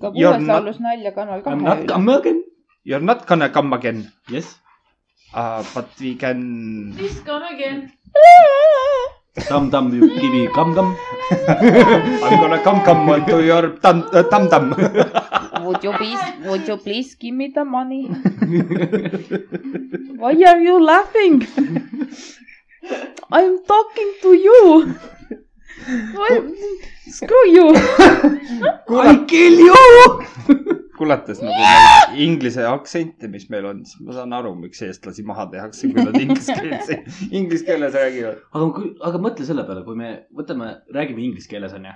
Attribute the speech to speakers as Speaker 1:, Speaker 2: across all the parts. Speaker 1: ka
Speaker 2: You're
Speaker 1: kuues
Speaker 2: not-
Speaker 1: laulus nalja Kanal
Speaker 2: I am
Speaker 1: kahe
Speaker 2: not
Speaker 1: üle .
Speaker 2: come again . You are not gonna come again
Speaker 3: Yes.
Speaker 2: uh, . But we can .
Speaker 4: Please come again .
Speaker 3: Tam tam will give you come come.
Speaker 2: I m gonna come come to your tam uh, , tam tam .
Speaker 1: Would you please , would you please give me the money ? Why are you laughing ? I am talking to you . Screw you .
Speaker 3: I kill you .
Speaker 2: kuulates nagu neid inglise aktsente , mis meil on , siis ma saan aru , miks eestlasi maha tehakse , kui nad inglise keeles , inglise keeles räägivad .
Speaker 3: aga kui , aga mõtle selle peale , kui me võtame , räägime inglise keeles onju ,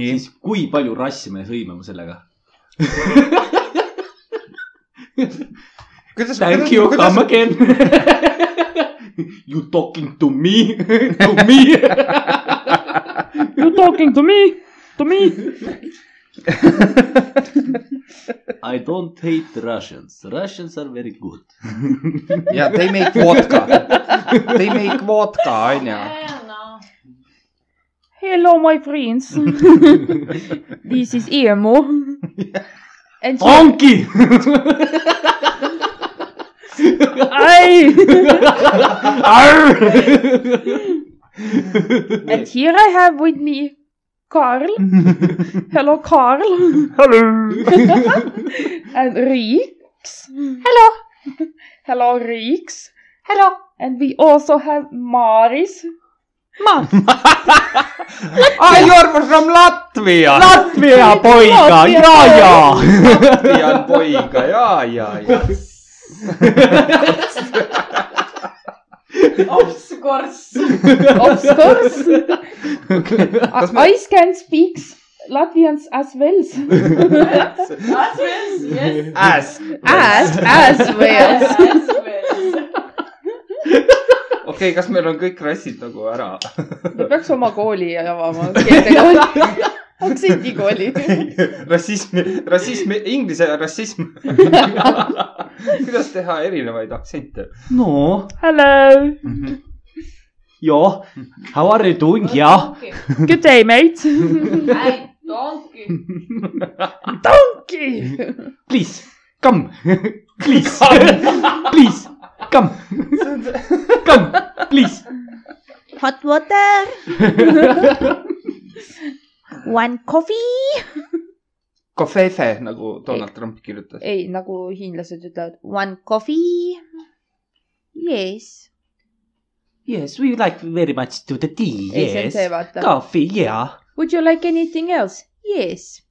Speaker 2: nii ,
Speaker 3: siis kui palju rassi me sõimame sellega ?
Speaker 2: kuidas ,
Speaker 3: Thank you , come
Speaker 2: kuidas ,
Speaker 3: again . You talking to me , to me .
Speaker 1: You talking to me , to me .
Speaker 3: I don't hate Russians , Russians are very good .
Speaker 2: yeah they make vodka , they make vodka onju .
Speaker 4: no .
Speaker 1: Hello my friends . This is EMO . And she-
Speaker 3: ongi .
Speaker 1: I and
Speaker 3: Yes.
Speaker 1: here I have with me Karl . Hello Karl .
Speaker 2: Hello .
Speaker 1: and Reeks. Hello. Hello, Reeks. Hello. And we also have Maris.
Speaker 2: Ah , you are from Latvia .
Speaker 3: Latvia poika ,
Speaker 1: Latvia
Speaker 3: ja , ja .
Speaker 2: Latvian poiga ja , ja , ja .
Speaker 4: Ops , korss .
Speaker 1: Of course.
Speaker 2: Kas me-
Speaker 1: I, I can speak Latvians as well.
Speaker 4: As well , yes .
Speaker 2: Ass .
Speaker 1: as, as well.
Speaker 4: As well .
Speaker 2: okei , kas meil on kõik rassid nagu ära ?
Speaker 1: me peaks oma kooli avama , keeltekooli , aktsendikooli .
Speaker 2: rassismi , rassismi , inglise rassism . kuidas teha erinevaid aktsente ?
Speaker 3: no ,
Speaker 1: Hello ,
Speaker 3: ja , how are you doing , ja .
Speaker 1: good day mate .
Speaker 4: I donkey .
Speaker 1: Donkey .
Speaker 3: Please , come , please , please , come , come , please .
Speaker 5: hot water. One coffee.
Speaker 2: Kofefe nagu Donald Trump kirjutas .
Speaker 1: ei , nagu hiinlased ütlevad .
Speaker 5: One coffee. Yes.
Speaker 3: Yes , we like very much to the tea ,
Speaker 1: ei , see on see ,
Speaker 3: yes .
Speaker 1: vaata .
Speaker 3: Coffee , yeah .
Speaker 1: Would you like anything else ?
Speaker 5: Yes.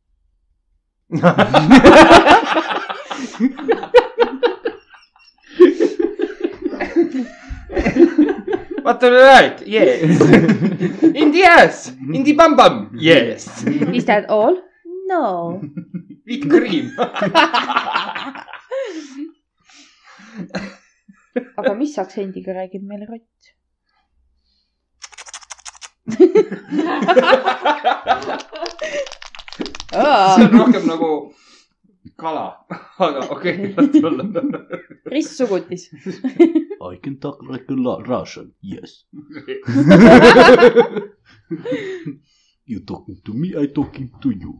Speaker 2: What do you like ? Yes . In the ass , in the bam-bam . Yes .
Speaker 1: Is that all ?
Speaker 5: No.
Speaker 2: With cream .
Speaker 1: aga mis aktsendiga räägib meil Rott ?
Speaker 2: see on rohkem nagu kala , aga okei , las ta olla .
Speaker 1: ristsugutis .
Speaker 3: I can talk like a Ru- Russian , yes . You talking to me , I talking to you .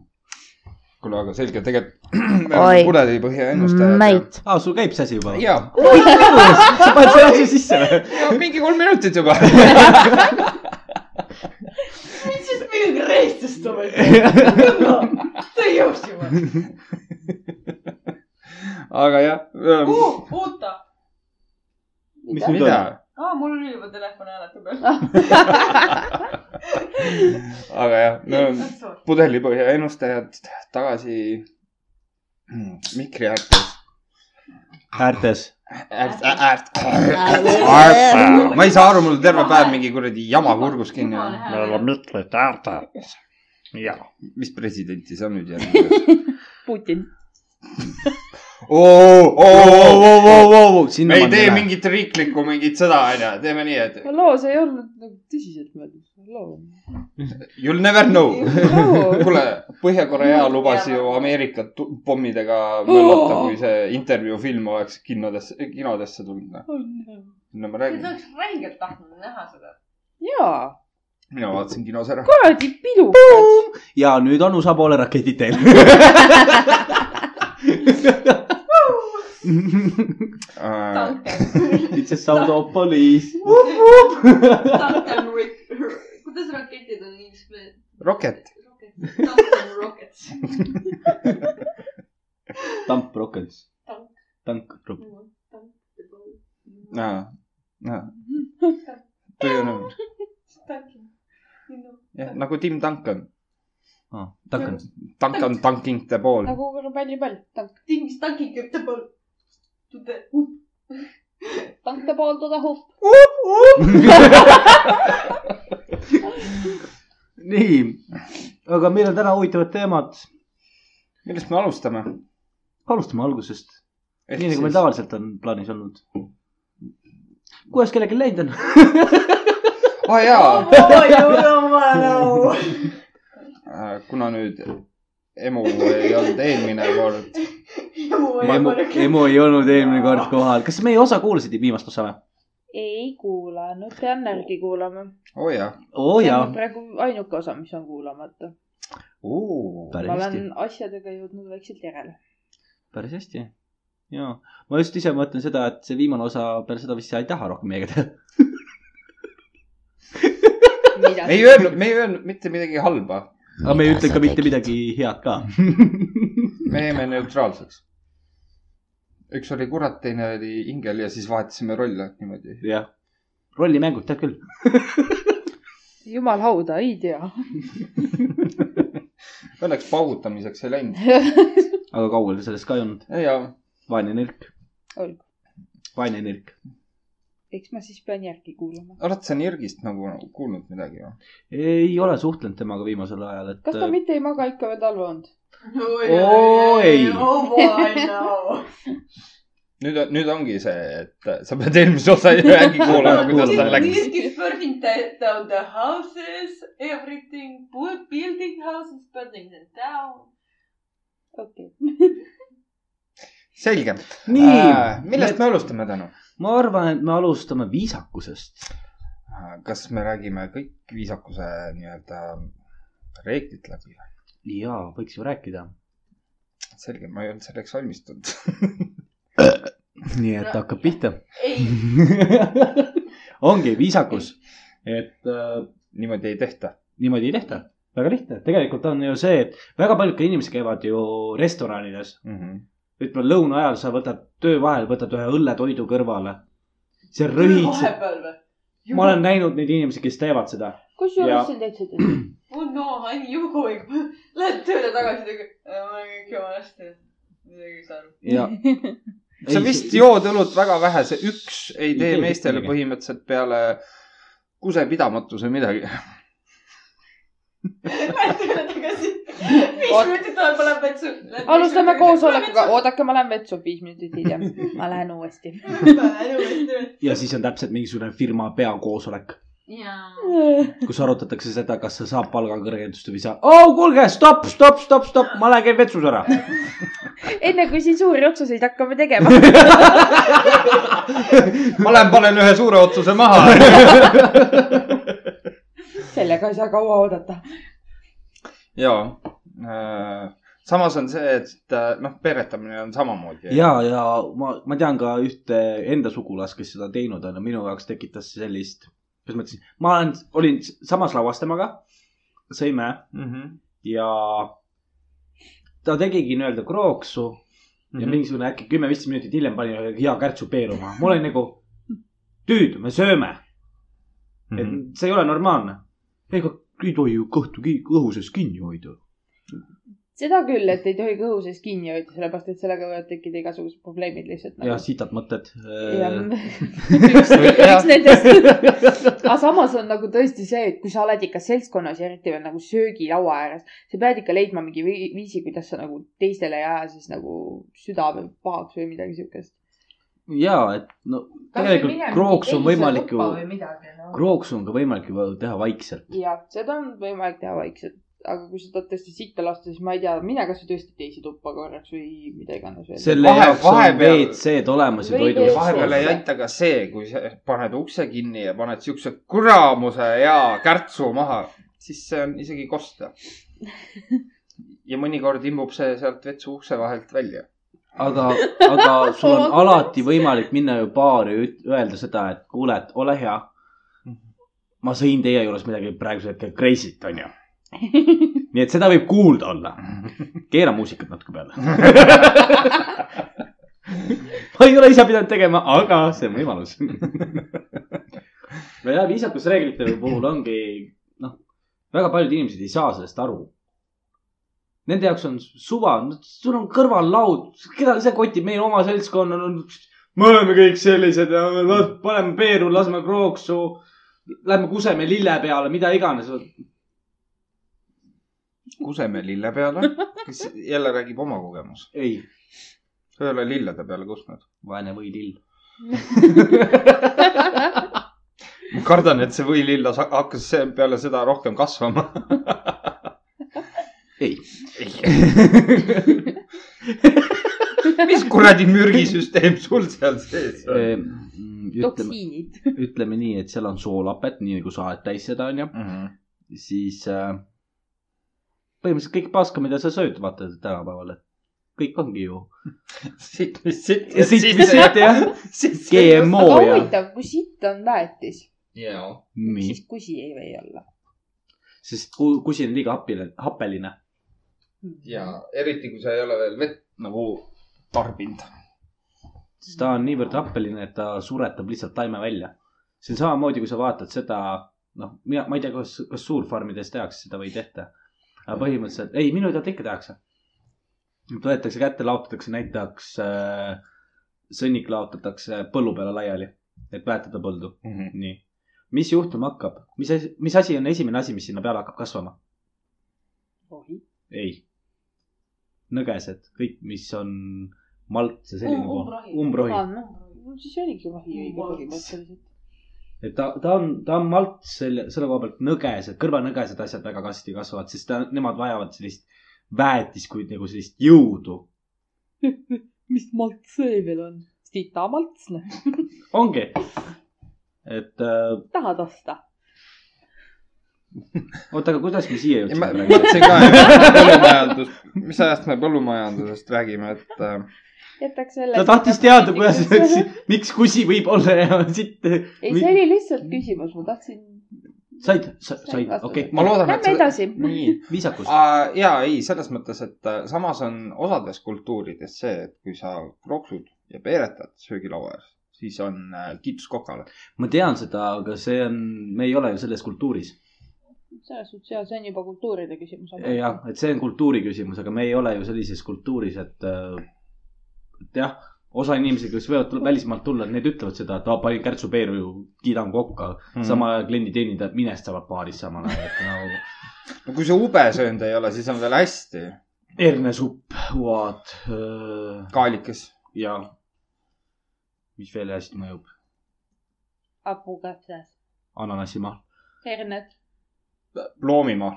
Speaker 2: kuule , aga selge , tegelikult me
Speaker 5: Oi.
Speaker 2: oleme pudelipõhja ennustajad .
Speaker 5: Mate.
Speaker 3: aa , sul Ah, käib see asi juba ?
Speaker 2: ja ,
Speaker 3: sa paned selle asja sisse või ?
Speaker 2: ja mingi kolm minutit juba .
Speaker 4: mis siis mingi reistustame ? see jõustima .
Speaker 2: aga jah .
Speaker 4: Oh, oota ,
Speaker 3: mis nüüd
Speaker 2: mida
Speaker 3: on ??
Speaker 4: aa , Ah, mul oli juba telefon hääletu peal .
Speaker 2: aga jah , me oleme pudelipõhja ennustajad tagasi mm, mikri äärtes .
Speaker 3: äärtes .
Speaker 2: äärt , äärt , äärt . ma ei saa aru , mul on terve päev mingi kuradi jama kurgus kinni .
Speaker 4: Me oleme
Speaker 2: mikrid äärtes . jah . mis presidenti sa nüüd järgid ?
Speaker 1: Putin .
Speaker 3: sinna
Speaker 2: me ei tee . mingit riiklikku mingit sõda , onju , teeme nii , et
Speaker 1: halloo , see ei olnud nagu tõsiseltmõeldud . halloo .
Speaker 2: you ll never know .
Speaker 1: halloo .
Speaker 2: kuule , Põhja-Korea lubas ju Ameerikat tu- pommidega möllata , kui see intervjuu film oleks kinodesse , kinodesse tulnud . no ma
Speaker 4: sa
Speaker 2: räägin .
Speaker 4: oleks räigelt tahtnud näha seda .
Speaker 1: jaa ,
Speaker 2: mina vaatasin kinos ära .
Speaker 1: kuradi pidu .
Speaker 3: ja nüüd Anu saab ole raketid teel .
Speaker 2: Äh,
Speaker 4: tanker .
Speaker 3: It's a sound of police .
Speaker 4: tanker , kuidas raketid on inglise keeles ?
Speaker 2: Rocket ,
Speaker 4: tanker rockets .
Speaker 3: Tamp Rockets
Speaker 4: Tank. .
Speaker 3: tank .
Speaker 2: jaa , jaa . tuju nagu , jah , nagu Tim Duncan .
Speaker 3: ah, Duncan .
Speaker 2: Duncan Dunking the ball .
Speaker 1: nagu korvpallipall , tank ,
Speaker 4: Things tanking up the ball to the
Speaker 1: tank teeb all toda hupp .
Speaker 3: nii , aga meil on täna huvitavad teemad .
Speaker 2: millest me alustame ?
Speaker 3: alustame algusest , nii nagu meil tavaliselt on plaanis olnud . kuidas kellelgi läinud on ?
Speaker 2: aa jaa ,
Speaker 4: oh, .
Speaker 2: Äh, kuna nüüd emu ei olnud eelmine kord ,
Speaker 3: emu , emu ei olnud eelmine kord kohal , kas meie osa kuulasid viimast osa või ?
Speaker 1: ei kuulanud , pean järgi kuulama .
Speaker 2: oo jaa .
Speaker 1: see
Speaker 3: oo Oh jaa
Speaker 1: on , praegu ainuke osa , mis on kuulamata .
Speaker 3: päris
Speaker 1: ma
Speaker 3: hästi ,
Speaker 1: olen asjadega jõudnud vaikselt järele .
Speaker 3: päris hästi . jaa , ma just ise mõtlen seda , et see viimane osa peale seda vist sa ei taha rohkem meiega teha .
Speaker 1: mida
Speaker 2: ei ? öelnud , me ei öelnud mitte midagi halba ,
Speaker 3: aga me ei ütle ka mitte midagi head ka .
Speaker 2: me jäime neutraalseks . üks oli kurat , teine oli ingel ja siis vahetasime rolle niimoodi .
Speaker 3: jah , rollimängud , tead küll .
Speaker 1: jumal hauda , ei tea .
Speaker 2: Õnneks paugutamiseks ei läinud .
Speaker 3: aga kaugel te sellest ka ei olnud .
Speaker 2: ja ,
Speaker 3: vaene nirk
Speaker 1: Olgu. .
Speaker 3: vaene nirk .
Speaker 1: eks ma siis pean järgi kuulama .
Speaker 2: oled sa Nirgist nagu kuulnud midagi või ?
Speaker 3: ei ole suhtlenud temaga viimasel ajal , et . äh,
Speaker 1: kas ta mitte ei maga ikka veel talve olnud ?
Speaker 3: Oi.
Speaker 4: oh boy no .
Speaker 2: nüüd , nüüd ongi see , et äh, sa pead eelmise osa järgi kuulama , kuidas tal läks .
Speaker 4: Nirkis burning da- down the houses, everything, poor building houses, burning them down .
Speaker 1: okei .
Speaker 2: selge .
Speaker 3: nii ,
Speaker 2: millest me alustame täna ?
Speaker 3: ma arvan , et me alustame viisakusest .
Speaker 2: Äh, kas me räägime kõik viisakuse nii-öelda reeglid läbi ?
Speaker 3: jaa , võiks ju rääkida .
Speaker 2: selge , ma ei olnud selleks valmistunud .
Speaker 3: nii et hakkab pihta .
Speaker 4: ei ,
Speaker 3: ongi viisakus , et äh,
Speaker 2: niimoodi ei tehta .
Speaker 3: niimoodi ei tehta väga lihtne , tegelikult on ju see , et väga paljud ka inimesed käivad ju restoranides ,
Speaker 2: Mhm.
Speaker 3: ütleme lõuna ajal sa võtad töö vahel , võtad ühe õlletoidu kõrvale . see rõhitseb ,
Speaker 4: vahepeal või ?
Speaker 3: ma olen näinud neid inimesi , kes teevad seda . Ja-
Speaker 1: kusjuures see on täitsa tõsi .
Speaker 4: oh no , I am you going . Lähed tööle tagasi , ma olen kõik jumala hästi . midagi ei saa aru .
Speaker 3: ja
Speaker 2: sa
Speaker 3: Ei,
Speaker 2: vist
Speaker 3: see-
Speaker 2: jood õlut väga vähe , see üks ei
Speaker 3: Ei
Speaker 2: tee
Speaker 3: tee
Speaker 2: meestele
Speaker 3: midagi.
Speaker 2: põhimõtteliselt peale kusepidamatuse midagi .
Speaker 4: Lähed tööle tagasi . viis
Speaker 1: Oot-
Speaker 4: minutit aega läheb vetsu .
Speaker 1: alustame koosolekuga ,. oodake , ma lähen vetsu viis minutit hiljem . ma lähen uuesti .
Speaker 3: ja siis on täpselt mingisugune firma peakoosolek ,
Speaker 4: jaa .
Speaker 3: kus arutatakse seda , kas sa saad palgakõrgendust või ei saa . oo , kuulge , stopp , stopp , stopp , stopp , ma lähen käin vetsus ära .
Speaker 1: enne kui siin suuri otsuseid hakkame tegema .
Speaker 2: ma lähen panen ühe suure otsuse maha .
Speaker 1: sellega ei saa kaua oodata .
Speaker 2: ja , Äh, samas on see , et äh, noh , peeretamine on samamoodi .
Speaker 3: ja , ja ma , ma tean ka ühte enda sugulast , kes seda teinud on ja minu jaoks tekitas see sellist , kuidas ma ütlesin , ma olen , olin samas lauas temaga , sõime
Speaker 2: Mhm.
Speaker 3: ja ta tegigi nii-öelda krooksu ja mingisugune äkki kümme-viisteist minutit hiljem pani ühe hea kärtsu peeruma . ma olin nagu , tüüd , me sööme , et see ei ole normaalne . Mhm. ega ei tohi ju kõhtu ki- kõhu sees kinni hoida .
Speaker 1: seda küll , et ei tohi kõhu sees kinni hoida , sellepärast et sellega võivad tekkida igasugused probleemid lihtsalt
Speaker 3: ja
Speaker 1: nagu .
Speaker 3: sitad mõtted . äh,
Speaker 1: jah , üks üks nendest . aga samas on nagu tõesti see , et kui sa oled ikka seltskonnas ja eriti veel nagu söögilaua ääres , sa pead ikka leidma mingi vi- viisi , kuidas sa nagu teistele ei aja siis nagu südame pahaks või midagi siukest .
Speaker 3: ja , et no tegelikult krooks on võimalik ju , krooks on ka võimalik ju teha vaikselt .
Speaker 1: jah , seda on võimalik teha vaikselt , aga kui sa tahad tõesti sitta lasta , siis ma ei tea , mine kasvõi tõesti teise tuppa korraks või mida iganes veel .
Speaker 3: selle
Speaker 2: Vahe-
Speaker 3: jaoks on
Speaker 2: vahepeal-
Speaker 3: WC-d olemas ja
Speaker 1: Või-
Speaker 3: toidu .
Speaker 2: vahepeal ei aita ka see , kui sa paned ukse kinni ja paned siukse kuramuse ja kärtsu maha , siis see on isegi kosta . ja mõnikord imbub see sealt vetsu ukse vahelt välja .
Speaker 3: aga , aga sul on alati võimalik minna ju baari ja üt- öelda seda , et kuule , et ole hea . ma sõin teie juures midagi praegusel hetkel crazy't , onju . nii et seda võib kuulda olla . keera muusikat natuke peale . ma ei ole ise pidanud tegema , aga see on võimalus . no ja viisakusreeglite puhul ongi , noh , väga paljud inimesed ei saa sellest aru . Nende jaoks on suva , sul on kõrvallaud , keda see kotib , meie oma seltskonnal on , me oleme kõik sellised , paneme peeru , laseme krooksu , lähme kuseme lille peale , mida iganes .
Speaker 2: kuseme lille peale , kes jälle räägib oma kogemus .
Speaker 3: ei ,
Speaker 2: sa ei ole lillede peale kusnud .
Speaker 3: vaene või lill .
Speaker 2: ma kardan , et see võilill las- hakkas see- peale seda rohkem kasvama .
Speaker 3: ei , Ehm,
Speaker 2: mis kuradi mürgisüsteem sul seal sees on ?
Speaker 3: ütleme ,
Speaker 1: toksiinid .
Speaker 3: ütleme nii , et seal on soolapet , nii nagu sa oled täis seda onju ,
Speaker 2: Mhm.
Speaker 3: siis äh, põhimõtteliselt kõik paska , mida sa sööd , vaata tänapäeval , et kõik ongi ju .
Speaker 2: siit , siit ,
Speaker 3: siit , mis siit jah , GMO
Speaker 1: aga
Speaker 3: ja .
Speaker 1: huvitav , kui sitt on väetis ,
Speaker 2: jaa .
Speaker 3: nii
Speaker 1: siis kusi ei või olla .
Speaker 3: sest ku- kusin on liiga hapiline , happeline .
Speaker 2: ja eriti , kui sa ei ole veel vett nagu tarbinud .
Speaker 3: siis ta on niivõrd happeline , et ta suretab lihtsalt taime välja . see on samamoodi , kui sa vaatad seda , noh , mina , ma ei tea , kas , kas suurfarmides tehakse seda või ei tehta . aga põhimõtteliselt , ei , minu teada ikka tehakse . võetakse kätte , laotatakse näiteks äh, , sõnnik laotatakse põllu peale laiali , et väetada põldu .
Speaker 2: Mhm.
Speaker 3: nii , mis juhtuma hakkab , mis , mis asi on esimene asi , mis sinna peale hakkab kasvama ? ei . nõgesed , kõik , mis on malt ja selline
Speaker 4: Um-
Speaker 3: pool
Speaker 4: umbrohi. ,
Speaker 3: umbrohi ,
Speaker 1: aa , noh , siis oligi vahi õige põhimõtteliselt .
Speaker 3: et ta , ta on , ta on malt selle , selle koha pealt nõgesed , kõrvanõgesed asjad väga kasti kasvavad , sest ta, nemad vajavad sellist väetiskuid nagu sellist jõudu .
Speaker 1: mis malt see veel on ? sita malts , noh ,
Speaker 3: ongi , et äh,
Speaker 1: tahad osta ?
Speaker 3: oota , aga kuidas me siia
Speaker 2: ja ma
Speaker 3: jõudsime praegu ?
Speaker 2: mõtlesin ka , et põllumajandus , mis ajast me põllumajandusest räägime , et äh,
Speaker 1: jätaks selle .
Speaker 3: ta tahtis teada , kuidas , miks kusi võib olla ja siit
Speaker 1: ei , see oli lihtsalt küsimus , ma tahtsin .
Speaker 3: said , said , okei ,
Speaker 2: ma loodan , et
Speaker 1: Lähme edasi .
Speaker 2: nii .
Speaker 3: viisakus .
Speaker 2: ja ei , selles mõttes , et äh, samas on osades kultuurides see , et kui sa krooksud ja peeretad söögilaua ääres , siis on äh, kiitus kokale .
Speaker 3: ma tean seda , aga see on , me ei ole ju selles kultuuris .
Speaker 1: selles suhtes jaa , see on juba kultuuride küsimus .
Speaker 3: jah , et see on kultuuri küsimus , aga me ei ole ju sellises kultuuris , et , et jah , osa inimesi , kes võivad tulla, välismaalt tulla , need ütlevad seda , et aa, panin kärtsu peeru ju , kiidan kokka mm. . sama ajal klienditeenindajad minest saavad baaris samal ajal , et nagu
Speaker 2: no kui sa ube söönud ei ole , siis on veel hästi .
Speaker 3: hernesupp , uad öö,
Speaker 2: kaalikas .
Speaker 3: ja mis veel hästi mõjub ,
Speaker 1: hapukatsas ,
Speaker 3: ananassimahl .
Speaker 1: herned .
Speaker 2: loomimaa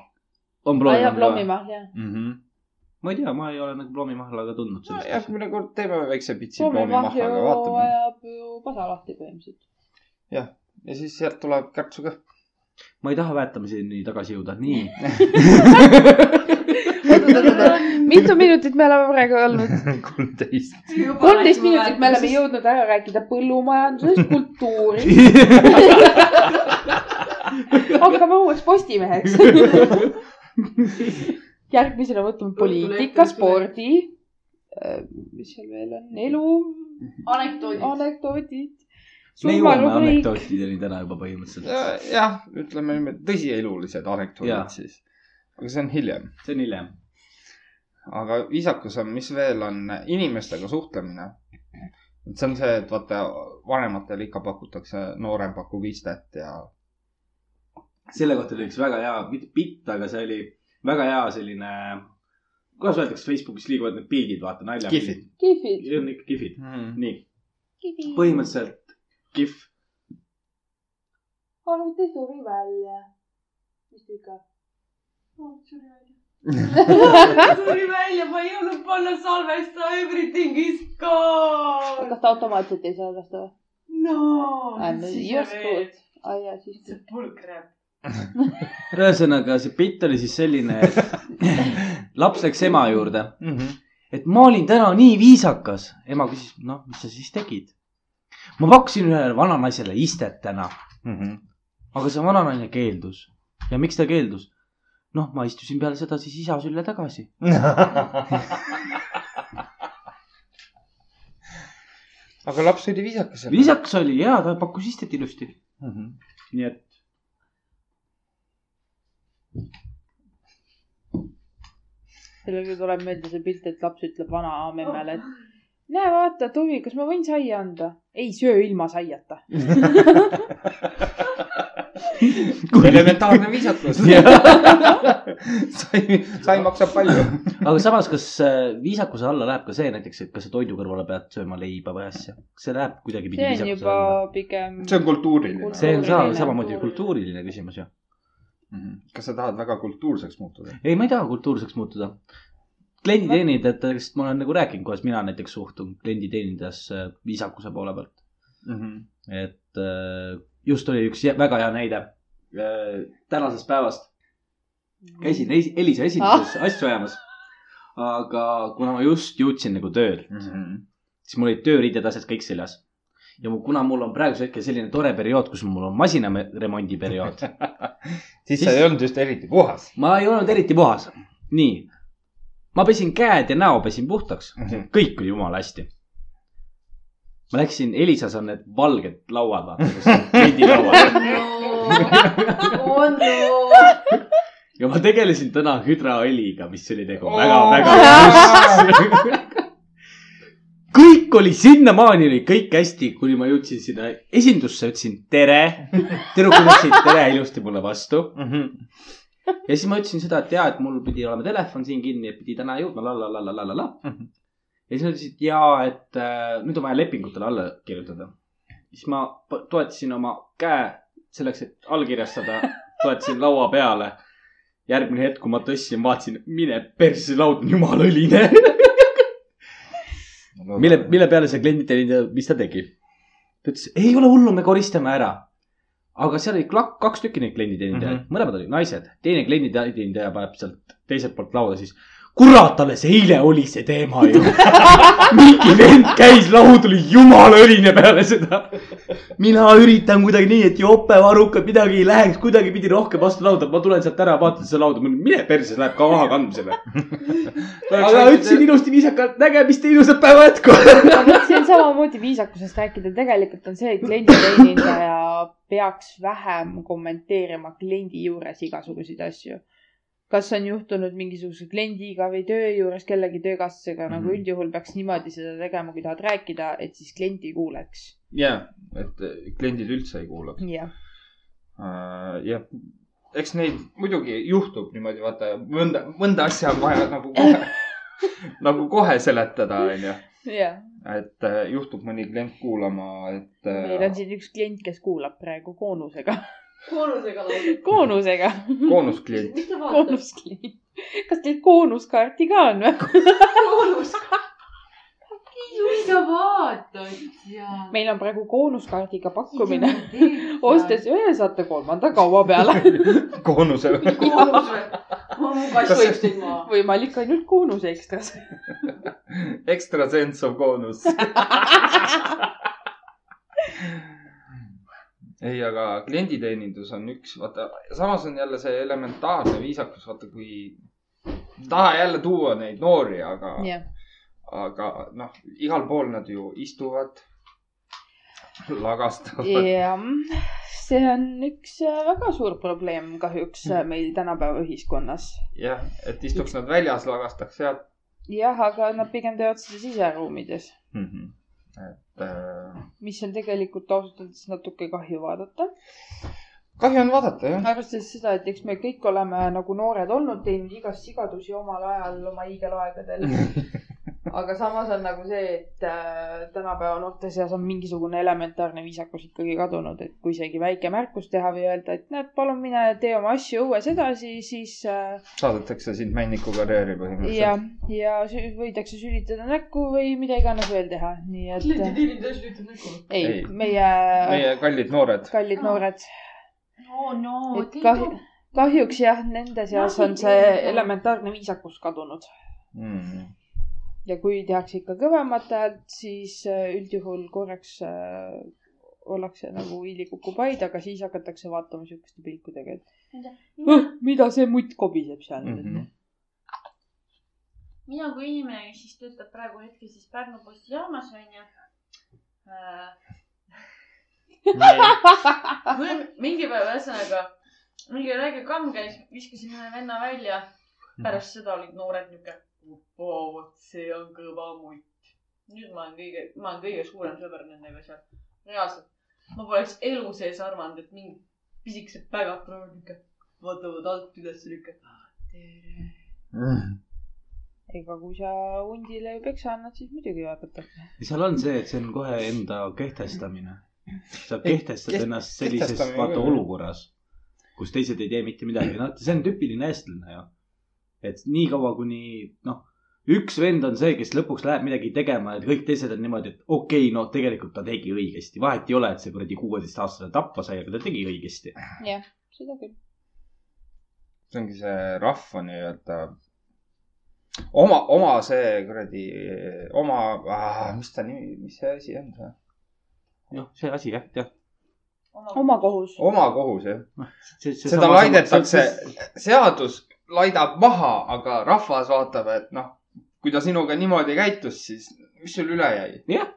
Speaker 3: on
Speaker 1: aa jaa ,
Speaker 3: ploomimahl ?
Speaker 1: ploomimahl jah .
Speaker 2: mm . -hmm.
Speaker 3: ma ei tea , ma ei ole nagu ploomimahlaga tundnud
Speaker 2: no
Speaker 3: sellist asja .
Speaker 2: järgmine kord teeme väikse pitsi
Speaker 1: ploomimahl ju
Speaker 2: ploomimahlaga , vaatame .
Speaker 1: ajab ju pasa lahti põhimõtteliselt .
Speaker 2: ja siis sealt tuleb kärtsu ka .
Speaker 3: ma ei taha väetamiseni tagasi jõuda , nii .
Speaker 1: mitu minutit me oleme praegu olnud ?
Speaker 2: kolmteist .
Speaker 1: kolmteist minutit me oleme . jõudnud ära rääkida põllumajandusest , kultuuri , hakkame uueks Postimeheks . järgmisena võtame poliitika , spordi . mis seal veel on , elu ,
Speaker 4: anekdoodid .
Speaker 1: anekdoodid .
Speaker 3: me jõuame
Speaker 1: surmarubriik ,
Speaker 3: anekdootideni täna juba põhimõtteliselt .
Speaker 2: jah , ütleme niimoodi tõsielulised
Speaker 3: Jaa.
Speaker 2: anekdoodid siis . aga see on hiljem .
Speaker 3: see on hiljem .
Speaker 2: aga viisakus on , mis veel on , inimestega suhtlemine . et see on see , et vaata , vanematele ikka pakutakse , noorem pakub istet ja
Speaker 3: selle kohta oli üks väga hea , mitte bitt , aga see oli väga hea selline , kuidas öeldakse , Facebookis liiguvad need pildid , vaata nalja .
Speaker 2: Gifid. .
Speaker 1: kihvid ,
Speaker 3: on ikka kihvid .
Speaker 2: mm. .
Speaker 3: nii , põhimõtteliselt kihv ,
Speaker 1: arvuti suri välja . mis viga ?
Speaker 4: tuli välja , ma ei jõudnud panna salvesta , everything is gone .
Speaker 1: kas ta automaatselt ei salvesta
Speaker 4: no .
Speaker 1: või ? just Ah, good . ai jaa , siis
Speaker 4: see pulkrab .
Speaker 3: ühesõnaga , see pilt oli siis selline , et laps läks ema juurde ,
Speaker 2: Mhm.
Speaker 3: et ma olin täna nii viisakas . ema küsis , noh , mis sa siis tegid ? ma pakkusin ühele vananaisele istet täna ,
Speaker 2: Mhm.
Speaker 3: aga see vananaine keeldus . ja miks ta keeldus ? noh , ma istusin peale seda siis isa sülle tagasi .
Speaker 2: aga laps oli viisakas .
Speaker 3: viisakas oli ja ta pakkus istet ilusti ,
Speaker 2: Mhm.
Speaker 3: nii et .
Speaker 1: sellega tuleb meelde see pilt , et laps ütleb vana memmele , et näe , vaata , Tomi , kas ma võin saia anda ? ei söö ilma saiata .
Speaker 2: elementaarne viisakus . sai , sai maksab palju .
Speaker 3: aga samas , kas äh, viisakuse alla läheb ka see näiteks , et kas sa toidu kõrvale pead sööma leiba või asja , see läheb kuidagipidi
Speaker 1: see on
Speaker 3: viisakuse
Speaker 1: juba
Speaker 3: alla .
Speaker 1: pigem .
Speaker 2: see on kultuuriline .
Speaker 3: see on sa-
Speaker 1: kultuuriline.
Speaker 3: samamoodi kultuuriline küsimus ju .
Speaker 2: kas sa tahad väga kultuurseks muutuda ?
Speaker 3: ei , ma ei taha kultuurseks muutuda . klienditeenindajatest ma olen nagu rääkinud , kuidas mina näiteks suhtun klienditeenindajasse äh, viisakuse poole pealt .
Speaker 2: Mhm.
Speaker 3: et äh, just oli üks jä- väga hea näide äh, tänasest päevast .
Speaker 1: Mm.
Speaker 3: käisin Eis- Elisa esinduses
Speaker 1: Ah.
Speaker 3: asju ajamas . aga kuna ma just jõudsin nagu tööle ,
Speaker 2: Mhm.
Speaker 3: siis mul olid tööriided , asjad kõik seljas . ja mu, kuna mul on praegusel hetkel selline tore periood , kus mul on masinaremondi periood ,
Speaker 2: siis sa ei olnud just eriti puhas .
Speaker 3: ma ei olnud eriti puhas . nii , ma pesin käed ja näo pesin puhtaks , kõik oli jumala hästi . ma läksin , Elisas on need valged lauad , vaata , kus on kliendilauad
Speaker 4: Oh no .
Speaker 3: ja ma tegelesin täna hüdraõliga , mis oli nagu
Speaker 2: Oo.
Speaker 3: väga-väga must . kõik oli sinnamaani oli kõik hästi , kuni ma jõudsin sinna esindusse , ütlesin tere . tüdrukud ütlesid tere ilusti mulle vastu ja siis ma ütlesin seda , et jaa , et mul pidi olema telefon siin kinni , et pidi täna jõudma la la la la la la la . ja siis nad ütlesid jaa , et äh, nüüd on vaja lepingutele alla kirjutada . siis ma p- toetasin oma käe selleks , et allkirjastada , toetasin laua peale . järgmine hetk , kui ma tõstsin , vaatasin , mine persse , laud on jumala õline . mille , mille peale see klienditeenindaja , mis ta tegi ? ta ütles , ei ole hullu , me koristame ära . aga seal oli klak- , kaks tükki neid klienditeenindajaid mm ,
Speaker 2: Mhm.
Speaker 3: -hmm. mõlemad olid naised . teine klienditeenindaja paneb sealt teiselt poolt lauda siis , kurat , alles eile oli see teema ju . mingi vend käis , laud oli jumala õline peale seda . mina üritan kuidagi nii , et jopevarukad midagi ei läheks kuidagipidi rohkem vastu lauda , ma tulen sealt ära , vaatan seda lauda , mine perses , läheb ka maha kandmisele . aga ütlesin ilusti viisakalt , nägemist ja ilusat päeva jätku .
Speaker 1: aga see on samamoodi viisakusest rääkida , tegelikult on see , et klienditeenindaja peaks vähem kommenteerima kliendi juures igasuguseid asju . kas on juhtunud mingisuguse kliendiga või töö juures kellegi töökaaslasega mm , -hmm. nagu
Speaker 2: Mhm.
Speaker 1: üldjuhul peaks niimoodi seda tegema , kui tahad rääkida , et siis klient ei kuuleks .
Speaker 2: ja , et äh, kliendid üldse ei kuula .
Speaker 1: jah ,
Speaker 2: jah , eks neid muidugi juhtub niimoodi , vaata mõnda , mõnda asja on vaja nagu kohe , nagu kohe seletada , onju .
Speaker 1: jah .
Speaker 2: et äh, juhtub mõni klient kuulama , et
Speaker 1: meil on
Speaker 2: äh,
Speaker 1: siin üks klient , kes kuulab praegu koonusega ,
Speaker 4: koonusega laulab .
Speaker 1: koonusega ,
Speaker 2: koonusklient .
Speaker 4: mis ta vaatab ?
Speaker 1: koonusklient . kas teil koonuskaarti ka on või ?
Speaker 4: koonus . mis sa vaatad ja ?
Speaker 1: meil on praegu koonuskaardiga pakkumine .. ostes ühe , saate kolmanda kaua peale .
Speaker 2: koonuse .
Speaker 4: koonus või ? mu kass
Speaker 2: Kas-
Speaker 4: võib sind maha .
Speaker 1: võimalik ainult koonuse ekstras .
Speaker 2: Extra sense of koonus . ei , aga klienditeenindus on üks , vaata , samas on jälle see elementaarne viisakus , vaata kui , taha jälle tuua neid noori , aga ,
Speaker 1: jah ,
Speaker 2: aga noh , igal pool nad ju istuvad , lagastavad .
Speaker 1: jah , see on üks äh, väga suur probleem kahjuks äh, meil tänapäeva ühiskonnas .
Speaker 2: jah , et istuks nad väljas , lagastaks sealt
Speaker 1: jah , aga nad pigem teevad seda siseruumides ,
Speaker 2: mm . -hmm. et äh,
Speaker 1: mis on tegelikult ausalt öeldes natuke kahju vaadata .
Speaker 2: kahju on vaadata , jah .
Speaker 1: arvestades seda , et eks me kõik oleme nagu noored olnud , teinud igast sigadusi omal ajal oma hiigelaegadel . aga samas on nagu see , et äh, tänapäeva noorte seas on mingisugune elementaarne viisakus ikkagi kadunud , et kui isegi väike märkus teha või öelda , et näed , palun mine tee oma asju õues edasi , siis äh,
Speaker 2: saadetakse sind männiku karjääri
Speaker 1: ja
Speaker 2: põhimõtteliselt .,
Speaker 1: ja sü- võidakse sülitada näkku või mida iganes veel teha , nii et äh,
Speaker 5: Kliendi teenindaja sülitab nägu .
Speaker 1: ei, ei.
Speaker 2: Ei. ,
Speaker 1: meie, meie
Speaker 2: meie kallid noored .
Speaker 1: kallid
Speaker 5: Aa.
Speaker 1: noored ,
Speaker 5: no , no
Speaker 1: et . kah- , kahjuks jah , nende seas on see
Speaker 5: Napikind.
Speaker 1: elementaarne viisakus kadunud
Speaker 2: Mm.
Speaker 1: ja kui tehakse ikka kõvemat häält , siis äh, üldjuhul korraks äh, ollakse nagu hiili kukub aid , aga siis hakatakse vaatama siukeste pilkudega , et "Õh, mida see mutt kobiseb seal mm .
Speaker 2: Mhm.
Speaker 1: -hmm.
Speaker 5: mina kui inimene , kes siis töötab praegu hetkel siis Pärnu postijaamas onju äh, .
Speaker 1: Ah.
Speaker 5: või mingi päev , ühesõnaga mingi räige kamm käis , viskasin ühe venna välja . pärast seda olid noored niuke , vot see on kõva mutt . nüüd ma olen kõige , ma olen kõige suurem sõber nendega seal . reaalselt , ma poleks elu sees arvanud , et mingid pisikesed pägad tulevad niuke , vaatavad alt üles niuke . tere .
Speaker 1: ega kui sa hundile peksa annad , siis muidugi vaadatakse .
Speaker 3: seal on see , et see on kohe enda kehtestamine . sa
Speaker 2: Ei,
Speaker 3: kehtestad
Speaker 2: keht-
Speaker 3: keht, ennast sellises
Speaker 2: kehtestamine
Speaker 3: vaata
Speaker 2: küll, jah.
Speaker 3: olukorras , kus teised ei tee mitte midagi , noh , see on tüüpiline eestlane ju . et niikaua , kuni noh , üks vend on see , kes lõpuks läheb midagi tegema ja kõik teised on niimoodi , et okei okay, , no tegelikult ta tegi õigesti , vahet ei ole , et see kuradi kuueteistaastane tappa sai , aga ta tegi õigesti .
Speaker 1: seda küll .
Speaker 2: see ongi see rahva nii-öelda oma , oma see kuradi , oma ah, , mis ta nimi , mis see asi on ?
Speaker 3: noh , see asi jah , jah .
Speaker 1: oma . kohus .
Speaker 2: oma kohus jah , seda laidetakse , seadus laidab maha , aga rahvas vaatab , et noh , kui ta sinuga niimoodi käitus , siis mis sul üle jäi ?
Speaker 3: jah ,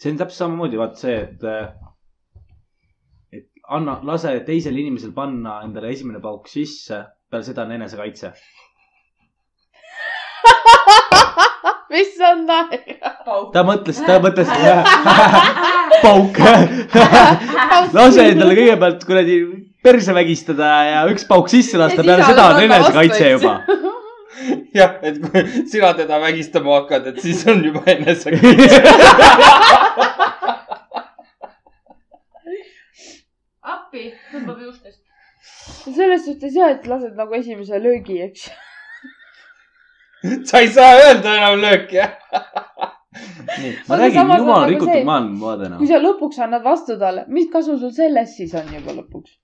Speaker 3: see on täpselt samamoodi , vaat see , et , et anna , lase teisel inimesel panna endale esimene pauk sisse , peale seda on enesekaitse .
Speaker 1: mis on naer ?
Speaker 3: ta mõtles , ta mõtles pauk . lase endale kõigepealt kuradi perse vägistada ja üks pauk sisse lasta ,
Speaker 1: Ja
Speaker 3: peale
Speaker 1: siis
Speaker 3: seda on
Speaker 1: alles võtta vastu,
Speaker 3: enesekaitse
Speaker 1: eks.
Speaker 3: juba .
Speaker 2: jah , et kui sina teda vägistama hakkad , et siis on juba enesega .
Speaker 5: appi , tõmbab juustest .
Speaker 1: selles suhtes jah , et lased nagu esimese löögi , eks .
Speaker 2: sa ei saa öelda enam lööki jah . nii ,
Speaker 3: ma
Speaker 1: Aga
Speaker 3: räägin
Speaker 1: samas on
Speaker 3: jumala
Speaker 1: nagu see-
Speaker 3: rikutud maailmavaade
Speaker 1: kui
Speaker 3: noh .
Speaker 1: sa lõpuks annad vastu talle , mis kasu sul sellest siis on juba lõpuks ?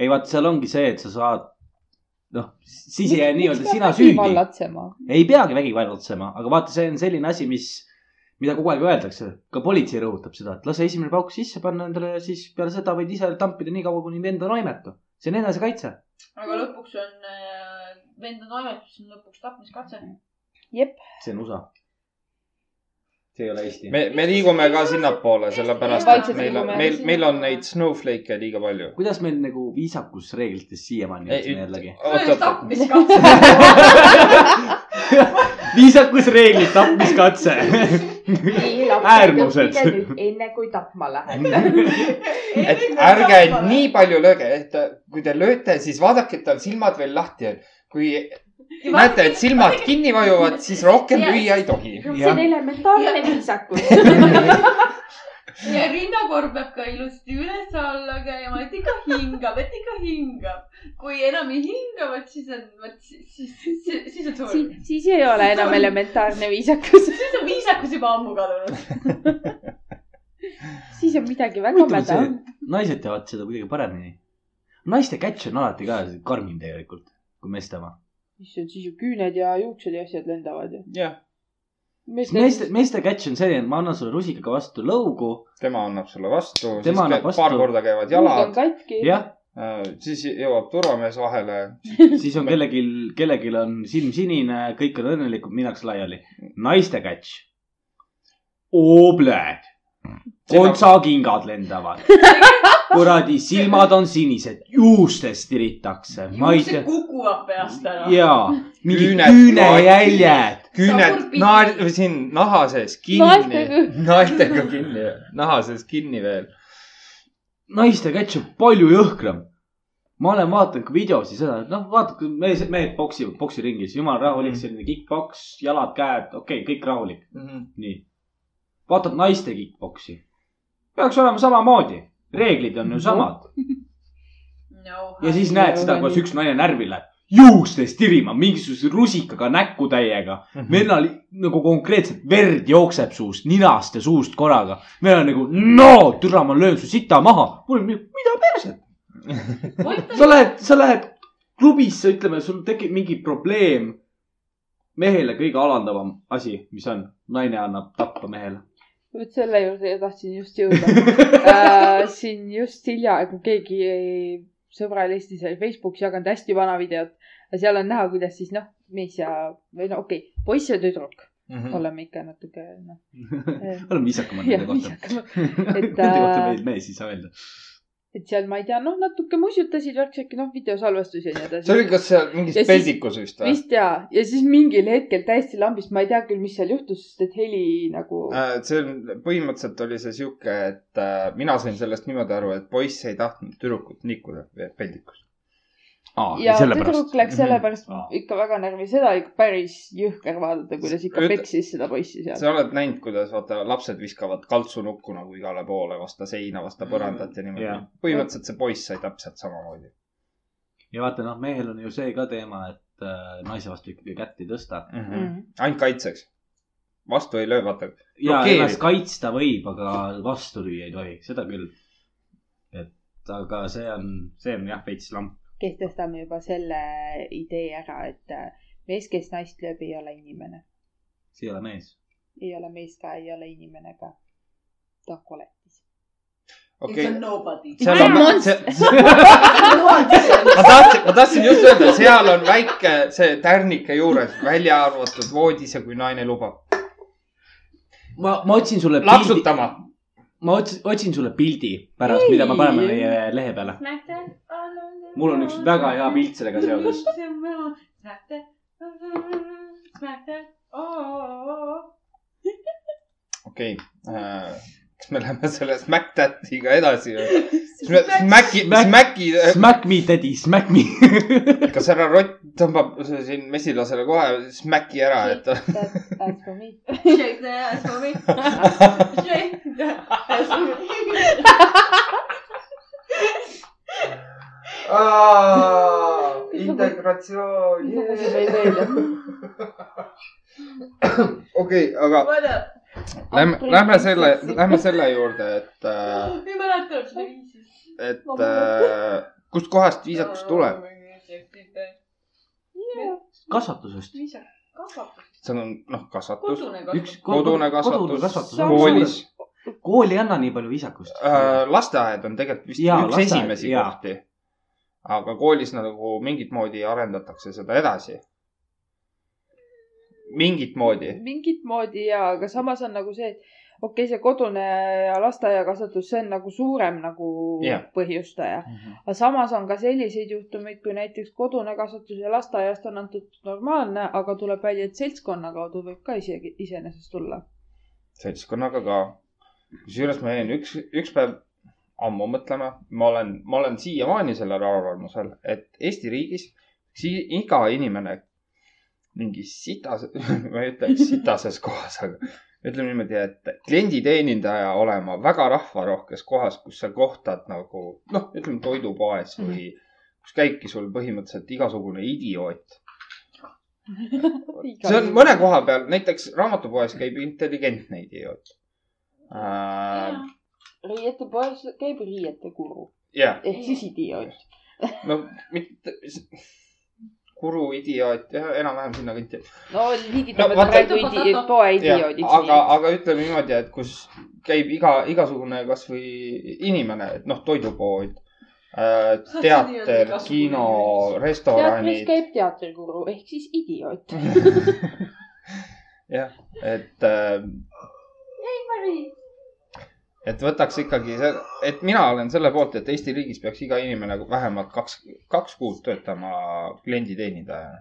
Speaker 3: ei vaata , seal ongi see , et sa saad , noh , siis ei jää nii-öelda sina süüdi
Speaker 1: vallatsema .
Speaker 3: ei peagi vägivallatsema , aga vaata , see on selline asi , mis , mida kogu aeg öeldakse , ka politsei rõhutab seda , et lase esimene pauk sisse panna endale ja siis peale seda võid ise tampida nii kaua , kuni vend on aimetu . see on enesekaitse .
Speaker 5: aga lõpuks on äh, vend on aimetus , siis on lõpuks tapmiskatse .
Speaker 3: see on USA . see ei ole Eesti Me... .
Speaker 2: me , me liigume ka sinnapoole , sellepärast et
Speaker 1: Vaikselt
Speaker 2: meil on ,
Speaker 1: liigume.
Speaker 2: meil , meil on neid snowflake'e liiga palju .
Speaker 3: kuidas meil nagu viisakusreeglitest siiamaani
Speaker 2: Ei,
Speaker 3: ütleme
Speaker 2: üt-
Speaker 3: jällegi ?
Speaker 2: oota ,
Speaker 5: tapmiskatse .
Speaker 3: viisakusreeglid , tapmiskatse Äärmused.
Speaker 1: enne kui tapma lähed .
Speaker 2: et ärge nii palju lööge , et kui te lööte , siis vaadake , et tal silmad veel lahti on . kui näete , et silmad kinni vajuvad , siis rohkem lüüa ei tohi .
Speaker 3: Jah.
Speaker 1: elementaarne
Speaker 5: Jah.
Speaker 1: viisakus .
Speaker 5: ja rinnakoor peab ka ilusti üles-alla käima , et ikka hingab , et ikka hingab . kui enam ei hinga , vot siis on , vot siis , siis , siis , siis on surm .
Speaker 1: siis ei ole enam elementaarne viisakus ,
Speaker 5: siis on viisakus juba ammu kadunud .
Speaker 1: siis on midagi väga
Speaker 3: huvitav on
Speaker 1: mäda
Speaker 3: see ,. et naised teevad seda kuidagi paremini . naiste catch on alati ka karmim tegelikult kui meeste oma .
Speaker 1: issand , siis ju küüned ja juuksed ja asjad lendavad ju .
Speaker 2: jah ,
Speaker 3: meeste , meeste catch on selline , et ma annan sulle rusikaga vastu lõugu
Speaker 2: tema annab sulle vastu , siis käib
Speaker 3: Tema annab vastu.
Speaker 2: paar korda käivad
Speaker 1: jalad on
Speaker 2: jalad ,
Speaker 1: katki .
Speaker 3: jah ,
Speaker 2: siis jõuab turvamees vahele .
Speaker 3: siis on kellelgi , kellelgi on silm sinine , kõik on õnnelikud , minnakse laiali . naiste kätš . Obled , kontsakingad lendavad , kuradi silmad on sinised , juustest tiritakse , ma ei
Speaker 5: see
Speaker 3: tea ,
Speaker 5: kukuvad peast ära .
Speaker 3: ja mingid
Speaker 2: Küüned
Speaker 3: küünejäljed .
Speaker 2: küüned
Speaker 5: Tagurpidi.
Speaker 2: naer- , siin naha sees kinni
Speaker 1: Naeltega. ,
Speaker 2: naeltega kinni , naha sees kinni veel .
Speaker 3: naiste kätš on palju jõhkram . ma olen vaadanud ka videosi seda , et noh , vaata , kui mees , mehed poksivad poksiringis , jumal
Speaker 1: Mm.
Speaker 3: rahulik ,
Speaker 2: Mhm.
Speaker 3: selline kick-poks , jalad , käed , okei okay, , kõik rahulik ,
Speaker 2: mm .
Speaker 3: nii . vaatad naiste kick-poksi , peaks olema samamoodi , reeglid on ju samad
Speaker 4: no,
Speaker 3: ja siis
Speaker 1: Mhm. Ei
Speaker 3: näed
Speaker 1: ole
Speaker 3: seda , kuidas
Speaker 1: nii.
Speaker 3: üks naine närvi läheb , juustest tirima mingisuguse rusikaga näkkutäiega .
Speaker 2: -hmm.
Speaker 3: vennal nagu konkreetselt verd jookseb suust , ninast ja suust korraga . vennal nagu no , türa , ma löön su sita maha . mul on nii , mida perset . sa lähed , sa lähed klubisse , ütleme , sul tekib mingi probleem . mehele kõige alandavam asi , mis on , naine annab tappa mehele .
Speaker 1: vot selle juurde tahtsin just jõuda äh, . siin just hiljaaegu keegi sõbral Eestis oli Facebookis jaganud hästi vana videot ja seal on näha , kuidas siis noh , mees ja või no okei okay, , poiss ja tüdruk
Speaker 2: Mhm.
Speaker 3: Mhm.
Speaker 1: oleme ikka natuke noh .
Speaker 3: oleme viisakamad
Speaker 1: jah ,
Speaker 3: nende kohta .
Speaker 1: viisakamad ,
Speaker 3: Nende
Speaker 1: et,
Speaker 3: kohta
Speaker 1: äh,
Speaker 3: meil mees ei saa öelda .
Speaker 1: et seal ma ei tea , noh , natuke musjutasid , värk sihuke noh , videosalvestus ja nii
Speaker 2: see oli
Speaker 1: edasi .
Speaker 2: kas seal mingis
Speaker 1: Ja siis-
Speaker 2: peldikus vist või ?
Speaker 1: vist ja , ja siis mingil hetkel täiesti lambist , ma ei tea küll , mis seal juhtus , sest et heli nagu äh,
Speaker 2: see on , põhimõtteliselt oli see sihuke , et äh, mina sain sellest niimoodi aru , et poiss ei tahtnud tüdrukut nikuda peldikus .
Speaker 1: ja Ah.
Speaker 3: sellepärast
Speaker 1: tüdruk . läks
Speaker 2: Mhm.
Speaker 1: sellepärast
Speaker 3: Aa.
Speaker 1: ikka väga närvi , seda oli ikka päris jõhker vaadata , kuidas ikka
Speaker 2: Üt-
Speaker 1: peksis seda poissi seal .
Speaker 2: sa oled näinud , kuidas vaata lapsed viskavad kaltsunukku nagu igale poole vastu seina , vastu põrandat ja niimoodi
Speaker 3: Jah. .
Speaker 2: põhimõtteliselt see poiss sai täpselt samamoodi .
Speaker 3: ja vaata , noh , mehel on ju see ka teema , et äh, naise vastu ikkagi kätt ei tõsta .
Speaker 1: Mhm. Mm.
Speaker 2: -hmm. ainult kaitseks . vastu ei löö , vaata .
Speaker 3: ja
Speaker 2: Blokeerib.
Speaker 3: ennast kaitsta võib , aga vastu lüüa ei tohi , seda küll . et aga see on , see on jah veits lamp .
Speaker 1: kehtestame juba selle idee ära , et äh, mees , kes naist lööb , ei ole inimene .
Speaker 3: see ei ole mees .
Speaker 1: ei ole mees ka , ei ole inimene ka . ta on koletis .
Speaker 2: okei
Speaker 4: It's a , nobody .
Speaker 2: seal on
Speaker 1: Monster. ,
Speaker 2: ma tahtsin , ma tahtsin just öelda , seal on väike see tärnike juures , välja arvatud voodis ja kui naine lubab .
Speaker 3: ma , ma otsin sulle pildi ,
Speaker 2: lapsutama .
Speaker 3: ma otsin , otsin sulle pildi pärast , mida me paneme meie lehe peale .
Speaker 4: näete ?
Speaker 3: mul on üks väga hea pilt sellega seoses .
Speaker 4: see on minu , näete ? näete ?
Speaker 2: okei , kas me läheme selle Smack Tatiga edasi või ? Smacki , Smacki ,
Speaker 3: Smack me daddy , smack me .
Speaker 2: kas härra Rott tõmbab siin mesilasele kohe Smacki ära , et ta
Speaker 1: That's for me .
Speaker 4: Shake the ass for me . Shake the ass for me .
Speaker 2: Aa, integratsioon . okei , aga
Speaker 4: vaata ,
Speaker 2: lähme , lähme selle , lähme selle juurde , et äh, ,
Speaker 4: ma ei mäleta , mis see viis siis .
Speaker 2: et äh, kustkohast
Speaker 5: Äh.
Speaker 2: viisakus tuleb .
Speaker 3: kasvatusest .
Speaker 4: viisakus , kasvatus ,
Speaker 2: seal on noh , kasvatus ,
Speaker 4: kodune
Speaker 3: üks
Speaker 4: kasvatus .
Speaker 2: kodune
Speaker 3: kodune
Speaker 2: kasvatus ,
Speaker 3: kasvatus.
Speaker 2: koolis
Speaker 3: kool ei anna nii palju viisakust
Speaker 2: äh, , lasteaed on tegelikult vist
Speaker 3: Jaa,
Speaker 2: ja, üks
Speaker 3: lasteaed,
Speaker 2: esimesi
Speaker 3: jaa.
Speaker 2: kohti . aga koolis nagu mingit moodi arendatakse seda edasi . mingit moodi .
Speaker 1: mingit moodi ja , aga samas on nagu see , et okei okay, , see kodune ja lasteaiakasvatus , see on nagu suurem nagu
Speaker 2: Jah.
Speaker 1: yeah. põhjustaja .
Speaker 3: Mhm.
Speaker 1: aga samas on ka selliseid juhtumeid , kui näiteks kodune kasvatus ja lasteaiast on antud normaalne , aga tuleb välja , et seltskonna kaudu võib ka isegi iseenesest tulla .
Speaker 2: seltskonnaga ka . kusjuures ma jäin üks , üks päev ammu mõtlema , ma olen , ma olen siiamaani sellel arvamusel , et Eesti riigis sii- iga inimene mingi sitas , ma ei ütleks sitases kohas , aga ütleme niimoodi , et klienditeenindaja olema väga rahvarohkes kohas , kus sa kohtad nagu noh , ütleme toidupoes või kus käibki sul põhimõtteliselt igasugune idioot . see on mõne koha peal , näiteks raamatupoes käib intelligentne idioot . Äh,
Speaker 1: riiete poes käib riiete kuru
Speaker 2: jah ,
Speaker 1: ehk siis idioot .
Speaker 2: no mitte , kuru idioot , enam-vähem sinna kanti .
Speaker 1: no liigitame
Speaker 2: No
Speaker 1: no,
Speaker 2: vaata-
Speaker 1: praegu idi- poe idioodiks .
Speaker 2: aga , aga ütleme niimoodi , et kus käib iga , igasugune kasvõi inimene , et noh , toidupood ,
Speaker 4: Saad sa nii öelda,
Speaker 2: teater ,
Speaker 4: igasugune
Speaker 2: kino ,
Speaker 4: inimene.
Speaker 1: teatris
Speaker 2: restoranid ,
Speaker 1: käib teatrikuru ehk siis
Speaker 2: Mhm.
Speaker 1: idioot .
Speaker 2: et äh, et võtaks ikkagi , et mina olen selle poolt , et Eesti riigis peaks iga inimene vähemalt kaks , kaks kuud töötama klienditeenindajana .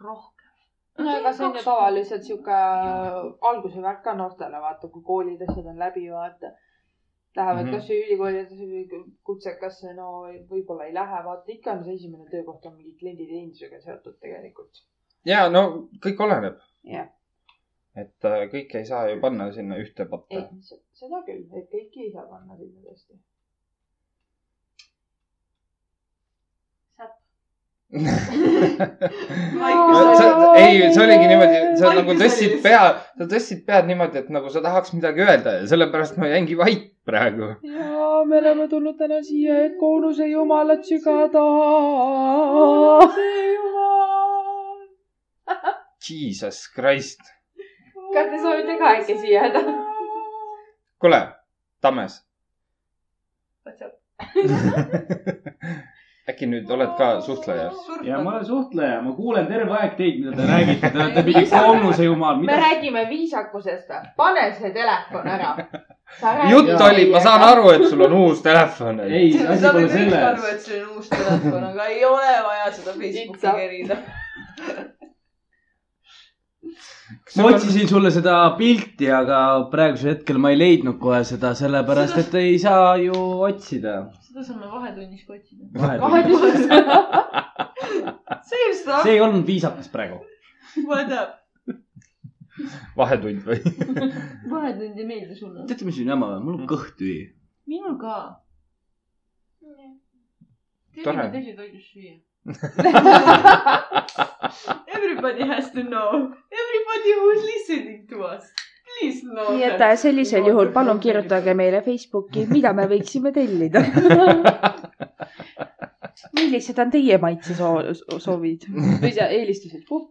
Speaker 4: rohkem .
Speaker 1: no aga see on ju tavaliselt sihuke alguse värk ka noortele , vaata , kui koolid , asjad on läbi , vaata . Lähevad mm
Speaker 2: Mhm.
Speaker 1: -hmm. kasvõi ülikooli või kutsekasse , no võib-olla ei lähe , vaata ikka on see esimene töökoht on mingi klienditeenindusega seotud tegelikult .
Speaker 2: ja no kõik oleneb .
Speaker 1: Jah.
Speaker 2: et äh, kõike ei saa ju panna sinna ühte
Speaker 1: ei
Speaker 2: patta .,
Speaker 1: seda küll , et kõiki ei saa panna sinna tõesti .
Speaker 2: ei , see oligi niimoodi , sa
Speaker 4: Vaikus
Speaker 2: nagu tõstsid
Speaker 4: oli.
Speaker 2: pea , sa tõstsid pead niimoodi , et nagu sa tahaks midagi öelda ja sellepärast ma jäingi vait praegu .
Speaker 1: ja me oleme tulnud täna siia , et koonuse jumalat sügada .
Speaker 2: Jesus Christ .
Speaker 1: kas te soovite ka äkki siia jääda ?
Speaker 2: kuule , Tammes , äkki nüüd oled ka suhtleja ?
Speaker 3: ja ma olen suhtleja , ma kuulen terve aeg teid , mida te räägite , te olete mingi koonuse jumal ,
Speaker 1: me
Speaker 3: mida .
Speaker 1: räägime viisakusest , pane see telefon ära .
Speaker 2: jutt oli , ma saan . aru , et sul on uus telefon .
Speaker 3: ei , asi
Speaker 4: sa
Speaker 3: pole
Speaker 4: võid kõik aru ,
Speaker 3: selles .
Speaker 4: et see on uus telefon , aga ei ole vaja seda Facebooki
Speaker 1: Itsa.
Speaker 4: kerida .
Speaker 3: ma otsisin sulle seda pilti , aga praegusel hetkel ma ei leidnud kohe seda , sellepärast et ei saa ju otsida .
Speaker 4: seda saame vahetunnis ka otsida .
Speaker 3: see
Speaker 1: vahetusest .
Speaker 4: see just noh. on ,
Speaker 3: ei olnud viisakas praegu .
Speaker 4: ma tean .
Speaker 2: vahetund või ?
Speaker 4: vahetund ei meeldi sulle ?
Speaker 3: teate , mis on jama või ? mul on kõht tühi .
Speaker 4: minul ka .
Speaker 2: Tore.
Speaker 4: tellime tellitoidust süüa Everybody has to know . Everybody who is listening to us . Please know .
Speaker 5: nii et äh, sellisel juhul palun kirjutage . meile Facebooki , mida me võiksime tellida . millised on teie maitsesoovid ?
Speaker 1: või sa eelistasid puhk- .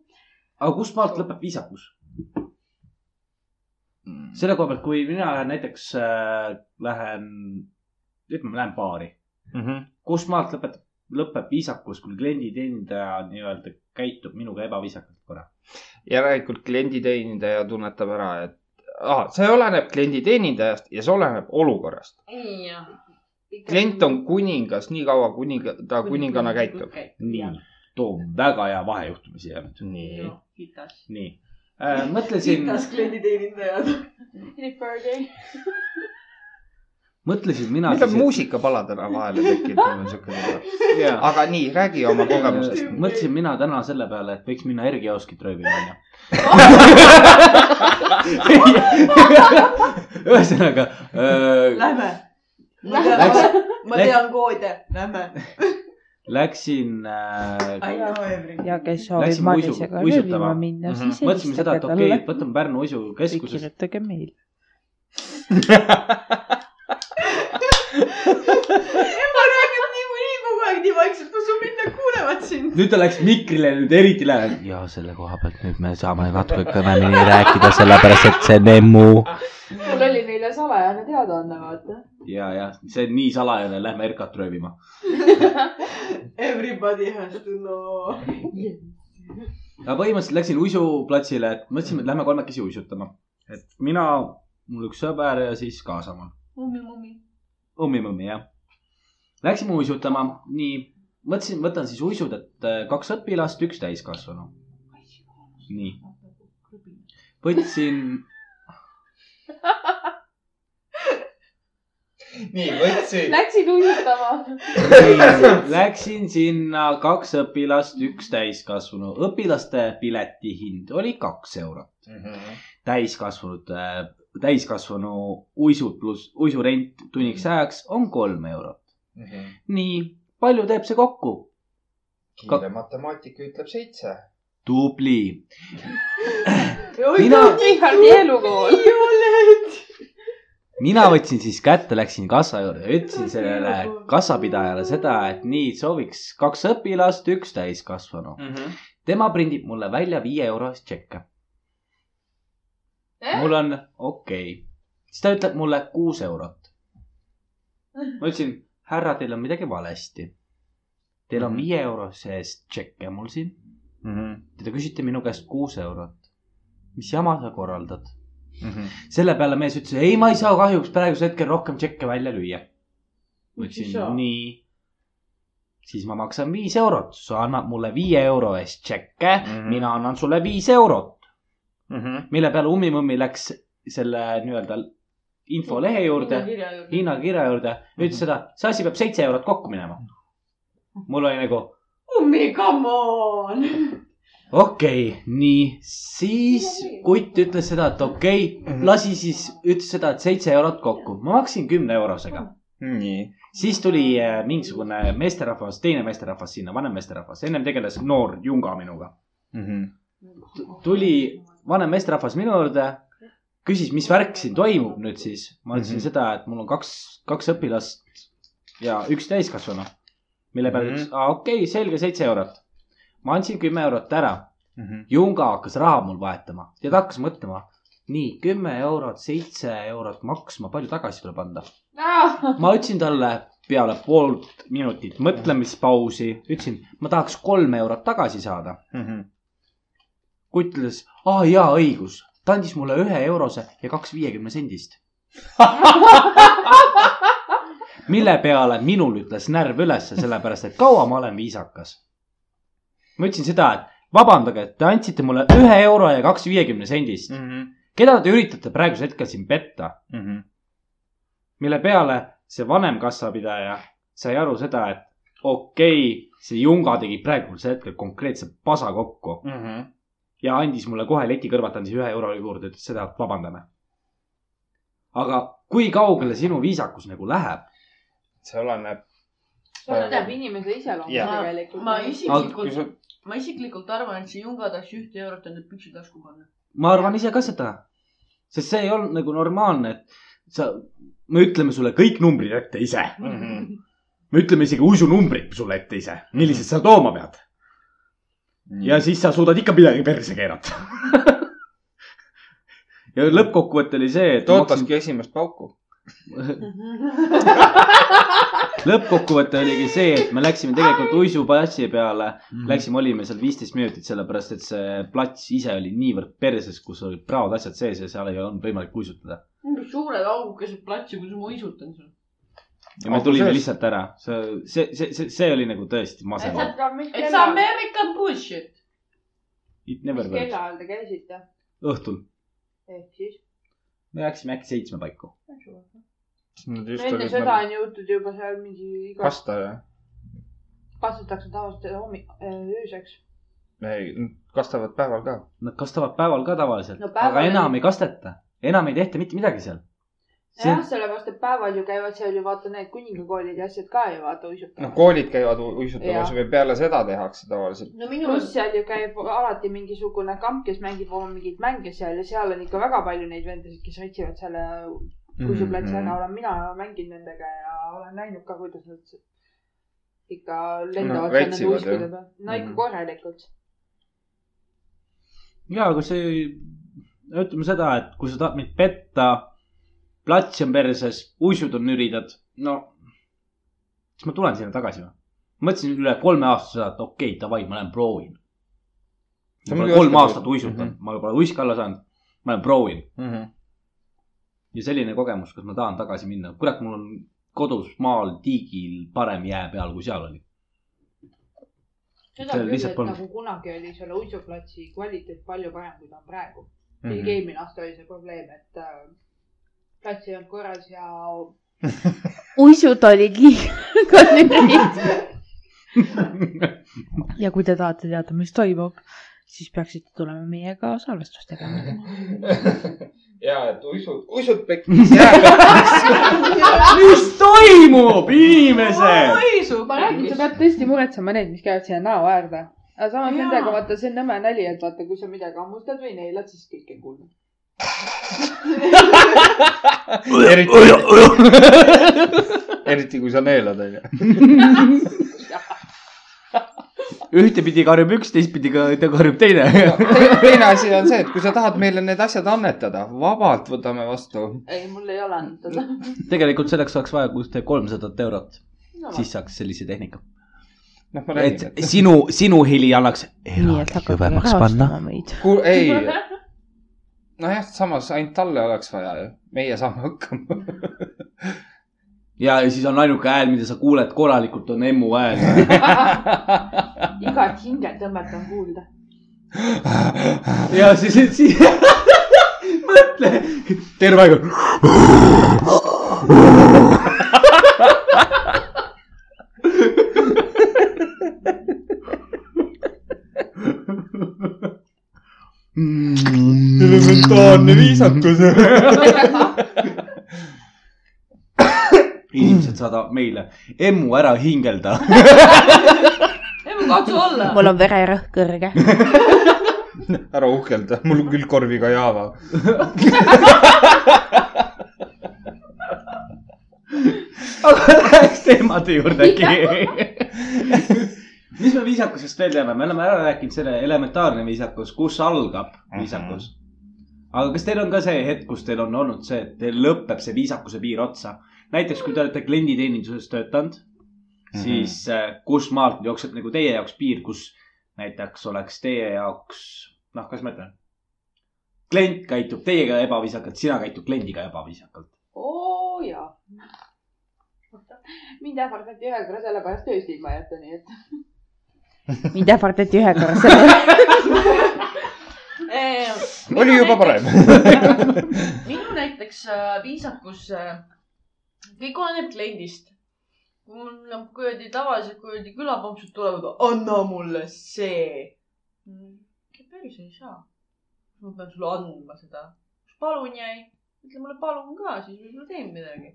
Speaker 3: aga kust maalt lõpeb viisakus ? selle koha pealt , kui mina lähen näiteks äh, , lähen , ütleme , lähen baari ,
Speaker 2: Mhm.
Speaker 3: kust maalt lõpetab , lõpeb viisakus , kui klienditeenindaja nii-öelda käitub minuga ebaviisakalt korra ?
Speaker 2: järelikult klienditeenindaja tunnetab ära , et ah, see oleneb klienditeenindajast ja see oleneb olukorrast .
Speaker 4: jah .
Speaker 2: klient on kuningas nii kaua , kuni ta kuningana käitub .
Speaker 3: nii , too on väga hea vahejuhtumi siia nüüd .
Speaker 2: nii ,
Speaker 4: hitas .
Speaker 3: nii äh, , mõtlesin ,
Speaker 4: hitas klienditeenindajad .
Speaker 3: mõtlesin mina
Speaker 2: meil on muusikapaladena täna vahele tekkinud , mul on siuke tunne .
Speaker 3: muusika .
Speaker 2: aga nii , räägi oma kogemusest .
Speaker 3: Äh, mõtlesin mina täna selle peale , et võiks minna Erki Oskit röövima , onju . ühesõnaga äh, ,
Speaker 4: Lähme .
Speaker 3: Läks-
Speaker 4: ma
Speaker 3: läks-
Speaker 4: tean koode , lähme .
Speaker 3: läksin äh, ,
Speaker 4: I know everything .
Speaker 5: ja kes soovib
Speaker 3: Läksime
Speaker 5: Madisega
Speaker 3: uisu- uisutama.
Speaker 5: röövima minna ,
Speaker 2: Mhm.
Speaker 5: siis
Speaker 3: mõtlesime seda ,
Speaker 5: helistage
Speaker 3: et okei
Speaker 5: talle
Speaker 3: okay, , võtame Pärnu
Speaker 5: või
Speaker 3: uisukeskusest ,
Speaker 5: kirjutage meile .
Speaker 4: ma räägin niikuinii kogu aeg nii vaikselt , ma usun , mind nad kuulevad sind .
Speaker 3: nüüd ta läks mikrile nüüd eriti lähedalt . ja selle koha pealt nüüd me saame natuke kõvemini rääkida , sellepärast et see on emmu .
Speaker 1: mul oli neile salajane teadaanne , vaata .
Speaker 3: ja , ja see on nii salajane , lähme Erkat röövima .
Speaker 4: Everybody has to know .
Speaker 3: aga põhimõtteliselt läksin uisuplatsile , et mõtlesime , et lähme kolmekesi uisutama . et mina , mul üks sõber ja siis kaasama .
Speaker 4: mummi , mummi .
Speaker 3: õmmi-mõmmi , jah . Läksime uisutama , nii , mõtlesin , võtan siis uisud , et äh, kaks õpilast , üks täiskasvanu . nii , võtsin
Speaker 2: nii , võtsin .
Speaker 1: Läksid uisutama .
Speaker 3: Läksin sinna kaks õpilast , üks täiskasvanu . õpilaste piletihind oli kaks eurot .
Speaker 2: Mhm,
Speaker 3: täiskasvanute , äh, täiskasvanu uisud pluss uisurent tunniks ajaks on kolm eurot .
Speaker 2: mhm.
Speaker 3: nii , palju teeb see kokku ?
Speaker 2: kiire matemaatika ütleb seitse .
Speaker 3: tubli . Mina-
Speaker 4: mina .
Speaker 1: Ihardi elukool .
Speaker 3: mina võtsin siis kätte , läksin kassa juurde ja ütlesin sellele kassapidajale seda , et nii sooviks kaks õpilast , üks täiskasvanu . tema prindib mulle välja viie eurost tšekke .
Speaker 4: Э? Eh?
Speaker 3: mul on okei okay. , siis ta ütleb mulle kuus eurot . ma ütlesin , härra , teil on midagi valesti . Teil on
Speaker 2: Mhm.
Speaker 3: viie euro sees tšekke mul siin . Te te küsite minu käest kuus eurot . mis jama sa korraldad ?
Speaker 2: mhm,
Speaker 3: selle peale mees ütles , ei , ma ei saa kahjuks praegusel hetkel rohkem tšekke välja lüüa . ma
Speaker 4: Miks ei
Speaker 3: ütlesin
Speaker 4: saa? ,
Speaker 3: nii . siis ma maksan viis eurot , sa annad mulle viie euro eest tšekke mm ,
Speaker 2: Mhm.
Speaker 3: -hmm. mina annan sulle viis eurot . mille peale ummimõmmi läks selle nii-öelda infolehe juurde , Hiina kirja juurde ja ütles seda , see asi peab seitse eurot kokku minema . mul oli nagu ,
Speaker 4: ummi , come on .
Speaker 3: okei okay, , nii , siis kutt ütles seda , et okei okay, , lasi siis , ütles seda , et seitse eurot kokku , ma maksin kümne eurosega .
Speaker 2: nii .
Speaker 3: siis tuli äh, mingisugune meesterahvas , teine meesterahvas sinna , vanem meesterahvas , ennem tegeles noor Junga minuga .
Speaker 2: Mhm,
Speaker 3: tuli vanem meesterahvas minu juurde , küsis , mis värk siin toimub nüüd siis . ma ütlesin mm
Speaker 2: Mhm.
Speaker 3: -hmm. seda , et mul on kaks , kaks õpilast ja üks täiskasvanu . mille peale
Speaker 2: Mhm.
Speaker 3: mm -hmm. ütles , aa okei okay, , selge , seitse eurot . ma andsin kümme eurot ära .
Speaker 2: mhm,
Speaker 3: Junga hakkas raha mul vahetama ja ta hakkas mõtlema , nii kümme eurot , seitse eurot maksma , palju tagasi tuleb anda ? ma ütlesin talle peale poolt minutit mõtlemispausi , ütlesin , ma tahaks kolm eurot tagasi saada .
Speaker 2: mhm,
Speaker 3: kutt ütles , aa jaa , õigus . ta andis mulle ühe eurose ja kaks viiekümne sendist . mille peale minul ütles närv ülesse , sellepärast et kaua ma olen viisakas . ma ütlesin seda , et vabandage , te andsite mulle ühe euro ja kaks viiekümne sendist .
Speaker 2: Mm. mhm,
Speaker 3: keda te üritate praegusel hetkel siin petta ? mille peale see vanem kassapidaja sai aru seda , et okei okay, , see Junga tegi praegusel hetkel konkreetse pasa kokku
Speaker 2: mhm.
Speaker 3: ja andis mulle kohe leti kõrvalt , andis ühe euro juurde , ütles seda , et vabandame . aga kui kaugele sinu viisakus nagu läheb ?
Speaker 2: see oleneb .
Speaker 1: oleneb inimese iseloomust
Speaker 2: Jah.
Speaker 1: tegelikult .
Speaker 4: ma
Speaker 2: kui
Speaker 4: isiklikult ,
Speaker 2: sa ,
Speaker 4: ma isiklikult arvan , et see Junga tahaks ühte eurot enda püksi tasku panna .
Speaker 3: ma arvan ise ka seda , sest see ei olnud nagu normaalne , et sa , me ütleme sulle kõik numbrid ette ise ,
Speaker 2: Mhm.
Speaker 3: me ütleme isegi uisunumbrid sulle ette ise , millised sa tooma pead .
Speaker 2: Mm.
Speaker 3: ja siis sa suudad ikka midagi perse keerata . ja lõppkokkuvõte oli see , et ma maksin-
Speaker 2: ootaski esimest pauku .
Speaker 3: lõppkokkuvõte oligi see , et me läksime tegelikult uisuplatsi peale ,
Speaker 2: Mhm.
Speaker 3: läksime , olime seal viisteist minutit , sellepärast et see plats ise oli niivõrd perses , kus olid praod asjad sees ja seal ei olnud võimalik uisutada .
Speaker 4: umbes suured augukesed platsi , kus ma uisutan seal .
Speaker 3: ja me
Speaker 2: Augu
Speaker 3: tulime
Speaker 2: sees.
Speaker 3: lihtsalt ära , see , see , see , see , see oli nagu tõesti masendav .
Speaker 4: It's American bullshit .
Speaker 3: It
Speaker 1: mis
Speaker 3: never works .
Speaker 1: kella ajal te käisite ?
Speaker 3: õhtul ,
Speaker 1: ehk siis ?
Speaker 3: me läksime äkki seitsme paiku .
Speaker 1: enne seda
Speaker 2: nagu
Speaker 1: on jõutud juba seal mingi iga ,
Speaker 2: pasta jah ?
Speaker 1: kastetakse tavaliselt hommi- , ööseks .
Speaker 2: ei , kastavad päeval ka .
Speaker 3: Nad kastavad päeval ka tavaliselt
Speaker 1: No
Speaker 3: no, ,
Speaker 1: päeval
Speaker 3: aga
Speaker 1: ei-
Speaker 3: enam ei kasteta , enam ei tehta mitte midagi seal . See-
Speaker 1: jah , sellepärast , et päeval ju käivad seal ju vaata need kuningakoolid ja asjad ka ju vaata
Speaker 2: noh ,
Speaker 1: uisutamas .
Speaker 2: koolid käivad u- uisutamas
Speaker 1: Jah.
Speaker 2: või peale seda tehakse tavaliselt .
Speaker 4: no minu
Speaker 1: pluss seal ju käib alati mingisugune kamp , kes mängib oma mingeid mänge seal ja seal on ikka väga palju neid vendasid , kes otsivad selle
Speaker 2: Mhm.
Speaker 1: uisuplatsi ära , olen mina mänginud nendega ja olen näinud ka , kuidas nad s- ikka
Speaker 2: No,
Speaker 1: lendavad seal nende
Speaker 2: vetsivad,
Speaker 1: uiskide
Speaker 2: jah.
Speaker 1: peal . no ikka
Speaker 2: Mhm.
Speaker 1: korralikult .
Speaker 3: ja , aga see , ütleme seda , et kui sa tahad mind petta , plats on perses , uisud on nüridad , no siis ma tulen sinna tagasi või ? mõtlesin üle kolme aasta seda , et okei okay, , davai , ma lähen proovin .
Speaker 2: Sa
Speaker 3: ma
Speaker 2: muidu
Speaker 3: olen kolm
Speaker 2: oskad
Speaker 3: aastat
Speaker 2: uisutada.
Speaker 3: uisutanud ,
Speaker 2: Mhm.
Speaker 3: ma pole uiska alla saanud , ma lähen proovin ja selline kogemus , kas ma tahan tagasi minna , kurat , mul on kodus maal tiigil parem jää peal , kui seal oli .
Speaker 1: seda
Speaker 3: Seal
Speaker 1: küll ,
Speaker 3: lihtsalt
Speaker 1: et
Speaker 3: polnud.
Speaker 1: nagu kunagi oli selle uisuplatsi kvaliteet palju parem , kui ta on praegu . isegi
Speaker 2: Mhm.
Speaker 1: eelmine aasta oli see probleem , et äh, plats ei olnud korras ja
Speaker 5: uisud olid liiga nürid . ja kui te tahate teada , mis toimub , siis peaksite tulema meiega salvestust tegema .
Speaker 2: ja , et uisud , uisud pekkis jääb .
Speaker 3: mis toimub , inimesed ?
Speaker 4: uisu ,
Speaker 1: ma räägin , sa . pead tõesti muretsema need , mis käivad sinna näo äärde . aga samas
Speaker 4: Jaa.
Speaker 1: nendega vaata , see on nõme nali , et vaata , kui sa midagi hammustad või neelad , siis kõik ei kuulnud .
Speaker 2: eriti kui sa neelad , onju .
Speaker 3: ühtepidi karjub üks , teistpidi ka- ta karjub teine .
Speaker 2: teine asi on see , et kui sa tahad meile need asjad annetada , vabalt võtame vastu .
Speaker 1: ei , mul ei ole antud .
Speaker 3: tegelikult selleks oleks vaja kuskil kolmsadat eurot , siis saaks sellise tehnika .
Speaker 2: noh , ma
Speaker 3: et
Speaker 2: räägin , et
Speaker 3: sinu , sinu heli annaks eraldi kõvemaks panna .
Speaker 5: meid .
Speaker 2: kuul- , ei . nojah , samas ainult talle oleks vaja ju , meie saame hakkama .
Speaker 3: ja siis on ainuke hääl , mida sa kuuled korralikult , on emmu hääl .
Speaker 1: igat hingetõmmet on kuulda .
Speaker 3: ja siis , siis mõtle , terve aeg on .
Speaker 2: elementaarne viisakus .
Speaker 3: inimesed saadavad meile , emmu ära hingelda .
Speaker 4: ei , ma katsun olla .
Speaker 5: mul on vererõhk kõrge .
Speaker 2: ära uhkelda , mul on küll korviga jaava .
Speaker 3: aga läheks teemade juurde äkki . mis me viisakusest veel teame , me oleme ära rääkinud selle elementaarne viisakus , kus algab viisakus . aga kas teil on ka see hetk , kus teil on olnud see , et teil lõpeb see viisakuse piir otsa ? näiteks kui te olete klienditeeninduses töötanud ,
Speaker 2: Mhm.
Speaker 3: siis äh, kus maalt jookseb nagu teie jaoks piir , kus näiteks oleks teie jaoks , noh , kuidas ma ütlen , klient käitub teiega ebaviisakalt , sina käitud kliendiga ebaviisakalt .
Speaker 1: oo jaa . mind ähvardati ühe korra sellepärast tööst ilma jätta , nii et .
Speaker 5: mind ähvardati ühe korra selle ,
Speaker 2: oli juba . parem .
Speaker 4: minu näiteks äh, viisakus , kõik oleneb kliendist . kui mul on kuradi tavaliselt kuradi külapompsud tulevad , anna mulle see . päris ei saa . ma pean sulle andma seda . palun jäi , ütle mulle palun ka , siis võib-olla teen midagi .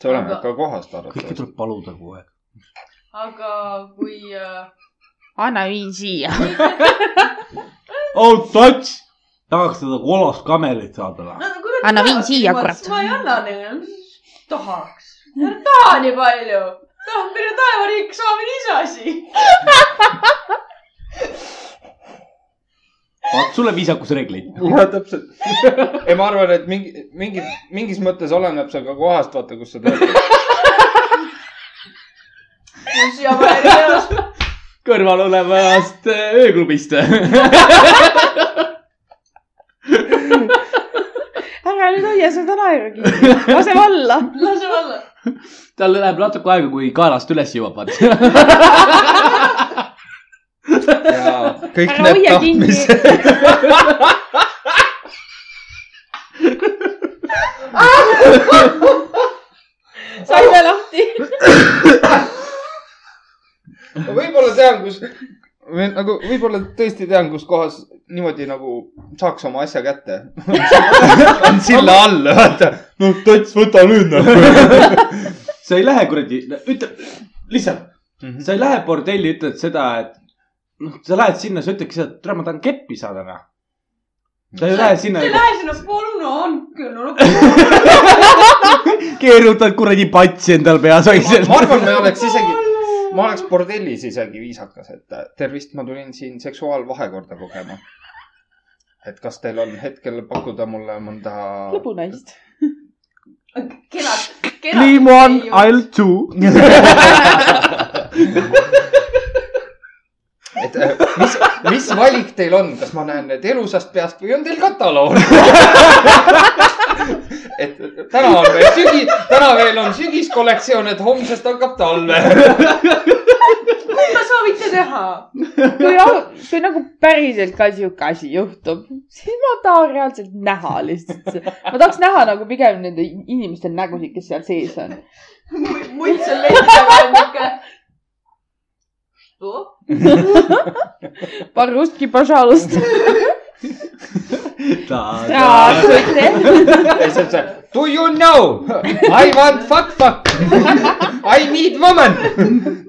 Speaker 2: see oleneb ka kohast
Speaker 3: kõike
Speaker 2: arvatavasti .
Speaker 3: tuleb paluda kogu aeg .
Speaker 4: aga kui äh,
Speaker 5: anna viin siia .
Speaker 3: oh tats , tahaks seda kollast kamelit saada või ?
Speaker 4: no, kurat,
Speaker 5: Anna viin
Speaker 4: tahaks
Speaker 5: siia,
Speaker 4: niimoodi,
Speaker 5: kurat.
Speaker 4: siis ma ei anna neile , tahaks . taha nii palju . tahan minna taevariiki saama lisasi .
Speaker 3: vaat sulle viisakusreegleid .
Speaker 2: jah , täpselt . ei , ma arvan , et mingi , mingi , mingis mõttes oleneb see ka kohast , vaata , kus sa töötad .
Speaker 4: mul siiamaani ei ole
Speaker 3: kõrval olevast ööklubist .
Speaker 5: ära nüüd hoia seda naeru kinni , lase valla .
Speaker 4: lase olla .
Speaker 3: tal läheb natuke aega , kui kaelast üles jõuab , vaata .
Speaker 2: ja kõik
Speaker 5: Ära
Speaker 2: need
Speaker 5: hoia kinni.
Speaker 2: tahtmised .
Speaker 5: saime lahti .
Speaker 2: ma võib-olla tean , kus , nagu võib-olla tõesti tean , kus kohas niimoodi nagu saaks oma asja kätte . on silla all , vaata . no tots , võta nüüd noh .
Speaker 3: sa ei lähe kuradi , ütle , lihtsalt ,
Speaker 2: Mhm.
Speaker 3: sa ei lähe bordelli , ütled seda , et noh , sa lähed sinna , sa ütleks , et tere , ma tahan keppi saada , noh . sa ju lähed
Speaker 4: sa
Speaker 3: sinna
Speaker 4: ei , lähe sinna , palun , on küll , no lõpuks .
Speaker 3: keerutad kuradi patsi endal peas
Speaker 2: ma arvan , me oleks isegi , ma oleks bordellis isegi viisakas , et äh, tervist , ma tulin siin seksuaalvahekorda kogema . et kas teil on hetkel pakkuda mulle mõnda .
Speaker 5: lõbunaist .
Speaker 4: kenad , kenad .
Speaker 3: Dream one , I'll two .
Speaker 2: et äh, mis , mis valik teil on , kas ma näen need elusast peast või on teil kataloog ? et täna on veel sügi , täna veel on sügiskollektsioon , et homsest hakkab talve .
Speaker 4: mida soovite teha ?
Speaker 5: kui , kui nagu päriselt ka sihuke asi juhtub , siis ma tahan reaalselt näha lihtsalt . ma tahaks näha nagu pigem nende inimeste nägusid , kes seal sees on .
Speaker 4: muid seal leiab on niuke .
Speaker 5: Barustki , pažalust .
Speaker 2: ja siis on see do you know I want fuck fuck I need woman .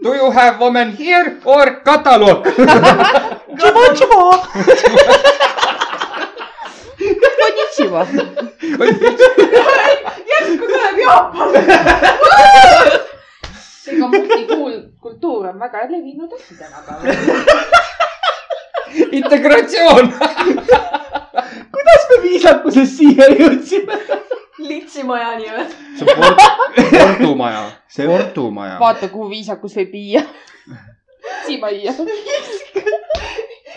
Speaker 2: Do you have woman here or kataloog ?
Speaker 5: konnichiwa .
Speaker 4: järsku tuleb Jaapan .
Speaker 1: seega multikultuur on väga levinud asi tänapäeval .
Speaker 2: integratsioon .
Speaker 3: kuidas me viisakusest siia jõudsime ?
Speaker 4: litsimajani või ?
Speaker 2: see on Portu- portumaja ,
Speaker 3: see on
Speaker 2: portumaja .
Speaker 5: vaata , kuhu viisakus võib viia . siimajia .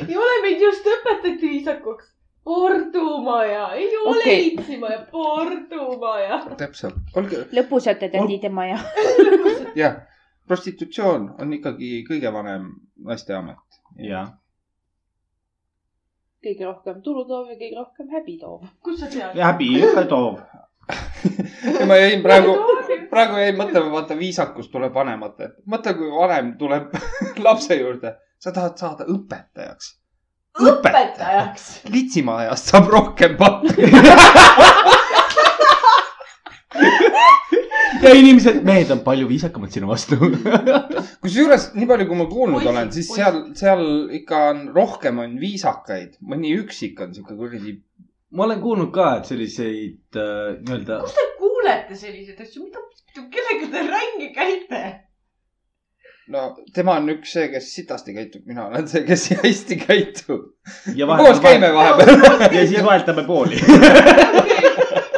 Speaker 4: ei ole , meid just õpetati viisakuks . Pordumaja , ei ole okay.
Speaker 5: Okei.
Speaker 4: litsimaja , Pordumaja .
Speaker 2: täpselt , olge
Speaker 5: lõpus olete tädi tema ja .
Speaker 2: jah , prostitutsioon on ikkagi kõige vanem naisteamet .
Speaker 3: jah .
Speaker 1: kõige rohkem tulu toov ja kõige rohkem häbi toov .
Speaker 4: kust sa tead ?
Speaker 3: häbi ikka toob .
Speaker 2: ja ma jäin praegu , praegu jäin mõtlema , vaata viisakus tuleb vanemate . mõtle , kui vanem tuleb lapse juurde , sa tahad saada õpetajaks .
Speaker 4: õpetajaks .
Speaker 2: litsimaa ajast saab rohkem pappi .
Speaker 3: ja inimesed , mehed on palju viisakamad sinu vastu .
Speaker 2: kusjuures nii palju , kui ma kuulnud
Speaker 4: Poisid,
Speaker 2: olen , siis
Speaker 4: poisid.
Speaker 2: seal , seal ikka on , rohkem on viisakaid , mõni üksik on sihuke kuradi .
Speaker 3: ma olen kuulnud ka , et selliseid äh, nii-öelda ,
Speaker 4: kus te kuulete selliseid asju , mida , kellega te rängi käite ?
Speaker 2: no tema on üks see , kes sitasti käitub , mina olen see , kes hästi käitub .
Speaker 3: ja
Speaker 2: koos käime
Speaker 3: vahetame ,
Speaker 2: vahepeal .
Speaker 3: ja siis vahetame pooli .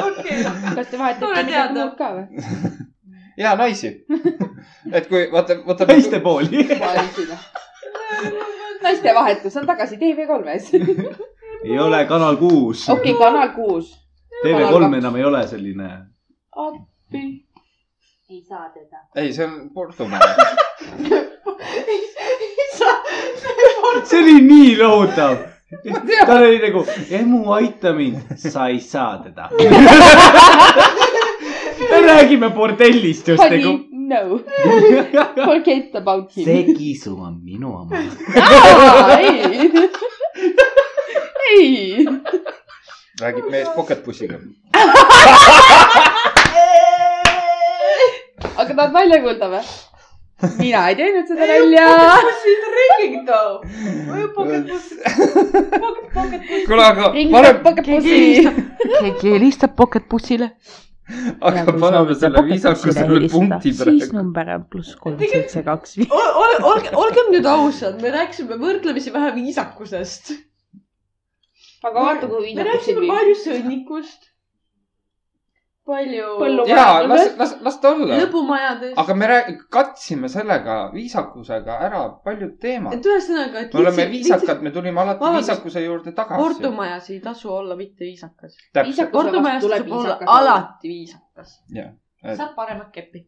Speaker 4: okei ,
Speaker 1: kas te
Speaker 4: Tore
Speaker 1: vahetate
Speaker 4: teada.
Speaker 1: midagi muud ka või ?
Speaker 2: ja naisi . et kui vaata , vaata .
Speaker 3: naiste pooli .
Speaker 1: naistevahetus on tagasi TV3-s .
Speaker 3: ei ole Kanal kuus
Speaker 1: okei , Kanal kuus . Kanal
Speaker 3: TV3
Speaker 1: kaks.
Speaker 3: enam ei ole selline .
Speaker 1: appi . ei saa teda .
Speaker 2: ei , see on Portugal .
Speaker 4: okei .
Speaker 3: see oli nii lohutav .
Speaker 2: Ma tean.
Speaker 3: tal oli nagu , emu aita mind , sa ei saa teda . me räägime bordellist just
Speaker 1: Honey
Speaker 3: nagu .,
Speaker 1: no , forget about him .
Speaker 3: see kisu on minu oma .
Speaker 1: ei , ei .
Speaker 2: räägib mees pocket pussiga .
Speaker 1: aga tahad välja kuulda või ? mina ei teinud seda nalja .
Speaker 4: bussid ringi too . pocket bussid , pocket , pocket bussid .
Speaker 2: kuule , aga
Speaker 1: ringi
Speaker 2: paneme ,
Speaker 1: pakeb bussi .
Speaker 5: keegi helistab Pocket bussile .
Speaker 2: aga paneme selle viisakusele punkti
Speaker 5: siis
Speaker 2: praegu .
Speaker 5: number on pluss kolm , seitse , kaks , viis .
Speaker 4: olge , olge , olgem nüüd ausad , me rääkisime võrdlemisi vähe viisakusest .
Speaker 1: aga vaata , kui
Speaker 4: me rääkisime
Speaker 1: viinakutsed .
Speaker 4: palju sõnnikust . palju .
Speaker 1: Põllu-
Speaker 2: ja las , las , las ta olla .
Speaker 4: lõbumajadest .
Speaker 2: aga me rää- katsime sellega viisakusega ära paljud teemad .
Speaker 4: et ühesõnaga , et
Speaker 2: me oleme viisakad , me tulime alati
Speaker 4: Vabandust.
Speaker 2: viisakuse juurde tagasi .
Speaker 4: kordumajas ei tasu olla mitte viisakas .
Speaker 2: täpselt ,
Speaker 4: kordumajas tuleb olla . alati viisakas .
Speaker 2: Jah, et-
Speaker 4: saab paremat keppi .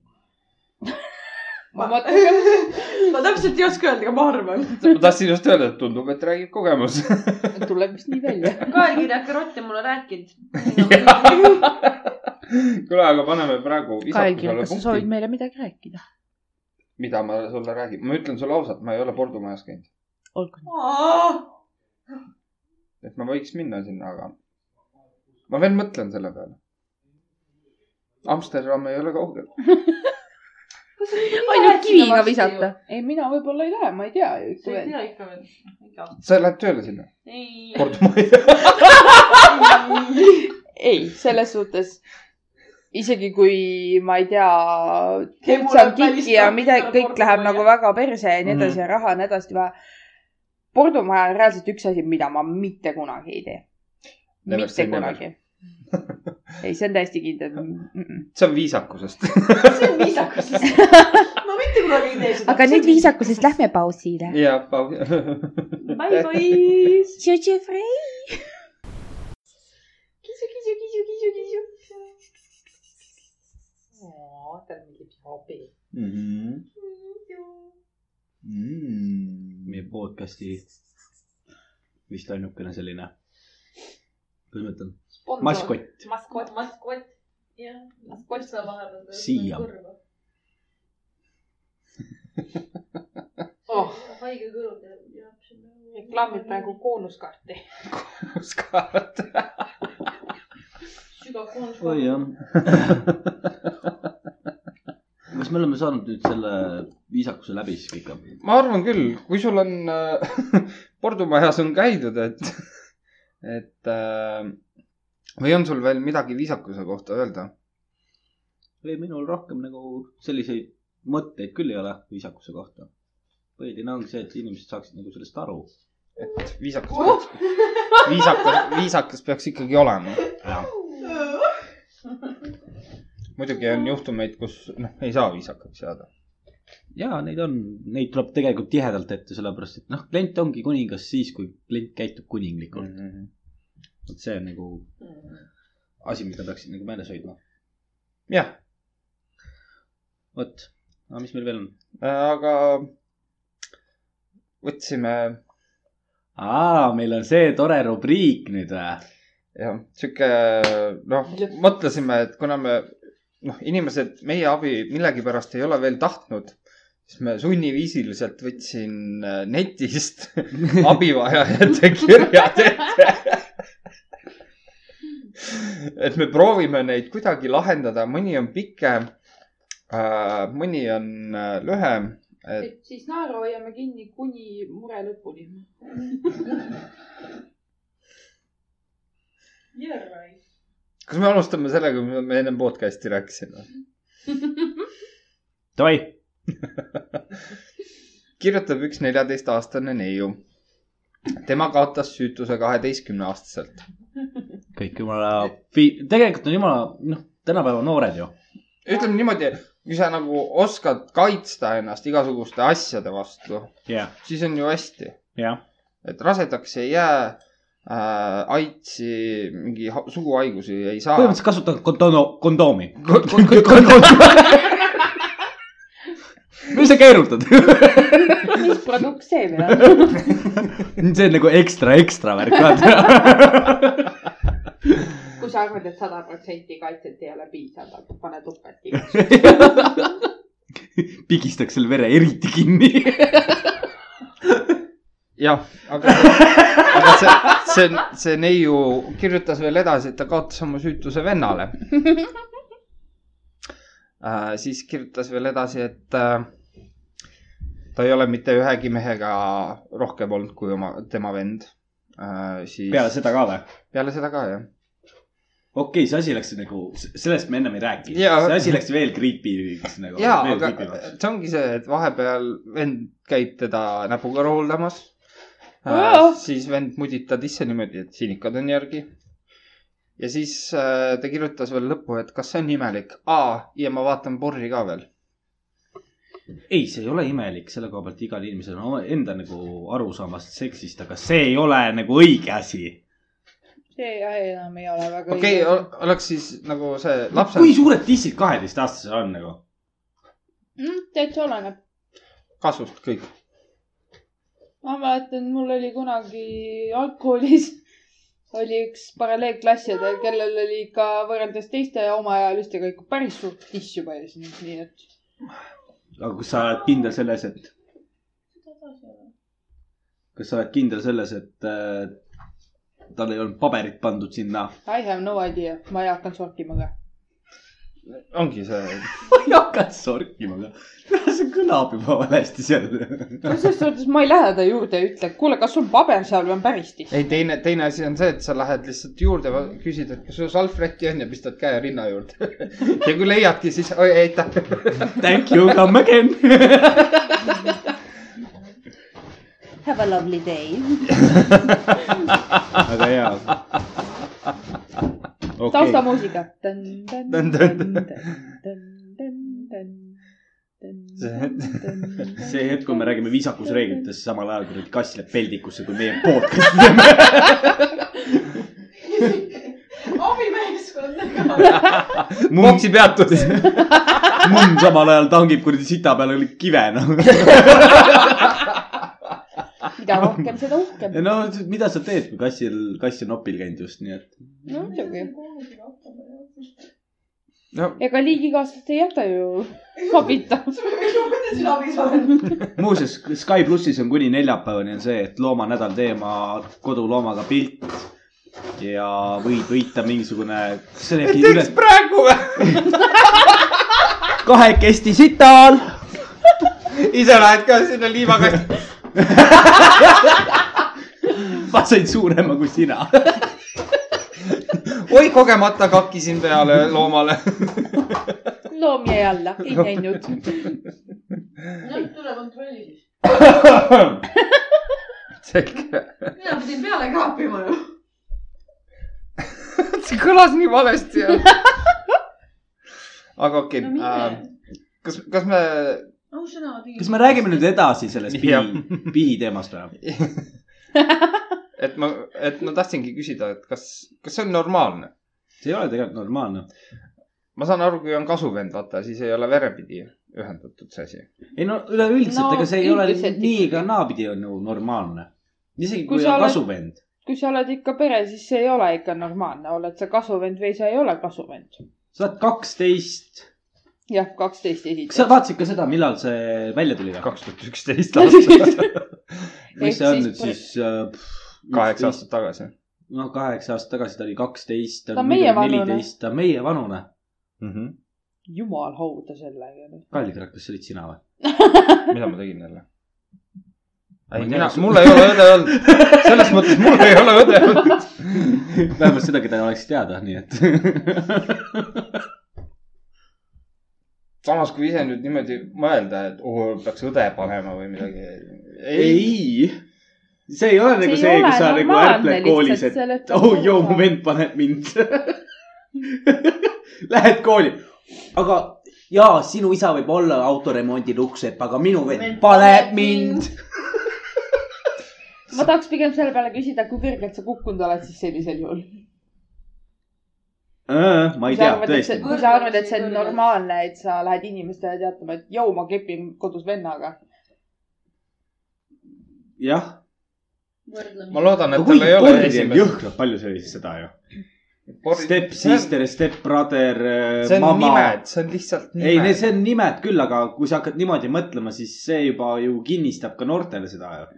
Speaker 1: ma
Speaker 4: ma
Speaker 1: mõtlen ka ,
Speaker 4: ma täpselt ei oska öelda , aga ma arvan .
Speaker 2: ma tahtsin just öelda , et tundub , et räägib kogemus .
Speaker 1: tuleb vist nii välja .
Speaker 4: kaelkirja karott on mulle rääkinud .
Speaker 2: kuule , aga paneme praegu
Speaker 5: Kaelkiri ,
Speaker 2: viisakusele
Speaker 5: kas sa soovid
Speaker 2: punkti ,
Speaker 5: meile midagi rääkida ?
Speaker 2: mida ma sulle räägin . ma ütlen sulle ausalt , ma ei ole kordumajas käinud ,
Speaker 5: olgu .
Speaker 2: et ma võiks minna sinna , aga ma veel mõtlen selle peale . Amsterdam ei ole kaugel .
Speaker 5: ainult kiviga visata .
Speaker 1: ei , mina võib-olla ei lähe , ma ei tea ju ikka
Speaker 4: sa ei
Speaker 1: veel .
Speaker 4: tea ikka veel .
Speaker 2: sa lähed tööle sinna ?
Speaker 4: ei .
Speaker 2: kordumajja .
Speaker 1: ei , selles suhtes isegi kui ma ei tea ,
Speaker 4: Kemul on
Speaker 1: kiki ja
Speaker 4: välistatud
Speaker 1: mida , kõik
Speaker 4: Porto
Speaker 1: läheb
Speaker 4: Maja.
Speaker 1: nagu väga perse ja nii edasi
Speaker 2: Mhm.
Speaker 1: ja raha on hädasti vaja . pordumaja on reaalselt üks asi , mida ma mitte kunagi ei tee .
Speaker 2: Never
Speaker 1: mitte
Speaker 2: say never.
Speaker 1: kunagi . ei , see on täiesti kindel mm . -mm.
Speaker 2: see on viisakusest .
Speaker 4: see on viisakusest . ma mitte kunagi ei tee seda .
Speaker 5: aga nüüd viisakusest lähme pausile .
Speaker 2: ja ,
Speaker 4: Bye bye .
Speaker 5: Tšetšefri .
Speaker 4: kisu , kisu , kisu , kisu , kisu .
Speaker 1: tal meeldib see hobi .
Speaker 3: Mm-hmm. meie podcast'i vist ainukene selline , kuidas ma ütlen , maskott .
Speaker 4: maskott , maskott . jah , maskott saab vahepeal .
Speaker 3: Siia. .
Speaker 1: Oh.
Speaker 4: haige kõrv jääb sinna .
Speaker 1: reklaamib praegu . koonuskaarti .
Speaker 2: Oskavad .
Speaker 4: sügav koondus .
Speaker 3: oi jah . kas me oleme saanud nüüd selle viisakuse läbi siis kõik või ?
Speaker 2: ma arvan küll , kui sul on äh, , pordumajas on käidud , et , et äh, või on sul veel midagi viisakuse kohta öelda ?
Speaker 3: ei , minul rohkem nagu selliseid mõtteid küll ei ole viisakuse kohta . põhiline ongi see , et inimesed saaksid nagu sellest aru .
Speaker 2: et viisakus , viisakas , viisakas peaks ikkagi olema . muidugi on juhtumeid , kus noh , ei saa viisakaks jääda .
Speaker 3: ja neid on , neid tuleb tegelikult tihedalt ette , sellepärast et noh , klient ongi kuningas siis , kui klient käitub kuninglikult .
Speaker 2: Mhm.
Speaker 3: vot see on nagu asi , mida peaksid nagu meeles hoidma .
Speaker 2: jah ,
Speaker 3: vot , aga
Speaker 2: äh,
Speaker 3: mis meil veel on ?
Speaker 2: aga võtsime
Speaker 3: aa , meil on see tore rubriik nüüd või ?
Speaker 2: jah , sihuke noh , mõtlesime , et kuna me noh , inimesed meie abi millegipärast ei ole veel tahtnud , siis me sunniviisiliselt võtsin äh, netist abivajajate kirjad ette . et me proovime neid kuidagi lahendada , mõni on pikem , mõni on äh, lühem , et
Speaker 1: et siis naeru hoiame kinni kuni mure lõpuni .
Speaker 4: Right.
Speaker 2: kas me alustame sellega , mida me ennem podcast'i rääkisime ?
Speaker 3: davai ,
Speaker 2: kirjutab üks neljateistaastane neiu . tema kaotas süütuse kaheteistkümneaastaselt .
Speaker 3: kõik jumala fi- , tegelikult on jumala , noh , tänapäeva noored ju .
Speaker 2: ütleme niimoodi , kui sa nagu oskad kaitsta ennast igasuguste asjade vastu ,
Speaker 3: jah ,
Speaker 2: siis on ju hästi ,
Speaker 3: jah ,
Speaker 2: et rasedaks ei jää äh, , aitsi , mingi ha- suguhaigusi ei saa .
Speaker 3: Ah. põhimõtteliselt kasutad kondono- , kondoomi . mis sa keerutad ?
Speaker 1: mis produkt see veel on ?
Speaker 3: see on nagu ekstra , ekstra värk , vaata .
Speaker 1: kui sa arvad , et sada protsenti kaitset ei ole piisav , aga pane topelt igaks
Speaker 3: pigistaks selle vere eriti kinni .
Speaker 2: jah , aga , aga see , see , see neiu kirjutas veel edasi , et ta kaotas oma süütuse vennale äh, . siis kirjutas veel edasi , et äh, ta ei ole mitte ühegi mehega rohkem olnud kui oma , tema vend äh, . siis
Speaker 3: peale seda ka või ?
Speaker 2: peale seda ka jah .
Speaker 3: okei okay, , see asi läks nagu , sellest me ennem ei rääkinud
Speaker 2: Jaa.
Speaker 3: see asi läks veel creepy'ks nagu .
Speaker 2: ja , aga see ongi see , et vahepeal vend käib teda näpuga rooldamas
Speaker 1: Aa.
Speaker 2: äh, . siis vend mudib ta sisse niimoodi , et siinikad on järgi . ja siis äh, ta kirjutas veel lõppu , et kas see on imelik . aa , ja ma vaatan porri ka veel .
Speaker 3: ei , see ei ole imelik selle koha pealt , igal inimesel on oma- enda nagu arusaamast seksist , aga see ei ole nagu õige asi .
Speaker 1: see äh, enam ei ole väga
Speaker 2: okei , oleks siis nagu see lapse
Speaker 3: kui suured tissid kaheteistaastasel on nagu ?
Speaker 1: mm, . täitsa oleneb .
Speaker 2: kasvust kõik .
Speaker 1: ma mäletan , mul oli kunagi algkoolis oli üks paralleelklassidel , kellel oli ikka võrreldes teiste omaealistega ikka päris suurt tissi juba ees , nii et .
Speaker 3: aga kas sa oled kindel selles , et , kas sa oled kindel selles , et äh, tal ei olnud paberit pandud sinna ?
Speaker 1: I have no idea , ma ei hakanud sorkima ka .
Speaker 2: ongi see ,
Speaker 3: ma ei hakanud sorkima ka . see kõlab juba valesti seal .
Speaker 1: no selles suhtes ma ei lähe ta juurde ja ütle , kuule , kas sul paber seal või on päris tiss .
Speaker 2: ei teine , teine asi on see , et sa lähed lihtsalt juurde , küsid , et kas sul salvrätti on ja pistad käe rinna juurde . ja kui leiadki , siis oi, aitäh .
Speaker 3: Thank you , come again .
Speaker 5: Have a lovely day .
Speaker 3: aga jaa .
Speaker 1: taustamuusika .
Speaker 2: Tön- tön- tön- See-
Speaker 3: see hetk , kui me räägime viisakusreeglitest , samal ajal kuradi kass läheb peldikusse , kui meie poolt .
Speaker 4: abimeeskond .
Speaker 2: boksi peatus .
Speaker 3: mõmm samal ajal tangib kuradi sita peal kive , noh .
Speaker 1: mida rohkem , seda uhkem .
Speaker 3: no mida sa teed , kui kassil , kass on opil käinud just , nii et .
Speaker 1: no muidugi ,
Speaker 2: no
Speaker 1: ega liigikaaslast ei jäta ju abita .
Speaker 3: muuseas , Sky plussis on kuni neljapäevani on see , et loomanädal teema koduloomaga pilt ja võid võita mingisugune .
Speaker 2: teeks praegu või ?
Speaker 3: kahekesti sita all .
Speaker 2: ise lähed ka sinna liivakasti .
Speaker 3: ma sain suurema kui sina .
Speaker 2: oi , kogemata kakkisin peale loomale .
Speaker 1: loom jäi alla , ei näinud .
Speaker 4: nüüd tule kontrolli siis .
Speaker 2: selge .
Speaker 4: mina pidin peale kaapima ju .
Speaker 2: see kõlas nii valesti . aga okei
Speaker 4: no
Speaker 2: okay,
Speaker 4: mine
Speaker 2: äh, ,. kas , kas me ,
Speaker 4: ausõna .
Speaker 3: kas me räägime nüüd ? edasi sellest
Speaker 2: Jah.
Speaker 3: pii , pii teemast või ?
Speaker 2: et ma , et ma tahtsingi küsida , et kas , kas see on normaalne ?
Speaker 3: see ei ole tegelikult normaalne .
Speaker 2: ma saan aru , kui on kasuvend , vaata , siis ei ole verepidi ühendatud see asi .
Speaker 3: ei no üleüldiselt
Speaker 1: No
Speaker 3: no, , ega see ei ole
Speaker 1: üldiselt
Speaker 3: nii ega naapidi on ju normaalne . isegi
Speaker 1: Kui
Speaker 3: kui
Speaker 1: sa
Speaker 3: on
Speaker 1: oled-
Speaker 3: kasuvend .
Speaker 1: kui sa oled ikka pere , siis see ei ole ikka normaalne , oled sa kasuvend või sa ei ole kasuvend .
Speaker 3: sa oled kaksteist .
Speaker 1: jah , kaksteist
Speaker 3: kas sa
Speaker 1: esiteks .
Speaker 3: vaatasid ka seda , millal see välja tuli või ?
Speaker 2: kaks tuhat üksteist aastal ,
Speaker 1: ehk
Speaker 3: mis see on
Speaker 1: siis
Speaker 3: nüüd
Speaker 1: põl-
Speaker 3: siis ? äh,
Speaker 2: kaheksa . aastat tagasi
Speaker 3: noh , kaheksa aastat tagasi ta oli kaksteist , ta
Speaker 1: Ta on
Speaker 3: on nüüd
Speaker 1: meievanune.
Speaker 3: neliteist , ta on meievanune .
Speaker 2: mm . -hmm.
Speaker 1: jumal hauda sellega .
Speaker 3: Kalli Krak , kas see olid sina või ?
Speaker 2: mida ma tegin jälle ?
Speaker 3: Ma
Speaker 2: ei ,
Speaker 3: ei
Speaker 2: mina ,
Speaker 3: tea.
Speaker 2: mul ei ole õde olnud , selles mõttes mul ei ole õde olnud .
Speaker 3: vähemalt seda , keda oleks teada , nii et .
Speaker 2: samas , kui ise nüüd niimoodi mõelda , et oo , peaks õde panema või midagi . ei ,
Speaker 3: ei , see ei ole nagu see, see , kus sa nagu ärpled koolis , et oh joo , mu . vend paneb mind . Lähed kooli , aga jaa , sinu isa võib olla autoremondil uksepp , aga minu vend
Speaker 4: Vend
Speaker 3: paneb
Speaker 4: paneb
Speaker 3: mind .
Speaker 1: ma tahaks pigem selle peale küsida , kui kõrgelt sa kukkunud oled siis sellisel juhul .
Speaker 3: Äh, ma ei tea , tõesti .
Speaker 1: kui sa arvad , et see on normaalne , et sa lähed inimestele teatama , et joo , ma kepin kodus vennaga .
Speaker 3: jah ,
Speaker 2: ma loodan ,
Speaker 3: aga
Speaker 2: et
Speaker 3: kui
Speaker 2: tal ei ole
Speaker 3: kordi on
Speaker 2: esimest .
Speaker 3: jõhkralt palju see , seda ju . Step . sister , step brother ,
Speaker 2: see on
Speaker 3: mama .
Speaker 2: nimed , see on lihtsalt
Speaker 3: ei ,
Speaker 2: nimed .
Speaker 3: see on nimed küll , aga kui sa hakkad niimoodi mõtlema , siis see juba ju kinnistab ka noortele seda ju .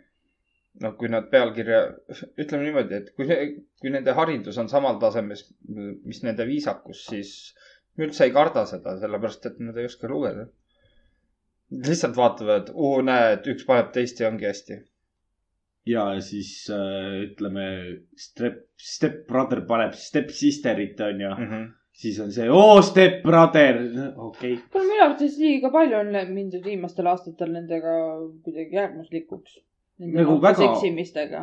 Speaker 2: noh , kui nad pealkirja , ütleme niimoodi , et kui , kui nende haridus on samal tasemel , mis nende viisakus , siis me üldse ei karda seda , sellepärast et nad ei oska lugeda . lihtsalt vaatavad , oo näed , üks paneb teist ja ongi hästi .
Speaker 3: ja siis äh, ütleme , step , step brother paneb step sisterit onju mm. ,
Speaker 2: Mhm.
Speaker 3: siis on see oo step brother , okei okay. .
Speaker 1: kuule , minu arvates liiga palju on mindud viimastel aastatel nendega kuidagi äärmuslikuks .
Speaker 3: Nagu väga-
Speaker 1: seksimistega .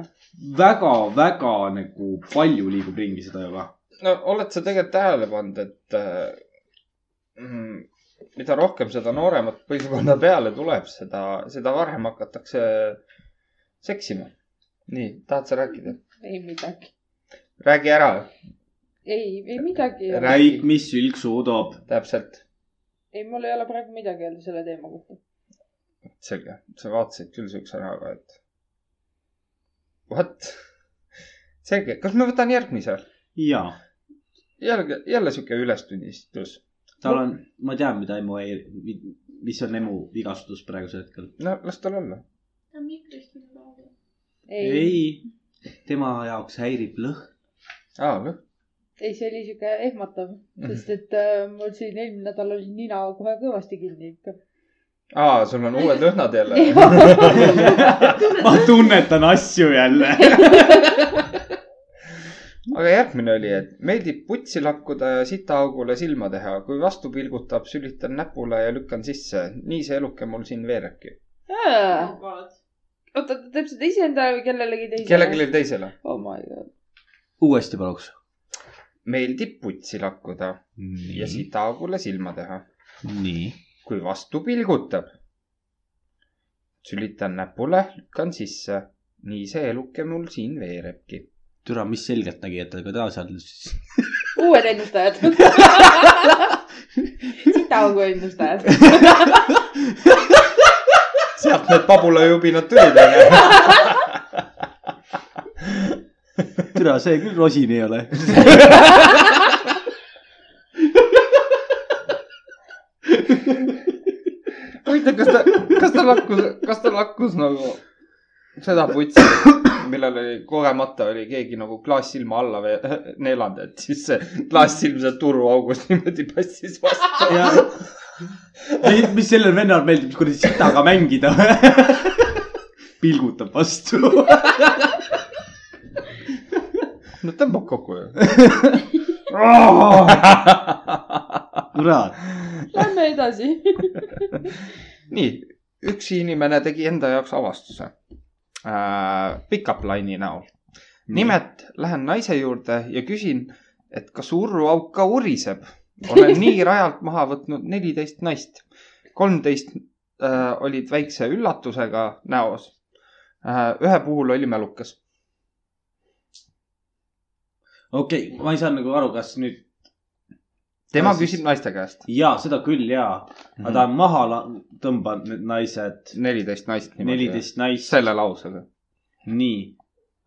Speaker 3: väga-väga nagu palju liigub ringi seda juba .
Speaker 2: no oled sa tegelikult tähele pannud , et äh, mm, mida rohkem seda nooremat põlvkonda peale tuleb , seda , seda varem hakatakse seksima . nii , tahad sa rääkida ?
Speaker 1: ei midagi .
Speaker 2: räägi ära ,
Speaker 1: ei , ei midagi .
Speaker 2: Rää-
Speaker 3: räägib , mis sülg suudab .
Speaker 2: täpselt .
Speaker 1: ei , mul ei ole praegu midagi öelda selle teema kohta .
Speaker 2: selge , sa vaatasid küll siukse näoga , et what ? selge , kas ma võtan järgmise ?
Speaker 3: ja ,
Speaker 2: jälle , jälle sihuke ülestunnistus .
Speaker 3: tal on , ma tean , mida emu ei , mis on emu vigastus praegusel hetkel .
Speaker 2: no las tal olla .
Speaker 1: ei, ei. ,
Speaker 3: ei , tema jaoks häirib lõhn .
Speaker 2: aa , noh ,
Speaker 1: ei , see oli siuke ehmatav , sest et äh, mul siin eelmine nädal oli nina kohe kõvasti kinni ikka .
Speaker 2: aa , sul on uued lõhnad jälle .
Speaker 3: ma tunnetan asju jälle .
Speaker 2: aga järgmine oli , et meeldib putsi lakkuda ja sitaaugule silma teha , kui vastu pilgutab , sülitan näpule ja lükkan sisse . nii see eluke mul siin veerebki .
Speaker 1: oota , ta teeb seda iseendale või kellelegi teisele ?
Speaker 2: kellelegi teisele .
Speaker 1: oh my god .
Speaker 3: uuesti paluks .
Speaker 2: meeldib putsi lakkuda ja
Speaker 3: nii ,
Speaker 2: sitaaugule silma teha ,
Speaker 3: nii .
Speaker 2: kui vastu pilgutab . sülitan näpule , lükkan sisse . nii see eluke mul siin veerebki .
Speaker 3: türa , mis selgeltnägijatega ta seal siis
Speaker 1: uued ennustajad . sitaugu ennustajad .
Speaker 2: sealt need pabulajubinad tulid , onju .
Speaker 3: türa , see küll rosin ei ole .
Speaker 2: huvitav , kas ta , kas ta lakkus , kas ta lakkus nagu seda putsi , millel oli kogemata oli keegi nagu klaassilma alla ve- neelanud , et siis see klaassilm seal turuaugust niimoodi passis vastu .
Speaker 3: mis sellel vennal meeldib , kuradi sitaga mängida . pilgutab vastu .
Speaker 2: no tõmbab kokku ju .
Speaker 3: kurat ,
Speaker 1: Lähme edasi .
Speaker 2: nii , üks inimene tegi enda jaoks avastuse äh, . Pickup line'i näol . nimelt lähen naise juurde ja küsin , et kas urruauk ka uriseb . olen nii rajalt maha võtnud neliteist naist . kolmteist äh, olid väikse üllatusega näos äh, . ühe puhul oli mälukas .
Speaker 3: okei okay, , ma ei saa nagu aru , kas nüüd
Speaker 2: tema
Speaker 3: Kas siis-
Speaker 2: küsib naiste käest .
Speaker 3: ja seda küll ja ,
Speaker 2: Mhm.
Speaker 3: aga ta on maha la- tõmbanud need naised ,
Speaker 2: neliteist naist .
Speaker 3: neliteist naist ,
Speaker 2: selle lausega .
Speaker 3: nii .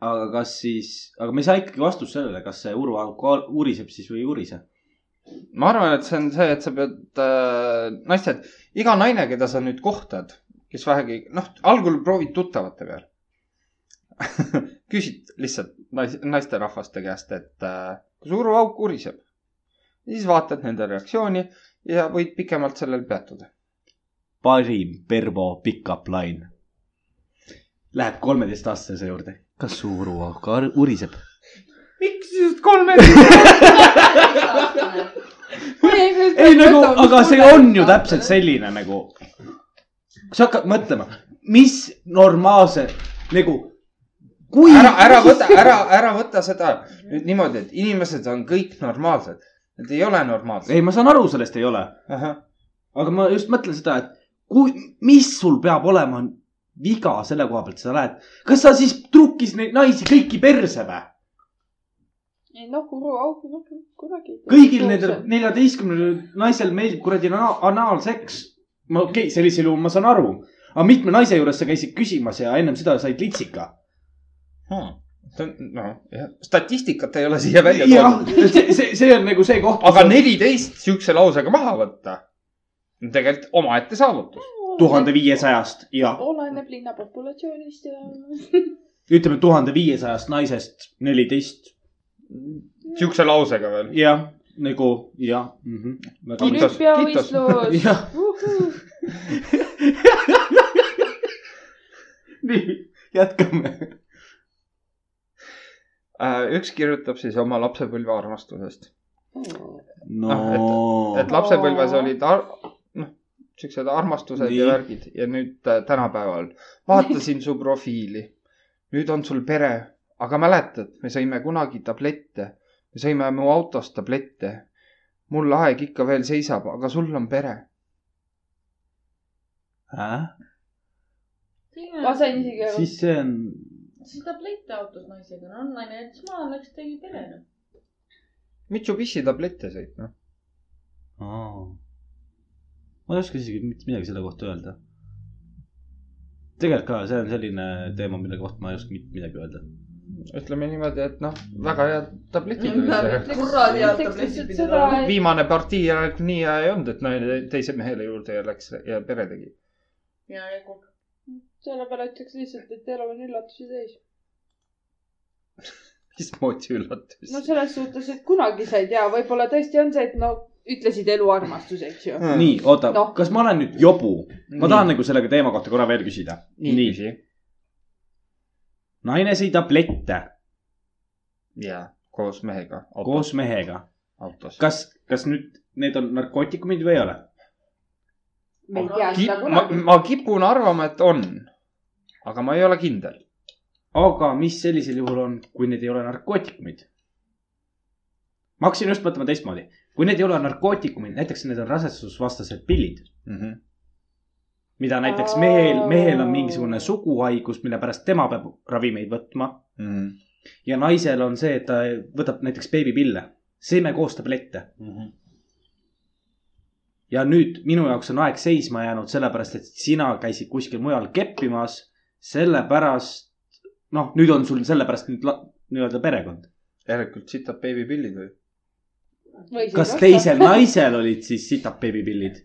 Speaker 3: aga kas siis , aga me ei saa ikkagi vastust sellele , kas see uru alkohol uriseb siis või ei urise .
Speaker 2: ma arvan , et see on see , et sa pead äh, naised , iga naine , keda sa nüüd kohtad , kes vähegi noh , algul proovid tuttavate peal . küsid lihtsalt nais, naisterahvaste käest , et äh, kas uruauk uriseb . siis vaatad nende reaktsiooni ja võid pikemalt sellel peatuda .
Speaker 3: parim Pervo pickup line . Läheb kolmeteistaastase juurde . kas su uru alkohol uriseb ?
Speaker 2: miks just kolmeteist ?
Speaker 3: ei nagu , aga see on ju täpselt selline nagu . kui sa hakkad mõtlema , mis normaalse nagu , kui .
Speaker 2: ära , ära võta , ära , ära võta seda nüüd niimoodi , et inimesed on kõik normaalsed . Nad ei ole normaalsed .
Speaker 3: ei , ma saan aru , sellest ei ole , aga ma just mõtlen seda , et kui , mis sul peab olema viga selle koha pealt , sa lähed , kas sa siis trukkis neid naisi kõiki perse või ?
Speaker 1: noh , uruauk , noh kunagi .
Speaker 3: kõigil nendel . neljateistkümnel naisel meeldib kuradi ana- anaalseks . ma okei okay, , sellisel juhul ma saan aru , aga mitme naise juures sa käisid küsimas ja ennem seda said litsika .
Speaker 2: Hmm. noh , statistikat ei ole siia välja
Speaker 3: jah
Speaker 2: toodud ,,
Speaker 3: see , see , see on nagu see koht .
Speaker 2: aga neliteist siukse lausega maha võtta on tegelikult omaette saavutus .
Speaker 3: tuhande viiesajast ja
Speaker 1: oleneb linna populatsioonist ja .
Speaker 3: ütleme tuhande viiesajast naisest neliteist ,
Speaker 2: siukse lausega veel .
Speaker 3: jah , nagu jah mm -hmm.
Speaker 1: ja
Speaker 2: Kiitos.
Speaker 1: nüüd peavõistlus .
Speaker 3: jah , nii , jätkame .
Speaker 2: Äh, üks kirjutab siis oma lapsepõlve armastusest .
Speaker 3: no ,
Speaker 2: Ah, et lapsepõlves
Speaker 1: Oo.
Speaker 2: olid ar- , noh , siuksed armastused
Speaker 3: Nii.
Speaker 2: ja värgid ja nüüd äh, tänapäeval vaatasin su profiili . nüüd on sul pere , aga mäletad , me sõime kunagi tablette , me sõime mu autos tablette . mul aeg ikka veel seisab , aga sul on pere .
Speaker 1: ma sain isegi aru .
Speaker 3: Äh? siis see on ,
Speaker 4: siis tablette autos naisega , no naine ütles , ma läks tegi perele .
Speaker 2: Mitsubishi tablette sõid , noh .
Speaker 3: ma ei oska isegi mitte midagi selle kohta öelda . tegelikult ka , see on selline teema , mille kohta ma ei oska mitte midagi öelda .
Speaker 2: ütleme niimoodi , et noh , väga head tabletid olid .
Speaker 4: kuradi head tabletid pidi olema .
Speaker 2: viimane partii aeg nii hea ei olnud , et naine teise mehele juurde ja läks ja pere tegi .
Speaker 4: ja , ja kui
Speaker 1: sellepärast ütleks lihtsalt , et elu on üllatusi täis .
Speaker 2: mismoodi üllatus
Speaker 1: no selles suhtes , et kunagi sa ei tea , võib-olla tõesti on see , et no ütlesid eluarmastus , eks ju .
Speaker 2: Mm.
Speaker 3: nii , oota no.
Speaker 1: Noh. ,
Speaker 3: kas ma olen nüüd jobu ? ma
Speaker 2: Nii.
Speaker 3: nii. tahan nagu selle teema kohta korra veel küsida .
Speaker 2: nii, nii. . küsi .
Speaker 3: naine sõi tablette
Speaker 2: ja koos mehega autos,
Speaker 3: koos mehega .
Speaker 2: autos. .
Speaker 3: kas , kas nüüd need on narkootikumid või ei ole ?
Speaker 1: me ei tea
Speaker 2: Ki
Speaker 1: seda
Speaker 2: ma,
Speaker 1: kunagi .
Speaker 2: ma kipun arvama , et on , aga ma ei ole kindel .
Speaker 3: aga mis sellisel juhul on , kui need ei ole narkootikumid ? ma hakkasin just mõtlema teistmoodi . kui need ei ole narkootikumid , näiteks need on rasedusvastased pillid ,
Speaker 2: Mm -hmm.
Speaker 3: mida näiteks
Speaker 1: Aa.
Speaker 3: mehel , mehel on mingisugune suguhaigus , mille pärast tema peab ravimeid võtma mhm,
Speaker 2: mm
Speaker 3: ja naisel on see , et ta võtab näiteks beebipille , seeme koos tablette
Speaker 2: -hmm.
Speaker 3: ja nüüd minu jaoks on aeg seisma jäänud , sellepärast et sina käisid kuskil mujal keppimas , sellepärast , noh , nüüd on sul sellepärast nüüd la- nii-öelda perekond .
Speaker 2: järelikult sitab beebipillid või ?
Speaker 3: kas
Speaker 1: noh,
Speaker 3: teisel ? naisel olid siis sitad beebipillid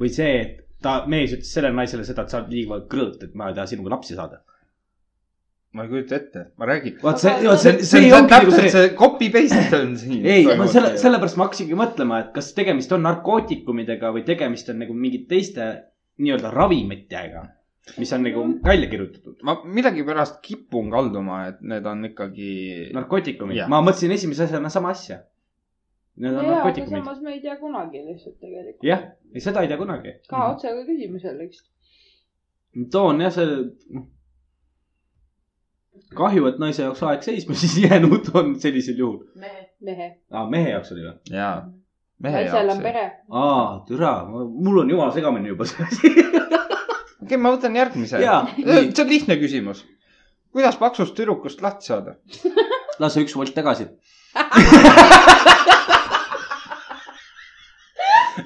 Speaker 3: või see , et ta , mees ütles sellele naisele seda , et sa oled liiga krõõt , et ma ei taha sinuga lapsi saada .
Speaker 2: ma ei kujuta ette , ma räägin .
Speaker 3: vot see ,
Speaker 4: Aga-
Speaker 3: vot see ,
Speaker 2: see
Speaker 3: see
Speaker 2: on
Speaker 3: ongi nagu
Speaker 2: täpselt
Speaker 3: see .
Speaker 2: see copy paste on siin .
Speaker 3: ei , ma selle , sellepärast ma hakkasingi mõtlema , et kas tegemist on narkootikumidega või tegemist on nagu mingite teiste nii-öelda ravimitega , mis on nagu välja kirjutatud .
Speaker 2: ma millegipärast kipun kalduma , et need on ikkagi .
Speaker 3: narkootikumid
Speaker 2: Jah. ,
Speaker 3: ma mõtlesin esimese asjana sama asja . Need on
Speaker 1: jaa , aga
Speaker 3: narkootikumid ,
Speaker 1: samas me ei tea kunagi lihtsalt tegelikult .
Speaker 3: jah , Mhm. ei seda ei tea kunagi .
Speaker 1: ka otsaga küsimusele , eks .
Speaker 3: toon jah , see . kahju , et naise jaoks aeg seisma siis jäänud on sellisel juhul .
Speaker 4: mehed ,
Speaker 1: mehe .
Speaker 3: aa , mehe jaoks oli või ?
Speaker 2: jaa , mehe
Speaker 1: naisel on
Speaker 2: jaoks .
Speaker 1: pere .
Speaker 3: aa , türa , mul on jumala segamini juba see asi .
Speaker 2: okei , ma võtan järgmise .
Speaker 3: jaa , nii ,
Speaker 2: see on lihtne küsimus . kuidas paksust tüdrukust lahti saada ?
Speaker 3: lase üks volt tagasi .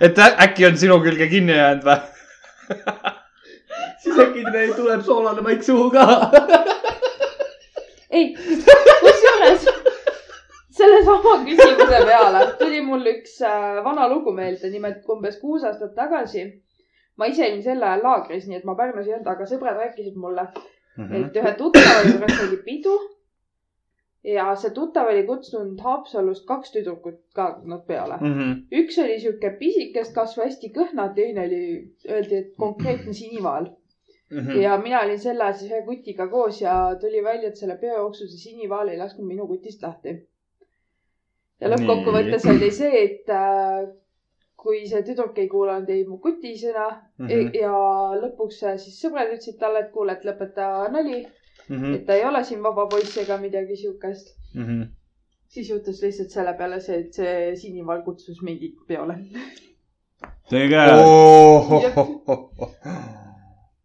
Speaker 2: et ä- äkki on sinu külge kinni jäänud või ?
Speaker 3: siis äkki neil tuleb soolane maik suhu ka .
Speaker 1: ei , kusjuures sellesama küsimuse peale tuli mul üks äh, vana lugu meelde , nimelt umbes kuus aastat tagasi . ma ise olin sel ajal laagris , nii et ma Pärnus ei olnud , aga sõbrad rääkisid mulle ,
Speaker 2: Mhm.
Speaker 3: Mhm.
Speaker 1: et ühe tuttava juures oli pidu . ja see tuttav oli kutsunud Haapsalust kaks tüdrukut ka nad peale .
Speaker 2: Mhm.
Speaker 1: üks oli sihuke pisikest kasvu , hästi kõhna , teine oli , öeldi , et konkreetne sinival .
Speaker 2: Mhm. Mm.
Speaker 1: ja mina olin sel ajal siis ühe kutiga koos ja tuli välja , et selle peo jooksul see sinivaal ei lasknud minu kutist lahti . ja lõppkokkuvõttes oli see , et äh, kui see tüdruk ei kuulanud ei mu kuti sõna
Speaker 2: Mhm.
Speaker 1: mm -hmm. ja lõpuks äh, siis sõbrad ütlesid talle , et kuule , et lõpeta nali ,
Speaker 2: Mm. Mhm.
Speaker 1: et ta ei ole siin vaba poiss ega midagi siukest . siis juhtus lihtsalt selle peale see , et see sinival kutsus mind peole .
Speaker 3: tegelikult .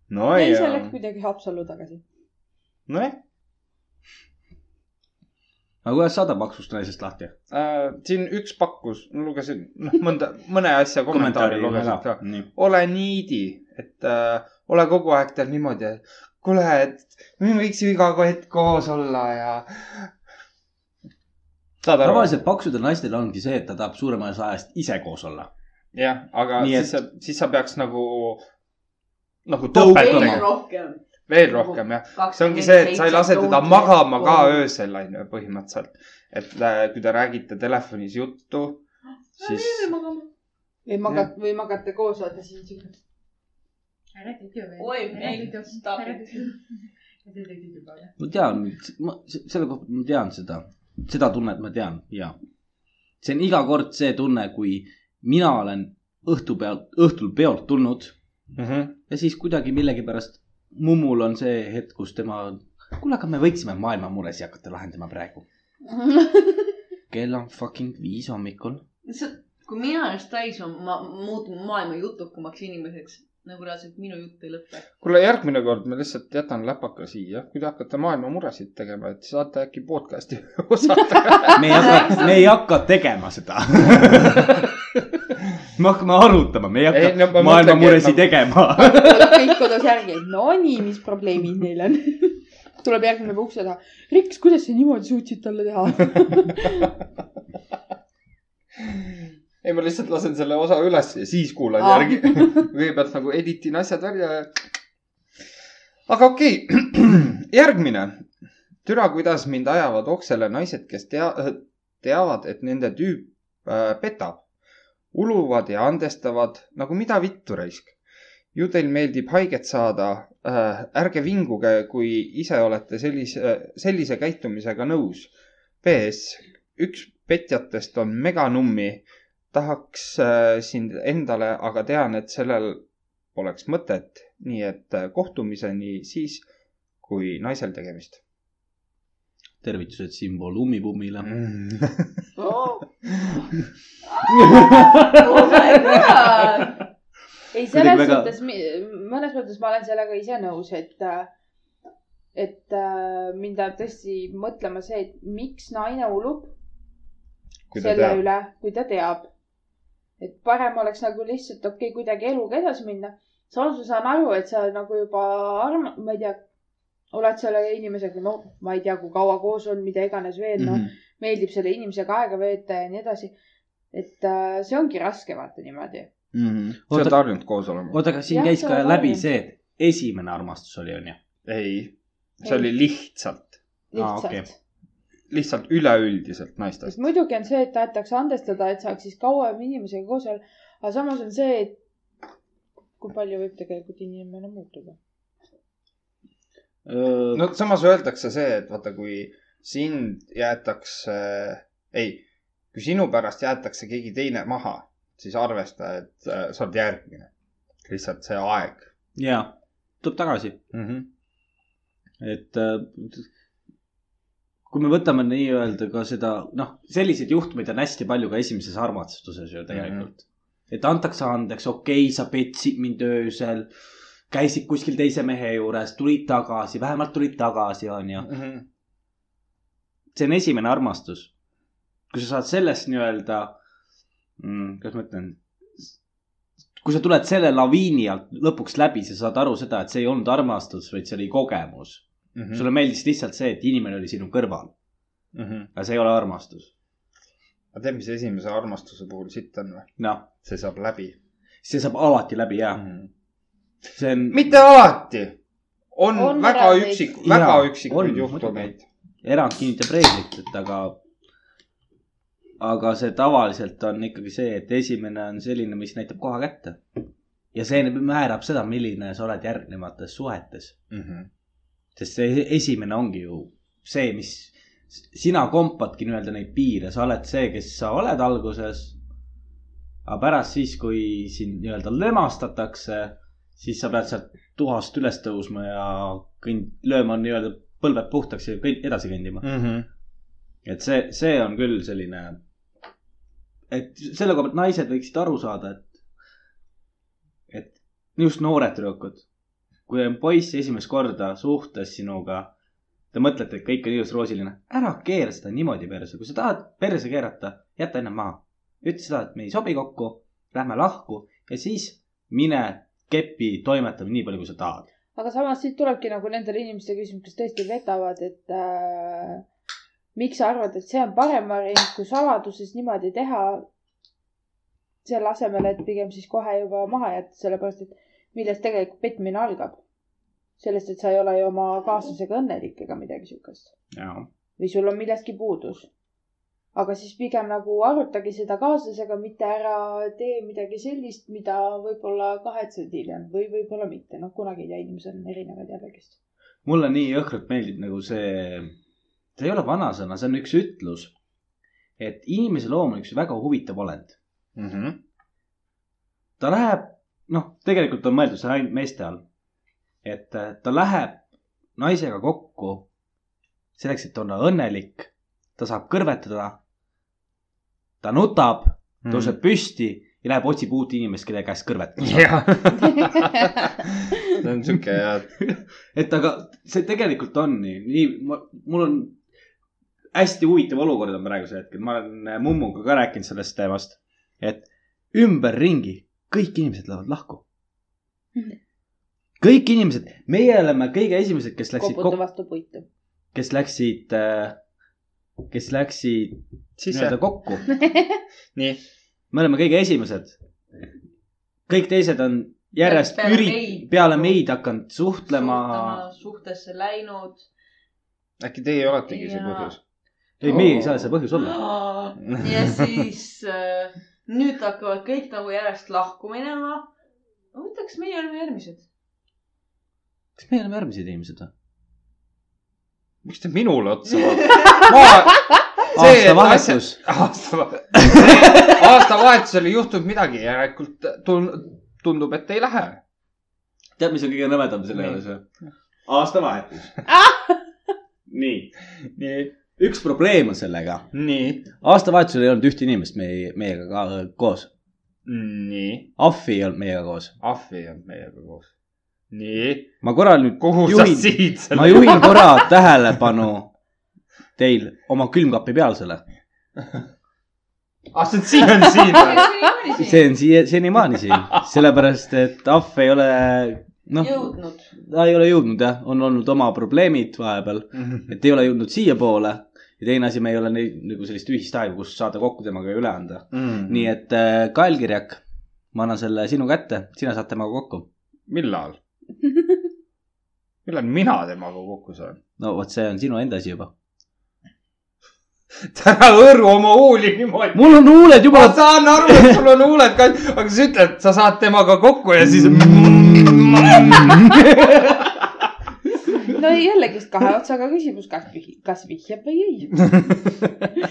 Speaker 2: no
Speaker 1: ei , see
Speaker 2: jaa Noh,
Speaker 1: läks , kuidagi Haapsallu tagasi .
Speaker 2: nojah ,
Speaker 3: aga kuidas saada paksust naisest lahti ?
Speaker 2: Äh, siin üks pakkus , lugesin , noh , mõnda , mõne asja kommentaari lugesin ka .
Speaker 3: nii .
Speaker 2: ole niidi , et äh, ole kogu aeg tal niimoodi , et kuule , et me võiks ju iga hetk koos olla ja . saad aru ?
Speaker 3: tavaliselt paksudel naistel ongi see , et ta tahab suurema osa ajast ise koos olla .
Speaker 2: jah , aga
Speaker 3: Nii
Speaker 2: siis sa , siis sa peaks nagu , nagu
Speaker 3: Tõukama.
Speaker 2: tõukama
Speaker 4: veel rohkem .
Speaker 2: veel rohkem jah . see ongi see , et sa ei lase teda magama ka . öösel on ju põhimõtteliselt . et äh, kui te räägite telefonis juttu , siis
Speaker 1: või magat- , või magate koos , vaata siis on siuke .
Speaker 6: ära tüdju veel .
Speaker 4: Oi,
Speaker 6: ära
Speaker 4: ei,
Speaker 6: tüdju ,
Speaker 4: stop
Speaker 6: ära
Speaker 4: it.
Speaker 6: tüdju . ära tüdju tüdju peale .
Speaker 3: ma tean , ma se- selle kohta ma tean seda , seda tunnet ma tean ja see on iga kord see tunne , kui mina olen õhtu pealt , õhtul peolt tulnud
Speaker 2: mm . -hmm.
Speaker 3: ja siis kuidagi millegipärast mummul on see hetk , kus tema , kuule , aga me võiksime maailma muresi hakata lahendama praegu . kell on fucking viis hommikul .
Speaker 4: lihtsalt , kui mina oleks täis , ma muutun maailma jutukamaks inimeseks . nagu reaalselt minu jutt ei lõpe .
Speaker 2: kuule , järgmine kord ma lihtsalt jätan läpaka siia , kui te hakkate maailma muresid tegema , et saate äkki podcast'i osata .
Speaker 3: me ei hakka , me ei hakka tegema seda . me hakkame arutama , me ei hakka
Speaker 2: Ei, no ma
Speaker 3: maailma
Speaker 2: mõtlengi, et
Speaker 3: muresi
Speaker 2: nagu-
Speaker 3: tegema .
Speaker 1: tuleb kõik kodus järgi , et nonii , mis probleemid neil on . tuleb järgmine päev ukse taha . Riks , kuidas sa niimoodi suutsid talle teha ?
Speaker 2: ei , ma lihtsalt lasen selle osa üles ja siis kuulan
Speaker 1: Aa.
Speaker 2: järgi . kõigepealt nagu editin asjad välja ja . aga okei okay. , järgmine . türa , kuidas mind ajavad oksele naised , kes tea- , teavad , et nende tüüp äh, petab . uluvad ja andestavad nagu mida vittu raisk . ju teil meeldib haiget saada äh, . ärge vinguge , kui ise olete sellise , sellise käitumisega nõus . PS , üks petjatest on meganummi tahaks äh, sind endale , aga tean , et sellel poleks mõtet . nii et äh, kohtumiseni siis , kui naisel tegemist
Speaker 3: tervitused Simbo lummipummile .
Speaker 2: mm. .
Speaker 1: Oh ei ,
Speaker 3: Kuidagi
Speaker 1: selles
Speaker 3: väga-
Speaker 1: suhtes , mõnes mõttes ma olen sellega ise nõus , et , et äh, mind ajab tõesti mõtlema see , et miks naine ulub
Speaker 2: kui ta
Speaker 1: selle teab. .
Speaker 2: teab
Speaker 1: üle , kui ta teab . et parem oleks nagu lihtsalt okei okay, , kuidagi eluga edasi minna . samas ma saan aru , et sa nagu juba arm- , ma ei tea , oled selle inimesega , no ma ei tea , kui kaua koos on , mida iganes veel , noh ,
Speaker 2: Mhm.
Speaker 1: meeldib selle inimesega aega veeta ja nii edasi . et äh, see ongi raske vaata niimoodi .
Speaker 2: sa
Speaker 3: Oota-
Speaker 2: oled harjunud koos olema ?
Speaker 3: oota , aga siin
Speaker 1: Jah,
Speaker 3: käis
Speaker 1: see
Speaker 3: ka
Speaker 1: on
Speaker 3: läbi
Speaker 1: laiem.
Speaker 3: see , et esimene armastus oli , onju .
Speaker 2: ei , see
Speaker 1: Ei.
Speaker 2: oli lihtsalt ,
Speaker 3: Aa,
Speaker 1: lihtsalt
Speaker 3: okei.
Speaker 1: okay. .
Speaker 2: lihtsalt üleüldiselt naistest
Speaker 1: sest . muidugi on see , et tahetakse andestada , et saaks siis kauem inimesega koos olla . aga samas on see , et kui palju võib tegelikult inimene muutuda .
Speaker 2: no samas öeldakse see , et vaata , kui sind jäetakse , ei , kui sinu pärast jäetakse keegi teine maha , siis arvesta , et äh, sa oled järgmine . lihtsalt see aeg
Speaker 3: ja , tuleb tagasi ,
Speaker 2: mm . -hmm.
Speaker 3: et äh, kui me võtame nii-öelda ka seda , noh , selliseid juhtumeid on hästi palju ka esimeses armastuses ju tegelikult mm . -hmm. et antakse andeks , okei okay, , sa petsid mind öösel , käisid kuskil teise mehe juures , tulid tagasi , vähemalt tulid tagasi , onju .
Speaker 2: Mm -hmm.
Speaker 3: see on esimene armastus . kui sa saad sellest nii-öelda mm, , kuidas ma ütlen , kui sa tuled selle laviini alt lõpuks läbi , sa saad aru seda , et see ei olnud armastus , vaid see oli kogemus .
Speaker 2: mm .
Speaker 3: sulle meeldis lihtsalt see , et inimene oli sinu kõrval ,
Speaker 2: mm -hmm.
Speaker 3: aga see ei ole armastus .
Speaker 2: aga tead , mis esimese armastuse puhul sitt on või ?
Speaker 3: noh ,
Speaker 2: see saab läbi
Speaker 3: see saab alati läbi jää ,
Speaker 2: mm . -hmm.
Speaker 3: see on
Speaker 2: mitte alati . on, on
Speaker 1: On
Speaker 2: väga
Speaker 1: reaalseid-
Speaker 2: üksik ,
Speaker 3: Jaa,
Speaker 2: väga
Speaker 3: on,
Speaker 2: üksikuid juhtumeid .
Speaker 3: erand kinnitab reeglit , et aga , aga see tavaliselt on ikkagi see , et esimene on selline , mis näitab koha kätte . ja see määrab seda , milline sa oled järgnevates suhetes ,
Speaker 2: Mhm.
Speaker 3: sest see esimene ongi ju see , mis sina kompadki nii-öelda neid piire , sa oled see , kes sa oled alguses . aga pärast siis , kui sind nii-öelda lömastatakse , siis sa pead sealt tuhast üles tõusma ja kõnd- , lööma nii-öelda põlved puhtaks ja kõnd- , edasi kõndima .
Speaker 2: Mhm.
Speaker 3: et see , see on küll selline , et selle koha pealt naised võiksid aru saada , et , et just noored tüdrukud , kui on poiss esimest korda suhtes sinuga , te mõtlete , et kõik on ilus roosiline , ära keera seda niimoodi perse , kui sa tahad perse keerata , jäta enne maha . ütle seda , et me ei sobi kokku , lähme lahku ja siis mine kepi toimetama nii palju , kui sa tahad .
Speaker 1: aga samas siit tulebki nagu nendele inimestele küsimus , kes tõesti vetavad , et äh, miks sa arvad , et see on parem variant , kui saladuses niimoodi teha . selle asemel , et pigem siis kohe juba maha jätta , sellepärast et millest tegelikult petmine algab . sellest , et sa ei ole ju oma kaaslasega õnnelik ega midagi siukest
Speaker 3: jaa ,
Speaker 1: või sul on millestki puudus . aga siis pigem nagu arutage seda kaaslasega , mitte ära tee midagi sellist , mida võib-olla kahetsed hiljem või võib-olla mitte , noh , kunagi ei tea , inimesed on erinevad jällegist .
Speaker 3: mulle nii jõhkralt meeldib nagu see , see ei ole vanasõna , see on üks ütlus . et inimese loom on üks väga huvitav olend .
Speaker 2: Mhm.
Speaker 3: ta läheb , noh , tegelikult on mõeldud see ainult meeste all . et äh, ta läheb naisega kokku selleks , et olla õnnelik . ta saab kõrvetada . ta nutab , tõuseb püsti ja läheb otsib uut inimest , kelle käest kõrvet .
Speaker 2: jah . Mhm. see on sihuke jah ,
Speaker 3: et aga see tegelikult on nii , nii ma- mul on hästi huvitav olukord on praegusel hetkel , ma olen äh, mummuga ka rääkinud sellest teemast , et ümberringi kõik inimesed lähevad lahku .
Speaker 4: Mhm.
Speaker 3: kõik inimesed , meie oleme kõige esimesed , kes läksid ,
Speaker 1: koputa vastu puitu .
Speaker 3: kes läksid , kes läksid
Speaker 2: sisse
Speaker 3: nii-öelda . kokku .
Speaker 2: nii ,
Speaker 3: me oleme kõige esimesed . kõik teised on järjest
Speaker 4: Peale
Speaker 3: ürit-
Speaker 4: meid. ,
Speaker 3: peale meid hakanud suhtlema .
Speaker 4: suhtesse läinud .
Speaker 2: äkki teie oletegi see
Speaker 4: Jaa.
Speaker 2: põhjus ?
Speaker 3: ei , meie ei saa see põhjus olla .
Speaker 4: ja siis äh, nüüd hakkavad kõik nagu järjest lahku minema . ma mõtleks , meie oleme järgmised .
Speaker 3: kas me oleme järgmised inimesed või ?
Speaker 2: miks te minule otsa vaatate ? ma , See, et
Speaker 3: aastavahetus .
Speaker 2: aastava- , aastavahetusel ei juhtunud midagi , järelikult tun- , tundub , et ei lähe .
Speaker 3: tead , mis on kõige nõmedam selle
Speaker 2: Nii.
Speaker 3: juures või ? aastavahetus . nii ,
Speaker 2: nii ,
Speaker 3: üks probleem on sellega .
Speaker 2: nii ,
Speaker 3: aastavahetusel ei olnud ühte inimest meie , meiega ka äh, koos .
Speaker 2: nii ,
Speaker 3: Ahvi ei olnud meiega koos .
Speaker 2: ahvi ei olnud meiega koos . nii ,
Speaker 3: ma korra nüüd ,
Speaker 2: kuhu sa
Speaker 3: Juhin-
Speaker 2: siit selle
Speaker 3: ma juhin korra tähelepanu teil oma külmkapi peal selle .
Speaker 2: ah , see on siin , on siin või ?
Speaker 3: see on siia , senimaani siin , sellepärast et Ahv ei ole , noh ,
Speaker 4: jõudnud .
Speaker 3: ta ei ole jõudnud jah , on olnud oma probleemid vahepeal . et ei ole jõudnud siiapoole ja teine asi , me ei ole neid nagu sellist ühist aega , kus saada kokku temaga ja üle anda . nii
Speaker 2: nii et .
Speaker 3: et äh, Kael Kirjak , ma annan selle sinu kätte , sina saad temaga kokku .
Speaker 2: millal ? millal mina temaga kokku saan ?
Speaker 3: no vot , see on sinu enda asi juba .
Speaker 2: ära hõõru oma huuli niimoodi .
Speaker 3: mul on huuled
Speaker 2: ma
Speaker 3: juba .
Speaker 2: saan aru , et sul on huuled ka , aga sa ütled , sa saad temaga kokku ja siis . ma
Speaker 1: no jällegist kahe otsaga küsimus , kas , kas vihjab või ei .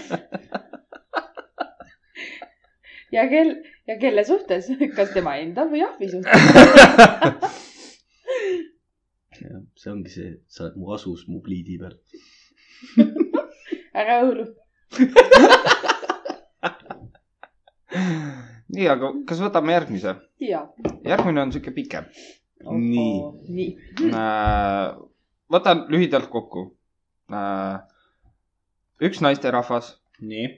Speaker 1: ja kel- , ja kelle suhtes , kas tema enda või ahvi suhtes ?
Speaker 3: see ongi see , sa oled mu asus , mu pliidi peal .
Speaker 1: ära õõlu .
Speaker 2: nii , aga kas võtame järgmise ?
Speaker 1: ja .
Speaker 2: järgmine on sihuke pikem .
Speaker 3: nii ,
Speaker 1: nii .
Speaker 2: võtan lühidalt kokku . üks naisterahvas
Speaker 3: nii ,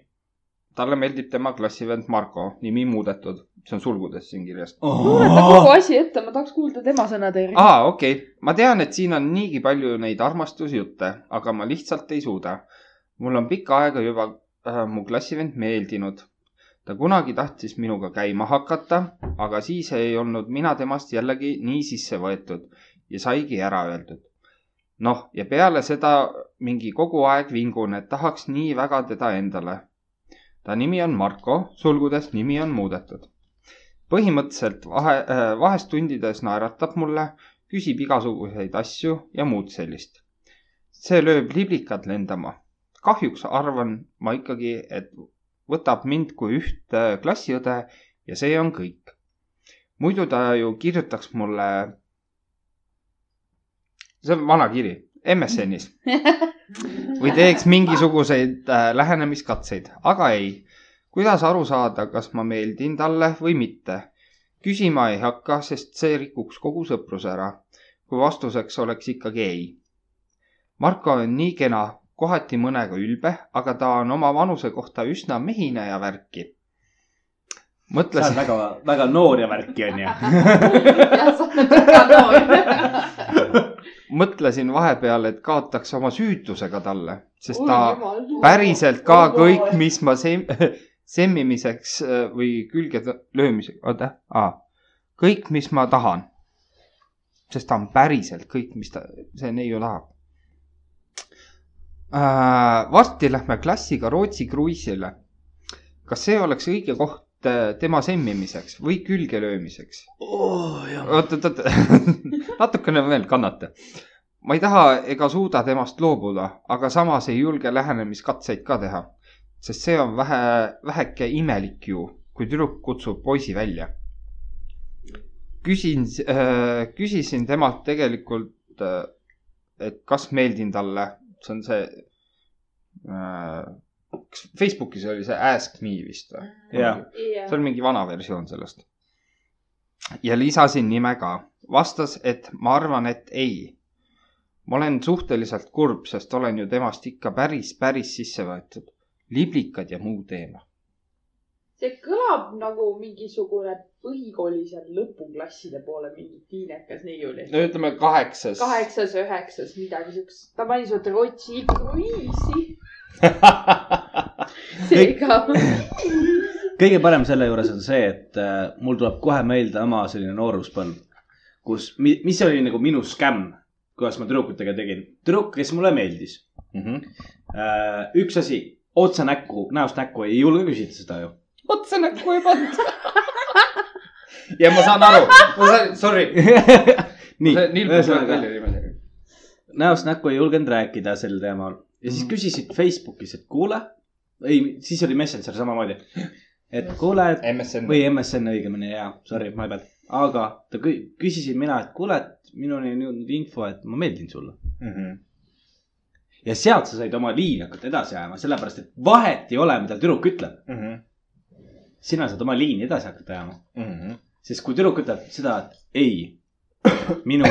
Speaker 2: talle meeldib tema klassivend Marko , nimi muudetud , see on sulgudes siin kirjas .
Speaker 3: Oh!
Speaker 1: luuleta Nagu kogu asi ette , ma tahaks kuulda tema sõnade järgi .
Speaker 2: aa , okei okay. , ma tean , et siin on niigi palju neid armastusjutte , aga ma lihtsalt ei suuda . mul on pikka aega juba äh, mu klassivend meeldinud . ta kunagi tahtis minuga käima hakata , aga siis ei olnud mina temast jällegi nii sisse võetud ja saigi ära öeldud . noh , ja peale seda mingi kogu aeg vingun , et tahaks nii väga teda endale . ta nimi on Marko , sulgudes nimi on muudetud põhimõtteliselt vahe , vahest tundides naeratab mulle , küsib igasuguseid asju ja muud sellist . see lööb liblikad lendama . kahjuks arvan ma ikkagi , et võtab mind kui üht äh, klassiõde ja see on kõik . muidu ta ju kirjutaks mulle . see on vana kiri , MSN-is või teeks mingisuguseid äh, lähenemiskatseid , aga ei kuidas aru saada , kas ma meeldin talle või mitte ? küsima ei hakka , sest see rikuks kogu sõpruse ära , kui vastuseks oleks ikkagi ei . Marko on nii kena , kohati mõnega ülbe , aga ta on oma vanuse kohta üsna mehine ja värki .
Speaker 3: sa oled
Speaker 2: mõtlesin ,
Speaker 3: väga , väga noor ja värki onju .
Speaker 4: jah , sa oled väga noor .
Speaker 2: mõtlesin vahepeal , et kaotaks oma süütusega talle , sest ta päriselt ka kõik , mis ma sem- , semmimiseks äh, või külge tõ- löömisega , oota , aa , kõik , mis ma tahan . sest ta on päriselt kõik , mis ta , see neiu tahab äh, . varsti lähme klassiga Rootsi kruiisile . kas see oleks õige koht äh, tema semmimiseks või külge löömiseks ?
Speaker 3: Oh,
Speaker 2: oot , oot , oot , natukene veel kannata . ma ei taha ega suuda temast loobuda , aga samas ei julge lähenemiskatseid ka teha , sest see on vähe , väheke imelik ju , kui tüdruk kutsub poisi välja . küsin , küsisin temalt tegelikult , et kas meeldin talle , see on see . kas Facebookis oli see Ask me vist või ?
Speaker 3: jah ,
Speaker 2: see on mingi vana versioon sellest . ja lisasin nime ka , vastas , et ma arvan , et ei . ma olen suhteliselt kurb , sest olen ju temast ikka päris , päris sisse võetud . liblikad ja muu teema .
Speaker 1: see kõlab nagu mingisugune põhikooli seal lõpuklasside poole mingi tiinekas neiu oli .
Speaker 2: no ütleme kaheksas .
Speaker 1: kaheksas , üheksas , midagi siukest . ta pani nagu, sealt Rootsi kruiisi . seega .
Speaker 3: kõige parem selle juures on see , et äh, mul tuleb kohe meelde oma selline nooruspõlv , kus , mis oli nagu minu skämm , kuidas ma tüdrukutega tegin . tüdruk , kes mulle meeldis äh, , üks asi , otse näkku , näost näkku ei julge küsida seda ju .
Speaker 2: otse näkku ei pannud . ja ma saan aru , ma saan , sorry .
Speaker 3: nii ,
Speaker 2: ühesõnaga
Speaker 3: ühesõnaga näost näkku ei julgenud rääkida sel teemal ja siis
Speaker 2: Mhm.
Speaker 3: küsisid Facebookis , et kuule , ei , siis oli Messenger samamoodi , et kuule , et
Speaker 2: MSN .
Speaker 3: või MSN õigemini ja , sorry , ma ei pea , aga ta kü- küsisin mina , et kuule , et minuni on jõudnud info , et ma meeldin sulle .
Speaker 2: Mhm.
Speaker 3: ja sealt sa said oma liini hakata edasi ajama , sellepärast et vahet ei ole , mida tüdruk ütleb ,
Speaker 2: Mhm.
Speaker 3: sina saad oma liini edasi hakata ajama ,
Speaker 2: Mhm.
Speaker 3: sest kui tüdruk ütleb seda , et ei , minu ,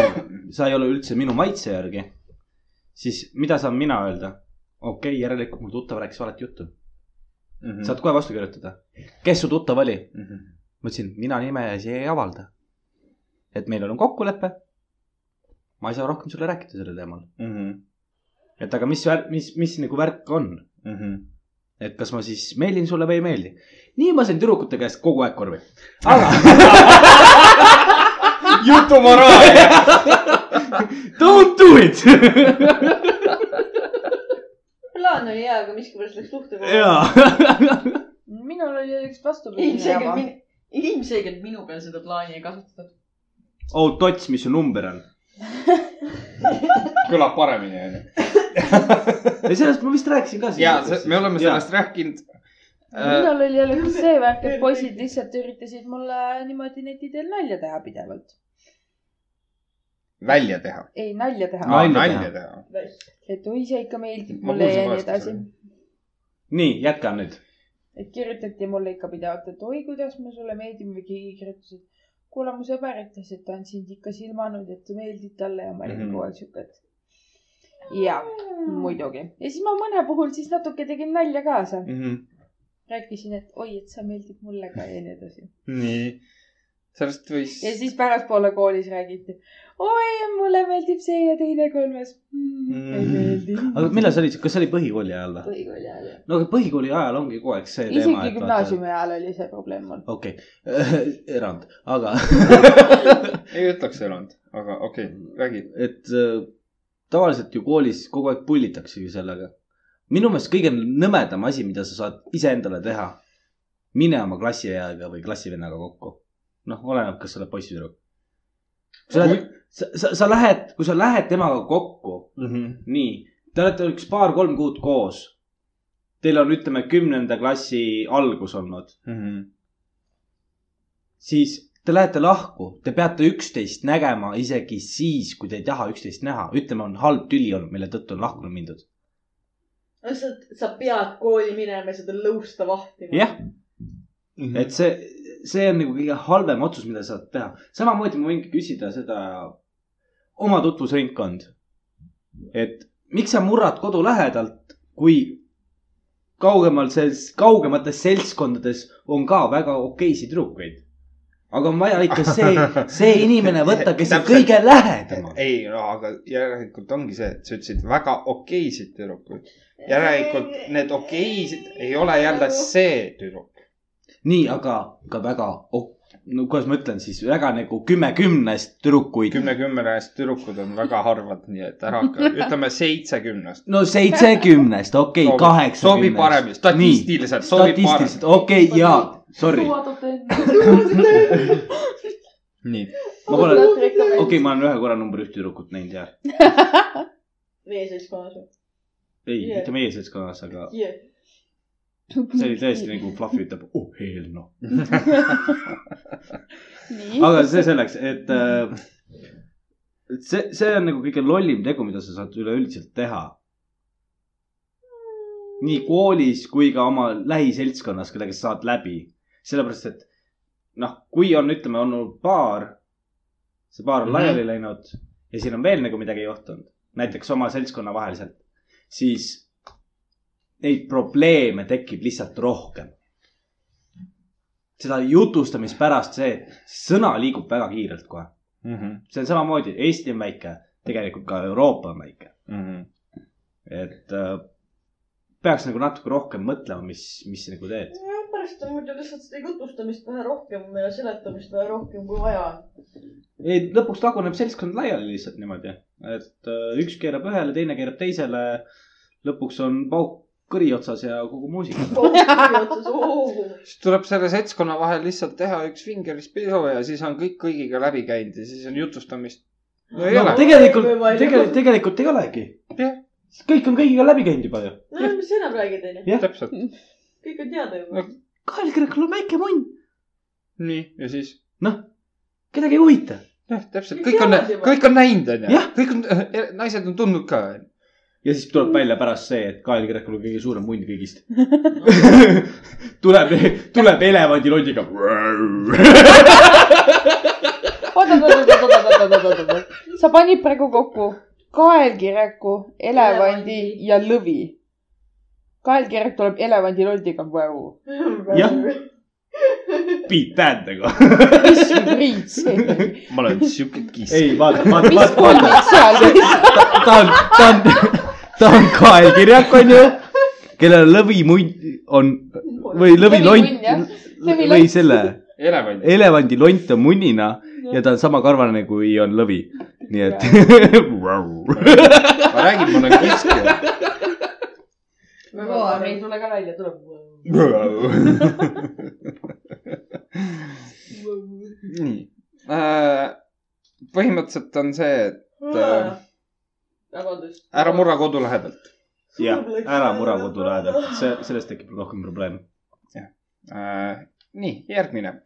Speaker 3: sa ei ole üldse minu maitse järgi , siis mida saan mina öelda ? okei okay, , järelikult mu tuttav rääkis valet juttu ,
Speaker 2: Mhm.
Speaker 3: saad kohe vastu kirjutada , kes su tuttav oli ?
Speaker 2: Mm.
Speaker 3: ma ütlesin , mina nimesi ei avalda . et meil on kokkulepe . ma ei saa rohkem sulle rääkida sellel teemal ,
Speaker 2: Mhm.
Speaker 3: et aga mis , mis , mis nagu värk on ,
Speaker 2: Mhm.
Speaker 3: et kas ma siis meeldin sulle või ei meeldi . nii ma sain tüdrukute käest kogu aeg korvi , aga
Speaker 2: jutu moraal .
Speaker 3: don't do it .
Speaker 4: plaan oli hea , aga miskipärast läks luhta .
Speaker 3: jaa ,
Speaker 1: minul oli üks vastupidine
Speaker 4: ilmselgelt
Speaker 1: jama .
Speaker 4: minu , ilmselgelt minu peal seda plaani ei kasutatud .
Speaker 3: oh tots , mis su number on ?
Speaker 2: kõlab paremini onju .
Speaker 3: ei , sellest ma vist rääkisin ka .
Speaker 2: ja see- me oleme . sellest rääkinud . Äh.
Speaker 1: minul oli jälle üks see värk , et poisid lihtsalt üritasid mulle niimoodi neti teel nalja teha pidevalt .
Speaker 2: välja teha .
Speaker 1: ei , nalja teha .
Speaker 3: Nalja
Speaker 2: nalja teha .
Speaker 1: et oi , see ikka meeldib
Speaker 2: Ma
Speaker 1: mulle ja nii
Speaker 2: kuulsin vastuse.
Speaker 1: edasi .
Speaker 3: nii , jätka nüüd .
Speaker 1: et kirjutati mulle ikka pidevalt , et oi , kuidas ma sulle meeldin või keegi kirjutas , et kuule , mu sõber ütles , et ta on sind ikka silmanud , et sa meeldid talle ja ma olin
Speaker 2: Mhm.
Speaker 1: kogu aeg siuke , et
Speaker 2: Mhm.
Speaker 1: ja muidugi . ja siis ma mõne puhul siis natuke tegin nalja kaasa , rääkisin , et oi , et see meeldib mulle ka ja nii edasi .
Speaker 2: nii , sellest võis
Speaker 1: ja siis pärastpoole koolis räägiti . oi , mulle meeldib see ja teine kolmas mm, . ei
Speaker 2: Mm.
Speaker 1: meeldi .
Speaker 3: Mhm. aga millal sa olid , kas see oli põhikooli ajal või ?
Speaker 1: põhikooli ajal jah .
Speaker 3: no aga põhikooli ajal ongi kogu aeg see teema .
Speaker 1: isegi gümnaasiumi ajal oli see probleem mul .
Speaker 3: okei okay. , erand , aga
Speaker 2: ei ütleks elanud , aga okei okay, , räägi .
Speaker 3: et äh, tavaliselt ju koolis kogu aeg pullitaksegi sellega . minu meelest kõige nõmedam asi , mida sa saad iseendale teha , mine oma klassiõega või klassivennaga kokku . noh , oleneb , kas sa oled poiss või tüdruk . sa lähed , sa, sa , sa lähed , kui sa lähed temaga kokku , nii , te olete üks paar-kolm kuud koos . Teil on , ütleme , kümnenda klassi algus olnud .
Speaker 2: Mhm.
Speaker 3: siis te lähete lahku , te peate üksteist nägema isegi siis , kui te ei taha üksteist näha . ütleme , on halb tüli olnud , mille tõttu on lahku mindud .
Speaker 4: sa , sa pead kooli minema ja seda lõusta vahtima .
Speaker 3: jah , et see , see on nagu kõige halvem otsus , mida sa saad teha . samamoodi ma võingi küsida seda oma tutvusringkond . et miks sa murrad kodu lähedalt , kui kaugemal , kaugemates seltskondades on ka väga okeisid tüdrukuid aga on vaja ikka see , see inimene võtta , kes on
Speaker 2: Täpselt.
Speaker 3: kõige lähedamal .
Speaker 2: ei no aga järelikult ongi see , et sa ütlesid väga okeisid tüdrukuid . järelikult need okeisid ei ole jälle see tüdruk .
Speaker 3: nii , aga ka väga oh, , no kuidas ma ütlen siis , väga nagu kümme kümnest tüdrukuid .
Speaker 2: kümme kümnest tüdrukud on väga harvad , nii et ära hakka , ütleme seitse kümnest .
Speaker 3: no seitse kümnest , okei okay, , kaheksa .
Speaker 2: sobi paremini , statistiliselt sobib
Speaker 3: statistiliselt ,
Speaker 2: paremini .
Speaker 3: okei okay, jaa , sorry ,
Speaker 2: nii ,
Speaker 3: ma pole , okei okay, , ma olen ühe korra number üks tüdrukut näinud jah .
Speaker 4: meie seltskonnas või ?
Speaker 3: ei
Speaker 4: Jah.
Speaker 3: yeah. , mitte meie seltskonnas , aga
Speaker 4: jah ,
Speaker 3: see oli tõesti nagu Fluffy ütleb , oh hell no .
Speaker 1: nii .
Speaker 3: aga see selleks , et äh, et see , see on nagu kõige lollim tegu , mida sa saad üleüldiselt teha . nii koolis kui ka oma lähiseltskonnas , kellega sa saad läbi , sellepärast et noh , kui on , ütleme , olnud paar , see paar on
Speaker 2: Mhm.
Speaker 3: laiali läinud ja siin on veel nagu midagi juhtunud , näiteks oma seltskonna vaheliselt , siis neid probleeme tekib lihtsalt rohkem . seda jutustamispärast see , sõna liigub väga kiirelt kohe .
Speaker 2: Mhm.
Speaker 3: see on samamoodi , Eesti on väike , tegelikult ka Euroopa on väike ,
Speaker 2: Mhm.
Speaker 3: et äh, peaks nagu natuke rohkem mõtlema , mis , mis sa nagu teed .
Speaker 4: pärast on muidu lihtsalt seda jutustamist vähe rohkem ja seletamist vähe rohkem kui vaja on .
Speaker 3: ei , lõpuks laguneb seltskond laiali lihtsalt niimoodi , et äh, üks keerab ühele , teine keerab teisele . lõpuks on pauk kõri otsas ja kogu muusika .
Speaker 2: siis tuleb selle seltskonna vahel lihtsalt teha üks fingerspidu ja siis on kõik kõigiga läbi käinud ja siis on jutustamist . no ei
Speaker 3: no
Speaker 2: ole .
Speaker 3: tegelikult , tegelikult , tegelikult ei olegi
Speaker 2: Jah. .
Speaker 3: kõik on kõigiga läbi käinud juba ju .
Speaker 4: no mis sa enam räägid , onju ,
Speaker 2: täpselt ,
Speaker 4: kõik on teada
Speaker 2: No.
Speaker 4: juba .
Speaker 3: kaelkõrgul on väike munn ,
Speaker 2: nii ja siis
Speaker 3: noh , kedagi ei huvita .
Speaker 2: jah , täpselt ,
Speaker 4: Kõik
Speaker 2: kõik on
Speaker 4: teavad , juba.
Speaker 2: kõik on näinud , onju
Speaker 3: Jah. .
Speaker 2: kõik on , naised on tundnud ka .
Speaker 3: ja siis tuleb välja pärast see , et kaelkõrgul on kõige suurem munn kõigist . tuleb , tuleb elevandilondiga .
Speaker 1: oot , oot , oot , oot , oot , oot , oot , oot , oot , oot , sa panid praegu kokku kaelkireku , elevandi
Speaker 4: Elevandi.
Speaker 1: ja lõvi . kaelkirek tuleb elevandi loldiga , vau .
Speaker 3: Jah. . Beat Bandega .
Speaker 1: mis hübriid see oli ?
Speaker 2: ma olen siuke kiss .
Speaker 3: ei , vaata , vaata ,
Speaker 1: mis
Speaker 3: vaata , vaata ,
Speaker 1: kolmik seal oli ?
Speaker 3: ta on , ta on , ta on kaelkirjak , onju , kellel lõvimunn on või
Speaker 1: Lõvilont, jah.
Speaker 3: lõvilont
Speaker 1: Lõvilont.
Speaker 3: või selle
Speaker 2: elevant .
Speaker 3: elevandilont on munnina ja ta on sama karvane , kui on lõvi . nii et .
Speaker 2: ma räägin , ma olen kiskja .
Speaker 6: Loa, meil
Speaker 4: tule ka välja , tuleb .
Speaker 2: nii . põhimõtteliselt on see , et äh,
Speaker 4: vabandust .
Speaker 2: ära . murra kodu lähedalt .
Speaker 3: jah , ära mura kodu lähedalt , see , sellest tekib rohkem probleeme .
Speaker 2: Äh, nii , järgmine .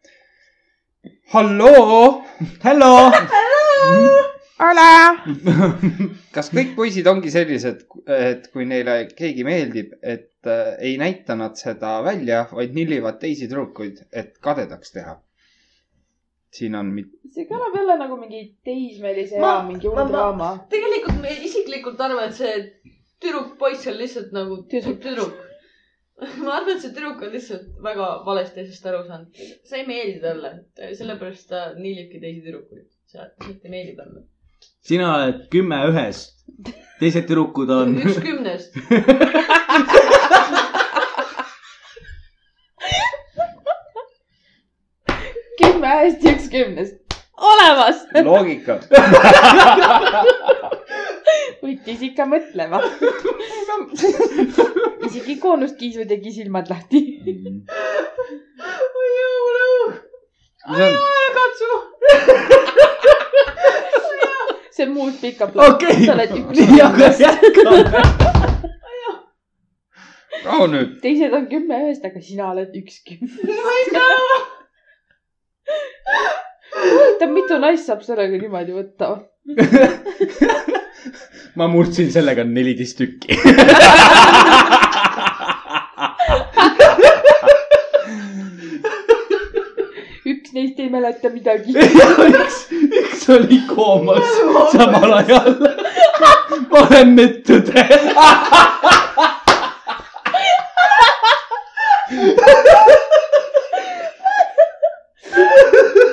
Speaker 2: halloo ,
Speaker 3: Hello .
Speaker 2: kas kõik poisid ongi sellised , et kui neile keegi meeldib , et äh, ei näita nad seda välja , vaid nillivad teisi tüdrukuid , et kadedaks teha ? siin on mit- ,
Speaker 1: see kõlab jälle nagu mingi teismelise
Speaker 4: Ma-
Speaker 1: ea mingi
Speaker 4: ma-
Speaker 1: hull
Speaker 4: ma-
Speaker 1: draama .
Speaker 4: tegelikult ma isiklikult arvan , et see tüdruk-poiss on lihtsalt nagu
Speaker 1: Tüdruk.
Speaker 4: tüdruk . ma arvan , et see tüdruk on lihtsalt väga valesti asjast aru saanud . sa ei meeldi talle , sellepärast ta niilibki teisi tüdrukuid . sa lihtsalt ei meeldi talle .
Speaker 3: sina oled kümme ühest , teised tüdrukud on .
Speaker 4: üks kümnest .
Speaker 1: kümme hästi , üks kümnest . olemas ,
Speaker 2: loogika .
Speaker 1: võttis ikka mõtlema . isegi koonuskiisu tegi silmad lahti .
Speaker 4: oi jõulõu ,
Speaker 2: mis on ,
Speaker 4: ära katsu .
Speaker 1: see on muust pika plaan
Speaker 3: okei
Speaker 1: sa oled üks
Speaker 3: nii , aga
Speaker 1: kümnest.
Speaker 3: jätkame .
Speaker 2: rahu nüüd .
Speaker 1: teised on kümme ühest , aga sina oled üks kümnest .
Speaker 4: ma ei saa aru .
Speaker 1: huvitav , mitu naist saab sellega niimoodi võtta ?
Speaker 3: ma murdsin sellega neliteist tükki .
Speaker 1: üks neist ei mäleta midagi .
Speaker 3: üks , üks oli koomas samal ajal . ma olen nüüd tõde .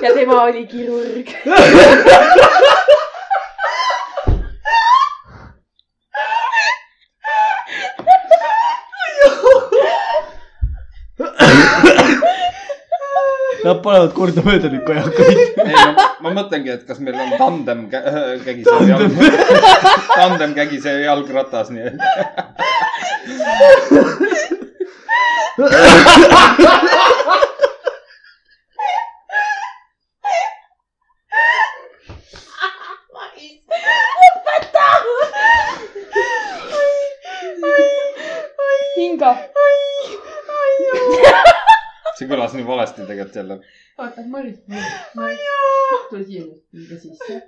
Speaker 1: ja tema oli kirurg .
Speaker 3: Nad panevad kordamööda nüüd kajakaid .
Speaker 2: ei , ma, ma mõtlengi , et kas meil on tandem kä- äh, kägisev jalg , tandem kägisev jalgratas , nii et .
Speaker 1: hinga .
Speaker 2: see kõlas nii valesti tegelikult jälle .
Speaker 6: oota , Maris , Maris , tule siia nüüd , minge sisse .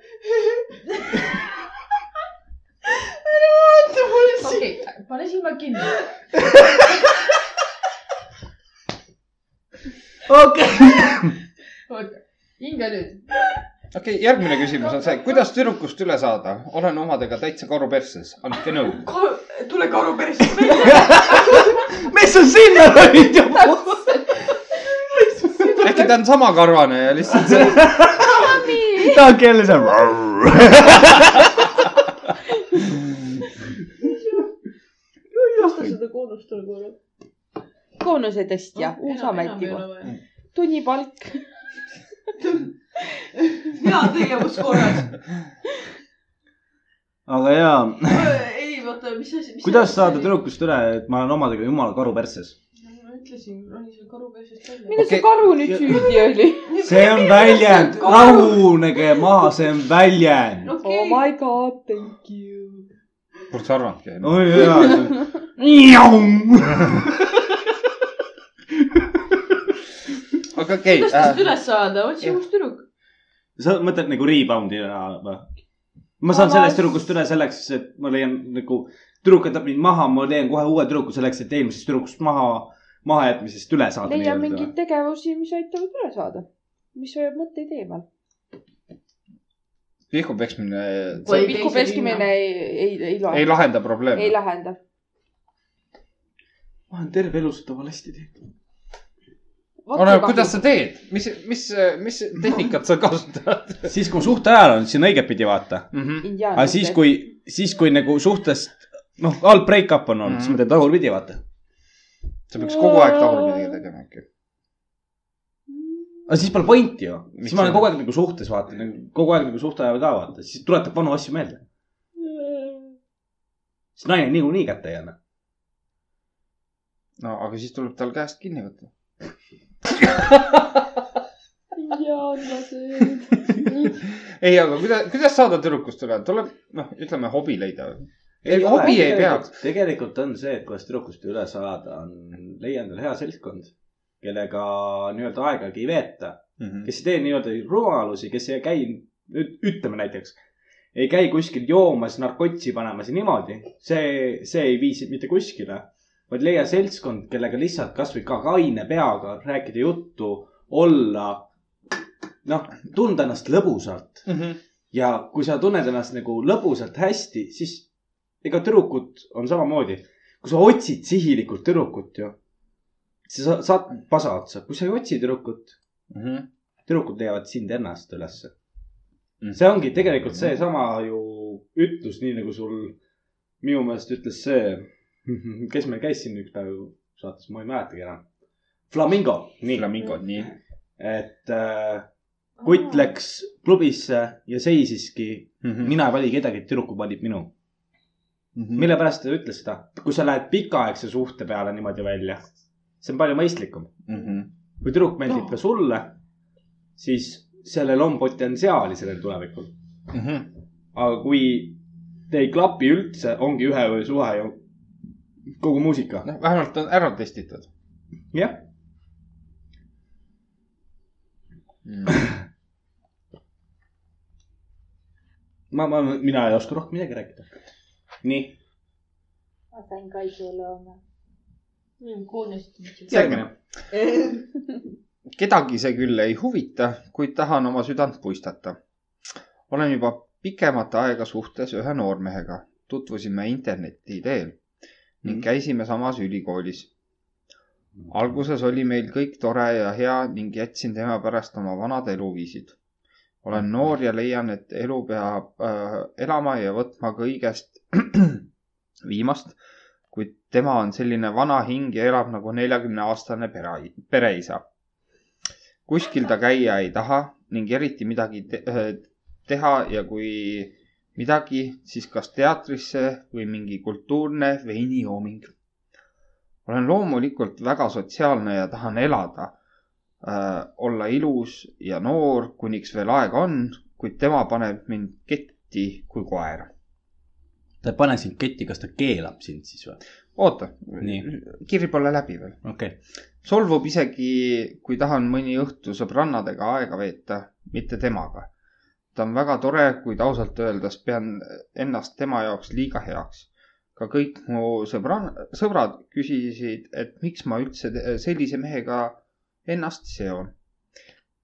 Speaker 6: okei , pane silmad kinni .
Speaker 3: okei .
Speaker 6: oota , hinga nüüd .
Speaker 2: okei okay, , järgmine küsimus on see , kuidas tüdrukust üle saada ? olen omadega täitsa karu persses , andke nõu .
Speaker 4: tule karu persse välja .
Speaker 3: mis sa sinna lõid juba ?
Speaker 2: äkki ta on sama karvane ja lihtsalt see
Speaker 3: ta on jälle seal .
Speaker 4: kas ta seda koodust tol korral ?
Speaker 1: koonuse tõstja ,
Speaker 6: Noh,
Speaker 1: uus ametikoht ,. tunnipalk .
Speaker 4: hea tegevus korras .
Speaker 3: aga jaa
Speaker 4: ei , oota , mis asi , mis
Speaker 3: kuidas saada ? tüdrukust üle , et ma olen omadega jumala karu persses ?
Speaker 4: ma ütlesin , ronin selle karu persest välja .
Speaker 1: milles see
Speaker 2: Okei.
Speaker 1: karu nüüd süüdi oli ?
Speaker 3: see on väljend , rahunege maha , see on väljend .
Speaker 1: Oh
Speaker 4: okei ,
Speaker 1: my god , thank you .
Speaker 2: kurt sa arvadki no. ?
Speaker 3: oi jaa .
Speaker 2: aga okei äh,
Speaker 4: kuidas tast
Speaker 2: okay, ,
Speaker 4: üles saada , otsi uus tüdruk .
Speaker 3: sa mõtled nagu rebound'ina või ? ma saan sellest tüdrukust üle selleks , et ma leian nagu , tüdruk jätab mind maha , ma leian kohe uue tüdruku selleks , et eelmisest tüdrukust maha , mahajätmisest üle saada .
Speaker 1: leia mingeid tegevusi , mis aitavad üle saada , mis hoiab mõtteid eemal .
Speaker 2: äh, pihku peksmine see
Speaker 4: Oi,
Speaker 1: pikku
Speaker 4: teise
Speaker 1: peskimine
Speaker 4: linna.
Speaker 1: ei , ei , ei
Speaker 2: ei
Speaker 1: lahenda ,
Speaker 2: lahenda
Speaker 1: ei
Speaker 2: probleeme .
Speaker 1: lahenda .
Speaker 3: ma olen terve elu seda valesti teinud .
Speaker 2: oleneb , Oh kuidas sa teed , mis , mis , mis tehnikat sa kasutad
Speaker 3: siis , kui suhte ajal on , siis on õigetpidi vaata .
Speaker 2: mm ? -hmm.
Speaker 3: aga siis , kui , siis kui nagu suhtest , noh , halb break-up on olnud mm , -hmm. siis ma teen tagurpidi , vaata .
Speaker 2: sa peaks kogu aeg tagurpidi tegema äkki .
Speaker 3: aga siis pole pointi ju ,
Speaker 2: Miks
Speaker 3: siis ma olen
Speaker 2: see-
Speaker 3: kogu aeg nagu suhtes vaata , kogu aeg nagu suhte ajal ka vaata , siis tuletab vanu asju meelde . sest naine niikuinii kätte ei anna .
Speaker 2: no aga siis tuleb tal käest kinni võtta .
Speaker 1: Äh,
Speaker 2: ei , aga kuidas , kuidas saada tüdrukust üle , tuleb noh , ütleme hobi leida . ei , hobi ei peaks ..
Speaker 3: tegelikult on see , et kuidas tüdrukust üle saada , on leia endale hea seltskond , kellega nii-öelda aegagi ei veeta , kes ei tee nii-öelda rumalusi , kes ei käi , ütleme näiteks , ei käi kuskil joomas , narkotsi panemas ja niimoodi , see , see ei vii sind mitte kuskile . vaid leia seltskond , kellega lihtsalt kasvõi ka kaine peaga rääkida juttu , olla , noh , tunda ennast
Speaker 2: Mhm.
Speaker 3: lõbusalt ja kui sa tunned ennast nagu lõbusalt hästi , siis ega tüdrukud on samamoodi . kui sa otsid sihilikult tüdrukut ju , sa sa- saad pasa otsa , kui sa ei otsi tüdrukut ,
Speaker 2: -hmm.
Speaker 3: tüdrukud leiavad sind ennast ülesse
Speaker 2: Mhm.
Speaker 3: mm. . see ongi tegelikult seesama ju ütlus , nii nagu sul minu meelest ütles see , kes meil käis siin üks päev ju saates , ma ei mäletagi enam . Flamingo , nii ,
Speaker 2: flamingod , nii .
Speaker 3: et äh, kutt läks klubisse ja seisiski ,
Speaker 2: Mhm.
Speaker 3: mina ei vali kedagi , tüdrukud valib minu . mille pärast ta ütles seda , kui sa lähed pikaaegse suhte peale niimoodi välja , see on palju mõistlikum .
Speaker 2: Mhm.
Speaker 3: kui tüdruk meeldib ka sulle , siis sellel on potentsiaali sellel tulevikul .
Speaker 2: Mhm.
Speaker 3: aga kui te ei klapi üldse , ongi ühe öö suhe ju kogu muusika .
Speaker 2: noh , vähemalt on ära testitud .
Speaker 3: jah , ma , ma , mina ei oska rohkem midagi rääkida . nii ,
Speaker 7: ma sain Kaisule oma .
Speaker 6: on koonest .
Speaker 3: järgmine .
Speaker 2: kedagi see küll ei huvita , kuid tahan oma südant puistata . olen juba pikemat aega suhtes ühe noormehega , tutvusime interneti teel ning käisime samas ülikoolis . alguses oli meil kõik tore ja hea ning jätsin tema pärast oma vanad eluviisid . olen noor ja leian , et elu peab äh, elama ja võtma kõigest viimast , kuid tema on selline vana hing ja elab nagu neljakümne aastane pere , pereisa . kuskil ta käia ei taha ning eriti midagi te teha ja kui midagi , siis kas teatrisse või mingi kultuurne veinijooming . olen loomulikult väga sotsiaalne ja tahan elada äh, , olla ilus ja noor , kuniks veel aega on , kuid tema paneb mind ketti kui koera .
Speaker 3: ta ei pane sind ketti , kas ta keelab sind siis või ?
Speaker 2: oota
Speaker 3: Nii. ,
Speaker 2: kiri pole läbi veel .
Speaker 3: okei okay. ,
Speaker 2: solvub isegi , kui tahan mõni õhtu sõbrannadega aega veeta , mitte temaga . ta on väga tore , kuid ausalt öeldes pean ennast tema jaoks liiga heaks . ka kõik mu sõbran- , sõbrad küsisid , et miks ma üldse te- sellise mehega ennast seon .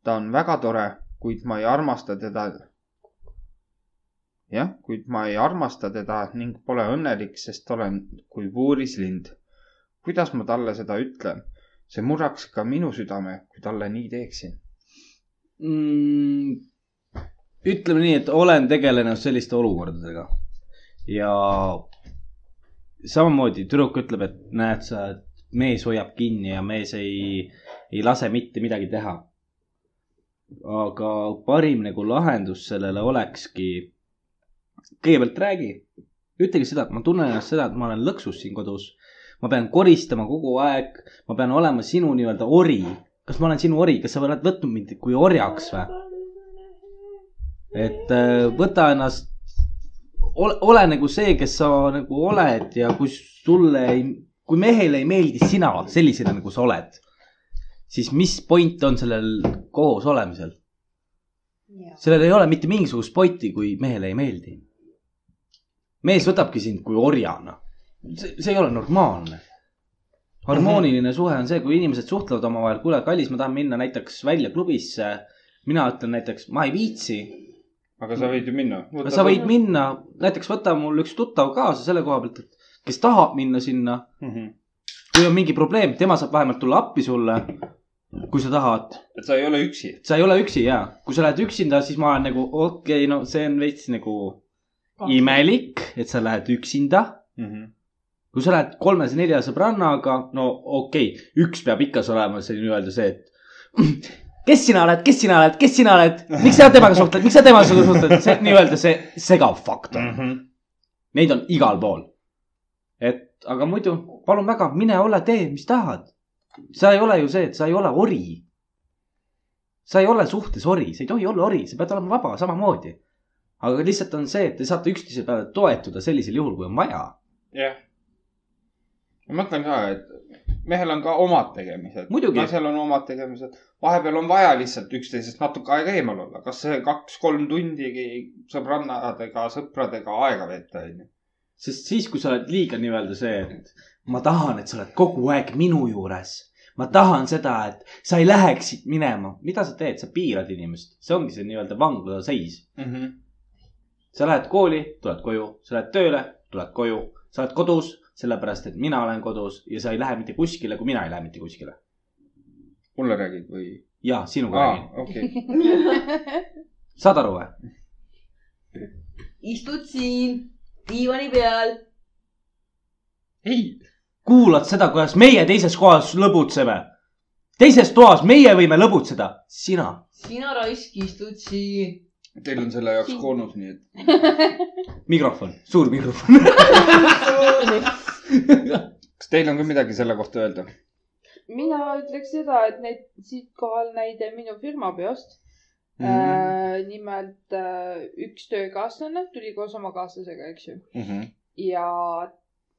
Speaker 2: ta on väga tore , kuid ma ei armasta teda . jah , kuid ma ei armasta teda ning pole õnnelik , sest olen kui puuris lind . kuidas ma talle seda ütlen ? see murraks ka minu südame , kui talle nii teeksin .
Speaker 3: mm, . ütleme nii , et olen tegelenud selliste olukordadega ja samamoodi tüdruk ütleb , et näed sa , et mees hoiab kinni ja mees ei , ei lase mitte midagi teha . aga parim nagu lahendus sellele olekski , kõigepealt räägi , ütlegi seda , et ma tunnen ennast seda , et ma olen lõksus siin kodus , ma pean koristama kogu aeg , ma pean olema sinu nii-öelda ori kas ma olen sinu ori , kas sa oled võtnud mind kui orjaks või ? et äh, võta ennast , ole , ole nagu see , kes sa nagu oled ja kui sulle ei , kui mehele ei meeldi sina sellisena , nagu sa oled , siis mis point on sellel koos olemisel ? sellel ei ole mitte mingisugust pointi , kui mehele ei meeldi . mees võtabki sind kui orjana . see , see ei ole normaalne . harmooniline suhe on see , kui inimesed suhtlevad omavahel , kuule , kallis , ma tahan minna näiteks välja klubisse . mina ütlen näiteks , ma ei viitsi .
Speaker 2: aga sa võid ju minna .
Speaker 3: sa võid minna , näiteks võta mul üks tuttav kaasa selle koha pealt , et kes tahab minna sinna ,
Speaker 2: mm . -hmm.
Speaker 3: kui on mingi probleem , tema saab vähemalt tulla appi sulle . kui sa tahad ,
Speaker 2: et sa ei ole üksi .
Speaker 3: sa ei ole üksi ja kui sa lähed üksinda , siis ma olen nagu okei okay, , no see on veits nagu imelik , et sa lähed üksinda .
Speaker 2: Mm -hmm.
Speaker 3: kui sa lähed kolmese-nelja sõbrannaga , no okei okay, , üks peab ikka olema see nii-öelda see , et kes sina oled , kes sina oled , kes sina oled , miks sa temaga suhtled , miks sa temaga suhtled , see on nii-öelda see segav
Speaker 2: Mhm.
Speaker 3: faktor mm . -hmm. Neid on igal pool . et aga muidu palun väga , mine ole , tee , mis tahad . sa ei ole ju see , et sa ei ole ori . sa ei ole suhtes ori , sa ei tohi olla ori , sa pead olema vaba samamoodi . aga lihtsalt on see , et te saate üksteise peale toetuda sellisel juhul , kui on vaja
Speaker 2: jah . ma mõtlen ka , et mehel on ka omad tegemised .
Speaker 3: Muidugi.
Speaker 2: naisel on omad tegemised . vahepeal on vaja lihtsalt üksteisest natuke aega eemal olla . kas see kaks-kolm tundi sõbrannadega , sõpradega aega veeta , onju .
Speaker 3: sest siis , kui sa oled liiga nii-öelda see , et ma tahan , et sa oled kogu aeg minu juures , ma tahan seda , et sa ei läheks siit minema , mida sa teed , sa piirad inimest , see ongi see nii-öelda vangla seis .
Speaker 2: Mhm.
Speaker 3: sa lähed kooli , tuled koju , sa lähed tööle , tuled koju , sa oled kodus , sellepärast et mina olen kodus ja sa ei lähe mitte kuskile , kui mina ei lähe mitte kuskile .
Speaker 2: mulle räägid või ?
Speaker 3: ja sinuga
Speaker 2: aa
Speaker 3: räägin ,.
Speaker 2: okei .
Speaker 3: saad aru või ?
Speaker 8: istud siin diivani peal .
Speaker 2: ei ,
Speaker 3: kuulad seda , kuidas meie teises kohas lõbutseme . teises toas meie võime lõbutseda , sina .
Speaker 8: sina raisk istud siin .
Speaker 2: teil on selle jaoks koonus , nii et .
Speaker 3: mikrofon , suur mikrofon .
Speaker 2: kas teil on ka midagi selle kohta öelda ?
Speaker 1: mina ütleks seda , et need siitkohal näide minu firma peost mm .
Speaker 3: Äh,
Speaker 2: Mhm.
Speaker 1: -hmm. nimelt äh, üks töökaaslane tuli koos oma kaaslasega , eks ju ,
Speaker 2: Mhm.
Speaker 1: ja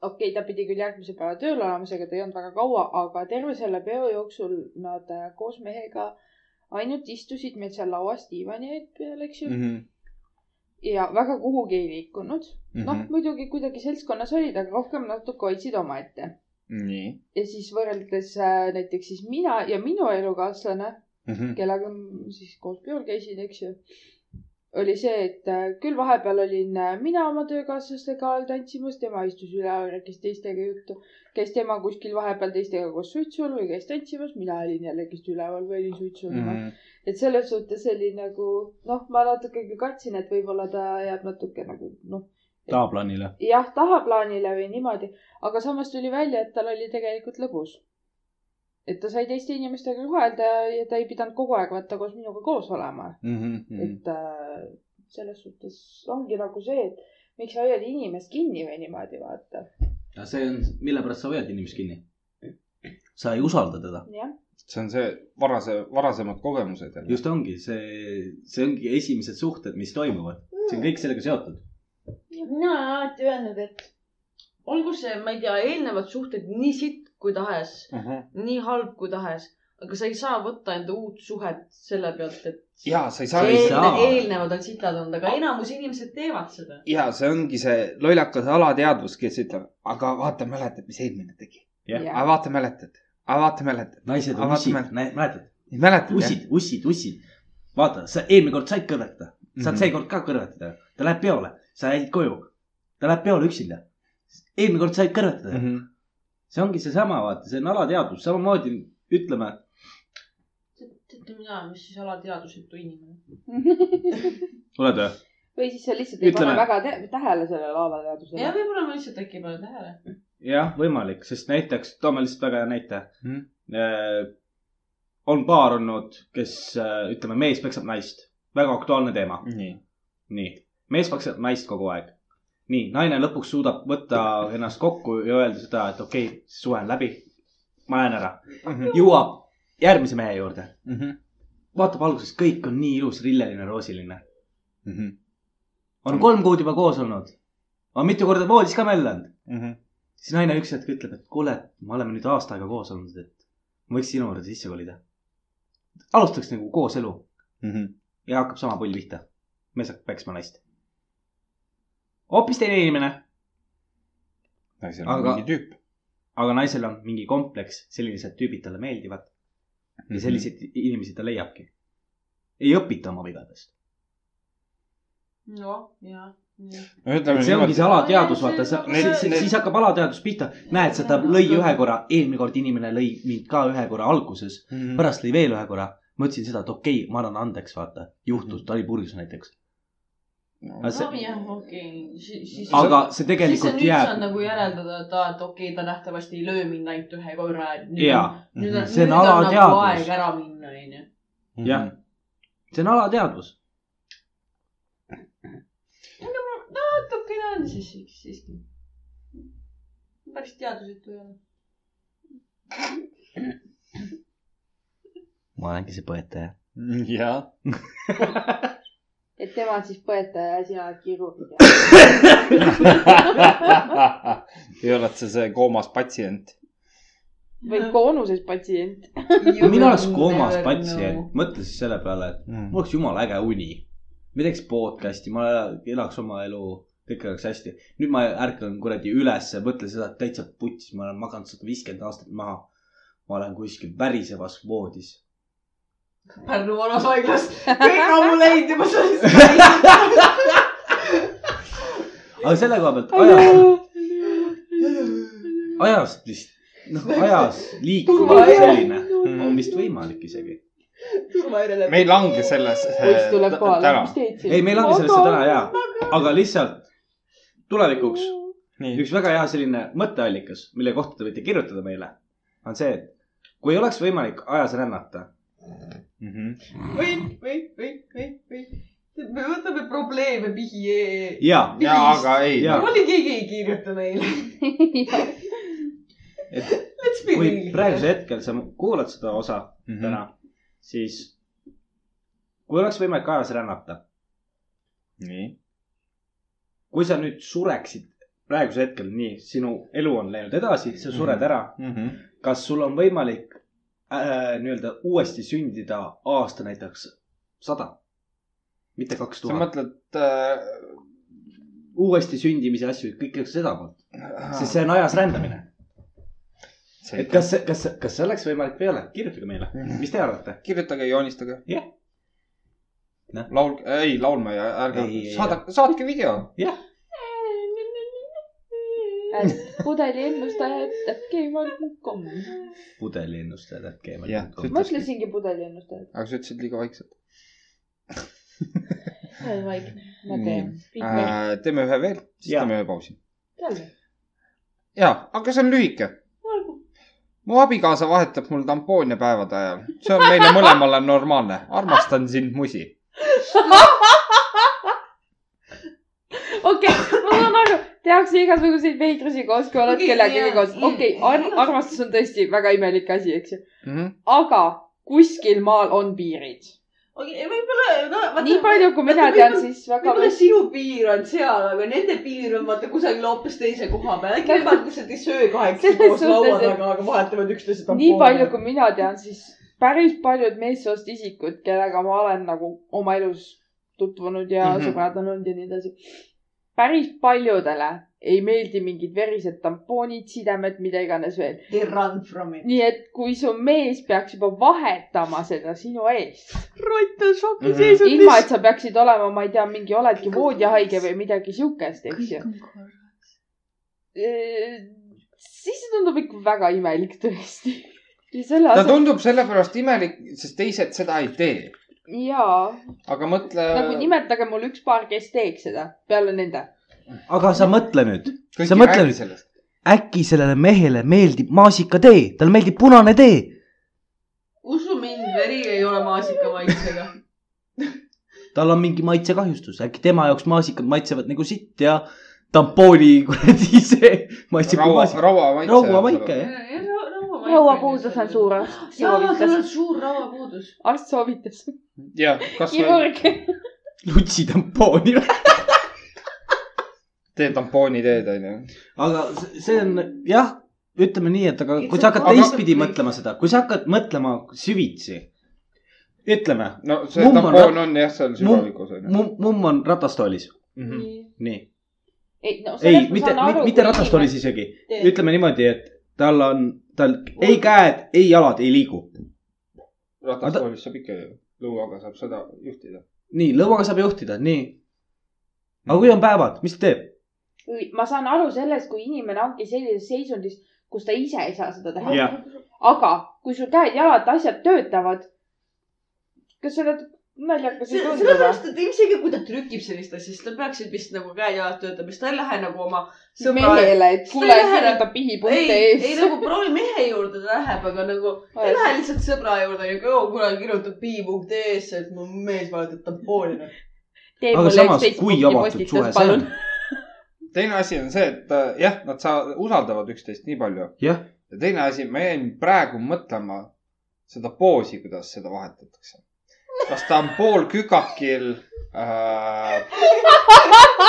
Speaker 1: okei okay, , ta pidi küll järgmise päeva tööl olema , seega ta ei olnud väga kaua , aga terve selle peo jooksul nad äh, koos mehega ainult istusid meil seal lauas diivani peal , eks ju mm ,
Speaker 2: Mhm.
Speaker 1: -hmm. ja väga kuhugi ei liikunud . noh , muidugi kuidagi seltskonnas olid , aga rohkem natuke hoidsid omaette
Speaker 2: nii .
Speaker 1: ja siis võrreldes äh, näiteks siis mina ja minu elukaaslane ,
Speaker 2: Mm-hmm.
Speaker 1: kellega m- siis koos peol käisin , eks ju , oli see , et äh, küll vahepeal olin äh, mina oma töökaaslastega all tantsimas , tema istus üleval , rääkis teistega juttu , käis tema kuskil vahepeal teistega koos suitsul või käis tantsimas , mina olin jällegist üleval või olin suitsul mm .
Speaker 2: Mm-hmm. Mhm.
Speaker 1: -hmm. et selles suhtes oli nagu noh , ma natuke küll kartsin , et võib-olla ta jääb natuke nagu noh ,
Speaker 3: tahaplaanile .
Speaker 1: jah , tahaplaanile või niimoodi , aga samas tuli välja , et tal oli tegelikult lõbus . et ta sai teiste inimestega suhelda ja, ja ta ei pidanud kogu aeg vaata koos minuga koos olema ,
Speaker 2: Mm-hmm.
Speaker 3: Mm.
Speaker 1: et äh, selles suhtes ongi nagu see , et miks sa hoiad inimest kinni või niimoodi vaata ,
Speaker 3: see on , mille pärast sa hoiad inimest kinni ? sa ei usalda teda .
Speaker 1: jah .
Speaker 2: see on see varase , varasemad kogemused jälle .
Speaker 3: just ongi see , see ongi esimesed suhted , mis toimuvad . see on kõik sellega seotud .
Speaker 4: mina olen alati öelnud , et olgu see , ma ei tea , eelnevad suhted nii sitt kui tahes ,
Speaker 2: Mm-hmm.
Speaker 4: nii halb kui tahes , aga sa ei saa võtta enda uut suhet selle pealt , et
Speaker 2: ja sa ei saa
Speaker 3: ei
Speaker 4: eelne-
Speaker 3: saa.
Speaker 4: eelnevad on sitad olnud , aga enamus inimesed teevad seda .
Speaker 2: ja see ongi see lollakas alateadvus , kes ütleb , aga vaata , mäletad , mis eelmine tegi . aga vaata , mäletad , aga vaata , mäletad ,
Speaker 3: naised on
Speaker 2: Aga
Speaker 3: ussid ,
Speaker 2: vaatame-
Speaker 3: mäletad ?
Speaker 2: mäletad jah ?
Speaker 3: ussid , ussid , ussid . vaata , sa eelmine kord said kõrvetada , saad mm
Speaker 2: Mhm.
Speaker 3: -hmm. seekord ka kõrvetada . ta läheb peole , sa jäid koju . ta läheb peole üksinda . eelmine kord said kõrvetada
Speaker 2: Mhm. Mm-hmm.
Speaker 3: mm . -hmm. see ongi seesama , vaata , see on alateadvus , samamoodi ütleme ,
Speaker 4: teate mina , mis siis alateadusliku inimene .
Speaker 3: oled või ?
Speaker 1: või siis sa lihtsalt ei
Speaker 3: Ütleme-
Speaker 1: pane väga te- tähele sellele
Speaker 4: ja
Speaker 1: laulateadusele .
Speaker 4: võib-olla ma lihtsalt äkki ei pane tähele .
Speaker 3: jah , võimalik , sest näiteks , toome lihtsalt väga hea näite
Speaker 2: Mhm.
Speaker 3: mm. . on paar olnud , kes äh, ütleme , mees peksab naist , väga aktuaalne teema .
Speaker 2: nii .
Speaker 3: nii , mees maksab naist kogu aeg . nii , naine lõpuks suudab võtta ennast kokku ja öelda seda , et okei okay, , suhe on läbi . ma lähen ära .
Speaker 2: Mm-hmm.
Speaker 3: jõuab järgmise mehe juurde , vaatab alguses , kõik on nii ilus , lilleline , roosiline .
Speaker 2: Mm-hmm.
Speaker 3: on kolm kuud juba koos olnud . on mitu korda voodis ka möllanud .
Speaker 2: Mm-hmm.
Speaker 3: siis naine üks hetk ütleb , et kuule , me oleme nüüd aasta aega koos olnud , et ma võiks sinu juurde sisse kolida . alustaks nagu kooselu
Speaker 2: Mm-hmm.
Speaker 3: ja hakkab sama pull pihta . mees hakkab peksma naist . hoopis teine inimene
Speaker 2: naisel on
Speaker 3: Aga-
Speaker 2: mingi tüüp .
Speaker 3: aga naisel on mingi kompleks , sellised tüübid talle meeldivad
Speaker 2: Mm-hmm.
Speaker 3: ja selliseid inimesi ta leiabki . ei õpita oma vigadest .
Speaker 4: noh , ja .
Speaker 2: no ütleme
Speaker 3: see ongi
Speaker 2: niimoodi ,
Speaker 3: see alateadus , vaata ,
Speaker 4: Need-
Speaker 2: need-
Speaker 3: siis hakkab alateadus pihta . näed , seda lõi ühe korra , eelmine kord inimene lõi mind ka ühe korra alguses ,
Speaker 2: Mm-hmm.
Speaker 3: pärast lõi veel ühe korra . mõtlesin seda , et okei okay, , ma annan andeks , vaata , juhtus , ta oli purjus näiteks . aga
Speaker 4: noh ,
Speaker 3: see ,
Speaker 4: jah , okei , siis .
Speaker 3: aga see
Speaker 4: siis
Speaker 3: tegelikult
Speaker 4: sa nüüd saad
Speaker 3: jääb
Speaker 4: nagu järeldada , et aa , et okei , ta nähtavasti ei löö mind ainult ühe korra , et nüüd
Speaker 3: ja
Speaker 4: on , nüüd on ,
Speaker 3: See on
Speaker 4: nüüd on nagu
Speaker 3: alateadvus.
Speaker 4: aeg ära minna , onju .
Speaker 2: Mm-hmm.
Speaker 3: jah , see on alateadvus .
Speaker 4: natuke ta on siis siis- siiski . päris teadusliku ei ole .
Speaker 3: ma olengi see põetaja .
Speaker 2: jah .
Speaker 1: et tema on siis põetaja ja sina oled kirurg .
Speaker 2: ei ole see see koomas patsient .
Speaker 1: või koonuses patsient .
Speaker 3: mina oleks koomas
Speaker 4: nagu-
Speaker 3: patsient , mõtle siis selle peale , et mul
Speaker 2: jah ,
Speaker 3: oleks jumala äge uni . ma teeks podcast'i , ma ela- elaks oma elu , kõik oleks hästi . nüüd ma ärkan kuradi ülesse , mõtlen seda , et täitsa putis , ma olen maganud sada viiskümmend aastat maha . ma olen kuskil värisevas voodis .
Speaker 4: Pärnu vanahaiglas . kõik ammu läinud juba sellest .
Speaker 3: aga selle koha pealt , ajast vist , noh , ajas liikuv selline on vist võimalik isegi .
Speaker 6: turvaõrele .
Speaker 2: me ei lange sellesse
Speaker 6: poiss tuleb kohale ,
Speaker 2: täna
Speaker 6: mis . teed siin ?
Speaker 3: Äh, ei , me ei lange sellesse täna ja , aga lihtsalt tulevikuks
Speaker 2: nii ,
Speaker 3: üks väga hea selline mõtteallikas , mille kohta te võite kirjutada meile , on see , et kui oleks võimalik ajas rännata ,
Speaker 2: Mm-hmm.
Speaker 6: või , või , või , või , või . me võtame probleeme pihi e- ee .
Speaker 3: ja
Speaker 2: ja aga ei noh.
Speaker 3: Jaa. ,
Speaker 6: oli keegi ei kirjuta meile .
Speaker 3: et
Speaker 6: Let's be
Speaker 3: kui
Speaker 6: real .
Speaker 3: praegusel hetkel sa kuulad seda osa
Speaker 2: Mhm. Mm-hmm.
Speaker 3: täna , siis kui oleks võimalik ajas rännata ,
Speaker 2: nii ,
Speaker 3: kui sa nüüd sureksid praegusel hetkel , nii , sinu elu on läinud edasi , sa sured ära ,
Speaker 2: Mm-hmm.
Speaker 3: kas sul on võimalik äh, nii-öelda uuesti sündida aasta näiteks sada , mitte kaks
Speaker 2: sa
Speaker 3: tuhat ,
Speaker 2: mõtled äh, .
Speaker 3: uuesti sündimise asju , kõik oleks seda poolt ,
Speaker 2: ah,
Speaker 3: sest see on ajas rändamine . et kas , kas , kas see oleks võimalik või ei ole , kirjutage meile ,
Speaker 2: Mhm.
Speaker 3: mis te arvate ?
Speaker 2: Mm-hmm. kirjutage , joonistage .
Speaker 3: Jah. Noh.
Speaker 2: laul , ei laulma ja ärge
Speaker 3: Ei, ei, ,
Speaker 2: saadake , saatke video .
Speaker 6: Äh,
Speaker 1: pudeli ennustaja ütleb , keemal
Speaker 6: nagu
Speaker 1: kukkum .
Speaker 3: pudeliennustajad äkki
Speaker 2: Jah,
Speaker 3: ei
Speaker 1: ma ütlesingi pudeli ennustaja .
Speaker 2: aga sa ütlesid liiga vaikselt .
Speaker 1: ma teen .
Speaker 2: äh, . teeme ühe veel , siis
Speaker 3: Jaa.
Speaker 2: teeme ühe pausi .
Speaker 6: Jälle.
Speaker 2: ja , aga see on lühike . mu abikaasa vahetab mul tampoone päevade ajal , see on meile mõlemale normaalne , armastan sind , musi .
Speaker 1: okei , ma saan aru , tehakse igasuguseid veidrusi koos , kui oled
Speaker 6: Okei,
Speaker 1: kellegagi
Speaker 6: jaa,
Speaker 1: koos .
Speaker 6: jaa.
Speaker 1: okei , armastus on tõesti väga imelik asi , eks ju .
Speaker 2: ma
Speaker 1: aga kuskil maal on piirid .
Speaker 6: okei , võib-olla , no vaata .
Speaker 1: nii palju , kui mina
Speaker 6: vaata,
Speaker 1: tean ,
Speaker 6: võib-olla-
Speaker 1: siis väga
Speaker 6: võib-olla sinu piir on seal , aga nende piir on vaata kusagil hoopis teise koha peal . äkki nemad lihtsalt ei söö kahekesi
Speaker 1: Selles
Speaker 6: koos laua
Speaker 1: suhtes, et-
Speaker 6: taga , aga vahetavad üksteise
Speaker 1: nii palju , kui mina tean , siis päris paljud meessoost isikud , kellega ma olen nagu oma elus tutvunud ja mm
Speaker 2: Mhm.
Speaker 1: -hmm. sõbrad on olnud ja nii edasi . päris paljudele ei meeldi mingid verised tampoonid , sidemed , mida iganes veel .
Speaker 6: They run from it .
Speaker 1: nii et kui su mees peaks juba vahetama seda sinu eest ,
Speaker 6: rott on šoki
Speaker 2: Mhm.
Speaker 1: ilma et sa peaksid olema , ma ei tea , mingi oledki voodihaige või midagi siukest , eks ju . siis see tundub ikka väga imelik tõesti . ja selle
Speaker 2: ta
Speaker 1: asemel ,
Speaker 2: tundub sellepärast imelik , sest teised seda ei tee ,
Speaker 1: jaa
Speaker 2: aga mõtle .
Speaker 1: nagu
Speaker 3: Äh,
Speaker 1: nimetage mulle üks paar , kes teeks seda peale nende .
Speaker 3: aga sa mõtle nüüd , sa mõtle nüüd , äkki sellele mehele meeldib maasikatee , talle meeldib punane tee .
Speaker 4: usu mind , veri ei ole maasikamaitsega .
Speaker 3: tal on mingi maitsekahjustus , äkki tema jaoks maasikad maitsevad nagu sitt ja tampooni kuradi see maitseb kui
Speaker 2: raua ,
Speaker 3: maasik .
Speaker 2: raua maitse .
Speaker 3: raua maike , jah .
Speaker 5: rauapuudus on suur arst
Speaker 4: jaa , sul on
Speaker 5: soovitas ,
Speaker 4: suur rauapuudus .
Speaker 1: arst soovitas .
Speaker 2: jah , kas või
Speaker 1: kirurg .
Speaker 3: lutsi tampooni .
Speaker 2: tee tampooni teed , onju .
Speaker 3: aga s- see on jah , ütleme nii , et aga kui sa hakkad
Speaker 2: Aga-
Speaker 3: teistpidi mõtlema seda , kui sa hakkad mõtlema süvitsi , ütleme ,
Speaker 2: no see
Speaker 3: Mumm on
Speaker 2: tampoon
Speaker 3: ra-
Speaker 2: on jah , seal sügavikus onju . Mhm.
Speaker 3: mumm , mumm on ratastoolis ,
Speaker 1: Mm.
Speaker 3: nii .
Speaker 1: ei , no
Speaker 3: ei , mitte , mitte ratastoolis isegi , ütleme niimoodi , et tal on , tal ei käed , ei jalad ei liigu .
Speaker 2: ratastoolis saab ikka ju , lõuaga saab seda juhtida .
Speaker 3: nii , lõuaga saab juhtida , nii . aga kui on päevad , mis ta teeb ?
Speaker 1: ma saan aru sellest , kui inimene ongi sellises seisundis , kus ta ise ei saa seda teha .
Speaker 3: jah ,
Speaker 1: aga kui sul käed-jalad , asjad töötavad . kas sa oled naljakas või tunduv ?
Speaker 4: sellepärast , et isegi kui ta trükib sellist asja , siis tal peaksid vist nagu käed-jalad töötama , siis ta ei lähe nagu oma sõbra .
Speaker 1: mehele , et kuule ,
Speaker 4: Sa ei lähe-
Speaker 1: kirjuta pihipunkte
Speaker 4: ei , ei
Speaker 1: ees .
Speaker 4: nagu proovi mehe juurde ta läheb , aga nagu ta ei lähe lihtsalt sõbra juurde ja kõhu kunagi kirjutab pi.ee-sse , et mu mees vahetab tampooni .
Speaker 3: aga samas , kui avatud suhe see on ??
Speaker 2: teine asi on see , et äh, jah , nad saa- , usaldavad üksteist nii palju .
Speaker 3: Jah.
Speaker 2: ja teine asi , ma jäin praegu mõtlema seda poosi , kuidas seda vahetatakse . kas ta on poolkükakil äh, ,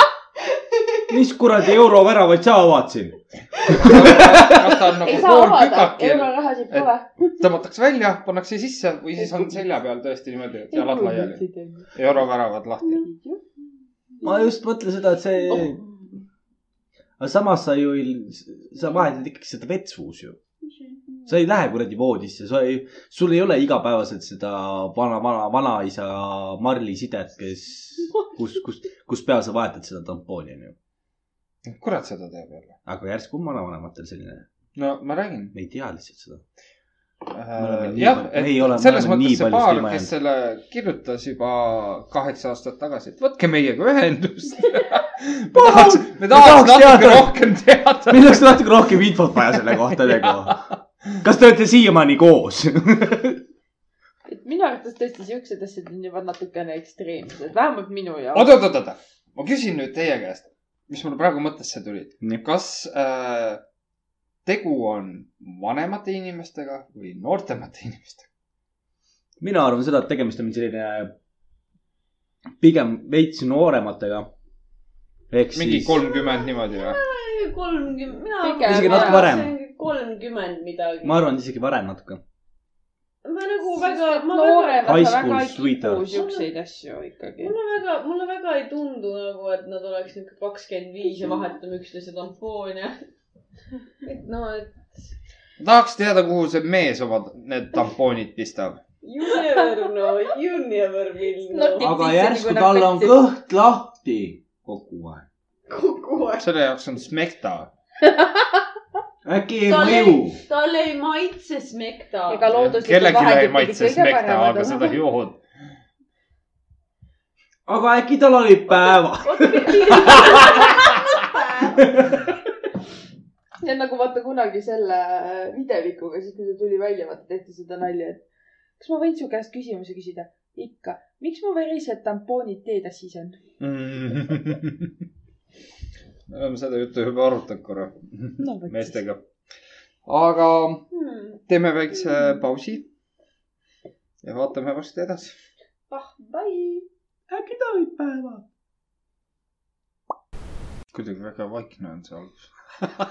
Speaker 3: mis kuradi euroväravaid sa avad siin ?
Speaker 2: kas ta on
Speaker 1: ei
Speaker 2: nagu
Speaker 1: saa avada ,
Speaker 2: poolkükakil ,
Speaker 1: eurorahasid pole .
Speaker 2: tõmmatakse välja , pannakse sisse või siis on selja peal tõesti niimoodi , et jalad laiali , euroväravad lahti .
Speaker 3: ma just mõtlen seda , et see .
Speaker 1: Oh.
Speaker 3: aga samas sa ju ei , sa vahetad ikkagi seda vetsus ju . sa ei lähe kuradi voodisse , sa ei , sul ei ole igapäevaselt seda vana , vana , vanaisa Marli sidet , kes , kus , kus , kus pea sa vahetad seda tampooni onju .
Speaker 2: kurat seda teeb jälle .
Speaker 3: aga järsku on vanavanematelgi selline
Speaker 2: no ma räägin
Speaker 3: me ei tea lihtsalt seda . oleme
Speaker 2: äh, .
Speaker 3: nii
Speaker 2: jah
Speaker 3: palju- , me
Speaker 2: et
Speaker 3: ei ole- me
Speaker 2: selles
Speaker 3: oleme nii
Speaker 2: mõttes see
Speaker 3: palju
Speaker 2: paar
Speaker 3: silma ,
Speaker 2: kes
Speaker 3: jäänud.
Speaker 2: selle kirjutas juba kaheksa aastat tagasi , et võtke meiega ühendust . me tahaks , me tahaks
Speaker 3: tahaks
Speaker 2: natuke
Speaker 3: teada.
Speaker 2: rohkem teada .
Speaker 3: meil oleks natuke rohkem infot vaja selle kohta nagu . kas te olete siiamaani koos ?
Speaker 1: et minu arvates tõesti siuksed asjad on juba natukene ekstreemsed , vähemalt minu jaoks .
Speaker 2: oot , oot , oot , oot , ma küsin nüüd teie käest , mis mul praegu mõttesse tuli
Speaker 3: Nii. .
Speaker 2: kas äh, tegu on vanemate inimestega või noortemate inimestega ?
Speaker 3: mina arvan seda , et tegemist on selline pigem veits noorematega . ehk
Speaker 2: mingi
Speaker 3: siis ,
Speaker 2: kolmkümmend niimoodi või ?
Speaker 4: kolmkümmend , mina
Speaker 1: Pigem
Speaker 3: Isegi natuke varem. .
Speaker 4: kolmkümmend midagi .
Speaker 3: ma arvan , et isegi varem natuke .
Speaker 4: ma nagu väga , ma väga ,
Speaker 1: noorena
Speaker 3: High
Speaker 1: sa
Speaker 3: school
Speaker 1: väga ei kipu
Speaker 3: sweetheart.
Speaker 1: siukseid asju ikkagi .
Speaker 4: mulle väga , mulle väga ei tundu nagu , et nad oleks niuke kakskümmend viis ja vahetame üksteise tampooni . et no , et
Speaker 2: tahaks teada , kuhu see mees oma need tampoonid pistab .
Speaker 4: you never know , you never will know .
Speaker 1: Notik.
Speaker 3: aga
Speaker 1: Isegi
Speaker 3: järsku
Speaker 1: kui nad
Speaker 3: tal on
Speaker 1: petsid.
Speaker 3: kõht lahti kogu aeg .
Speaker 4: kogu aeg .
Speaker 2: selle jaoks on smekta .
Speaker 3: äkki ei
Speaker 4: Tal ei-
Speaker 3: mõju ?
Speaker 4: tal ei maitse smekta .
Speaker 1: ega looduslikud
Speaker 2: kellelgi ei
Speaker 1: vahendid
Speaker 2: maitse
Speaker 1: pidid kõige
Speaker 2: smekta ,
Speaker 1: paremad
Speaker 2: aga seda
Speaker 1: olema .
Speaker 2: jood .
Speaker 3: aga äkki tal oli päeva ?
Speaker 1: see on nagu vaata kunagi selle äh, videovikuga , siis kui ta tuli välja , vaata tehti seda nalja , et kas ma võin su käest küsimuse küsida ? ikka . miks mu verised tampoonid teetassis on ?
Speaker 2: me oleme seda juttu juba arutanud korra
Speaker 1: no vot .
Speaker 2: meestega . aga
Speaker 4: Hmm.
Speaker 2: teeme väikse pausi . ja vaatame varsti edasi .
Speaker 4: Ah, bye .
Speaker 3: äkki tal oli päeva ?
Speaker 2: kuidagi väga vaikne on see algus .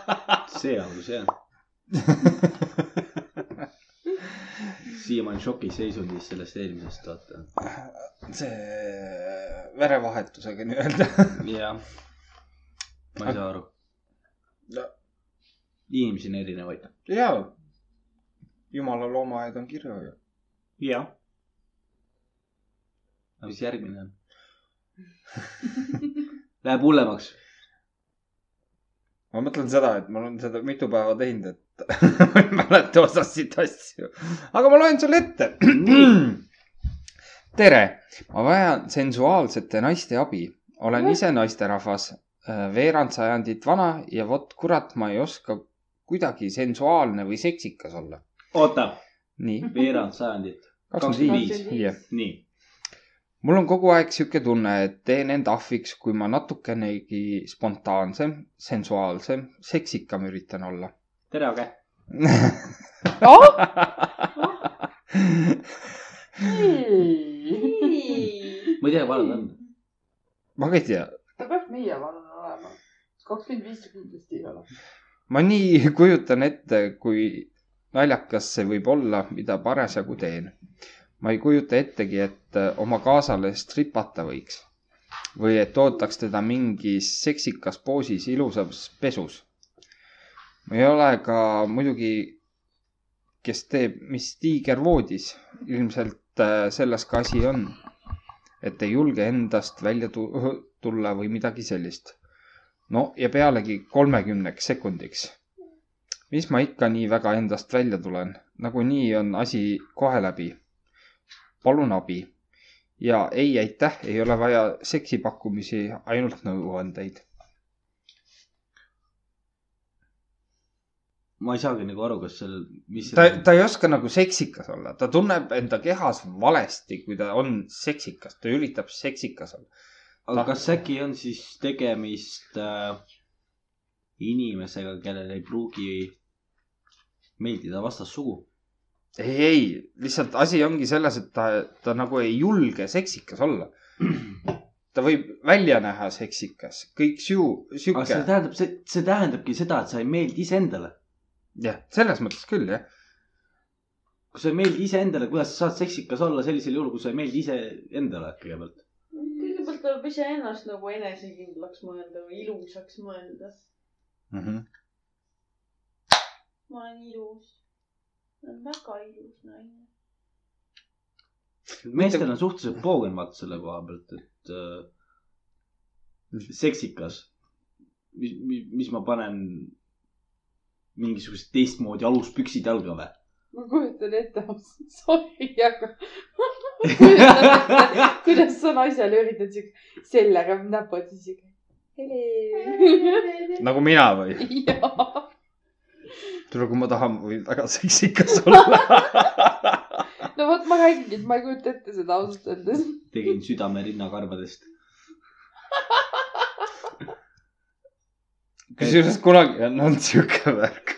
Speaker 3: see algus jah . siiamaani šokiseisundis sellest eelmisest vaata .
Speaker 2: see äh, verevahetusega nii-öelda .
Speaker 3: jah . ma ei saa aru
Speaker 2: No. .
Speaker 3: inimesi on erinevaid .
Speaker 2: jaa . jumala loomaaed on kirju ju .
Speaker 3: jah . aga mis järgmine on ? Läheb hullemaks .
Speaker 2: ma mõtlen seda , et ma olen seda mitu päeva teinud , et ma ei mäleta osasid asju . aga ma loen sulle ette . tere , ma vajan sensuaalsete naiste abi . olen ise naisterahvas , veerand sajandit vana ja vot kurat , ma ei oska kuidagi sensuaalne või seksikas olla .
Speaker 3: oota ,
Speaker 2: nii ,
Speaker 3: veerand sajandit .
Speaker 2: kakskümmend viis ,
Speaker 3: Kakskümmend
Speaker 2: jah .
Speaker 3: nii .
Speaker 2: mul on kogu aeg sihuke tunne , et teen end ahviks , kui ma natukenegi spontaansem , sensuaalsem , seksikam üritan olla .
Speaker 3: tere , Age .
Speaker 1: Oh!
Speaker 3: ma ei tea , kui vana ta on .
Speaker 2: ma ka ei tea ,
Speaker 1: ta peaks meie vanune olema . kakskümmend viis kindlasti ei ole .
Speaker 2: ma nii kujutan ette , kui naljakas see võib olla , mida parasjagu teen . ma ei kujuta ettegi , et äh, oma kaasale stripata võiks või et ootaks teda mingis seksikas poosis ilusas pesus . ma ei ole ka muidugi , kes teeb , mis tiiger voodis , ilmselt äh, selles ka asi on , et ei julge endast välja tu- tulla või midagi sellist . no ja pealegi kolmekümneks sekundiks . mis ma ikka nii väga endast välja tulen , nagunii on asi kohe läbi . palun abi ja ei , aitäh , ei ole vaja seksipakkumisi , ainult nõuandeid .
Speaker 3: ma ei saagi nagu aru , kas seal , mis .
Speaker 2: ta , ta ei oska nagu seksikas olla , ta tunneb enda kehas valesti , kui ta on seksikas , ta üritab seksikas olla .
Speaker 3: aga kas äkki on siis tegemist äh, inimesega , kellel ei pruugi meeldida vastassugu ?
Speaker 2: ei , ei , lihtsalt asi ongi selles , et ta , ta nagu ei julge seksikas olla . ta võib välja näha seksikas , kõik siu- ,
Speaker 3: aga see
Speaker 2: sihuke ,
Speaker 3: tähendab , see , see tähendabki seda , et sa ei meeldi iseendale .
Speaker 2: jah , selles mõttes küll jah .
Speaker 3: kui sa ei meeldi iseendale , kuidas sa saad seksikas olla sellisel juhul , kui sa ei meeldi iseendale kõigepealt ?
Speaker 4: kõigepealt tuleb iseennast nagu enesekindlaks mõelda või ilusaks mõelda .
Speaker 2: Mhm.
Speaker 4: ma olen ilus . ma olen väga ilus naine .
Speaker 3: meestel on suhteliselt poogen vaata selle koha pealt , et äh, seksikas . mis, mis , mis ma panen mingisugused teistmoodi aluspüksid jalga või ?
Speaker 6: ma kujutan ette , sorry , aga kujutan ette , kuidas sa naisele üritad siuke sellega näpud ja siuke .
Speaker 2: nagu mina või ?
Speaker 6: jaa ,
Speaker 2: tule , kui ma tahan , ma võin väga seksikas olla .
Speaker 6: no vot , ma räägingi , et ma ei kujuta ette seda ausalt öeldes .
Speaker 3: tegin südame rinnakarvadest .
Speaker 2: kusjuures kunagi on olnud sihuke värk .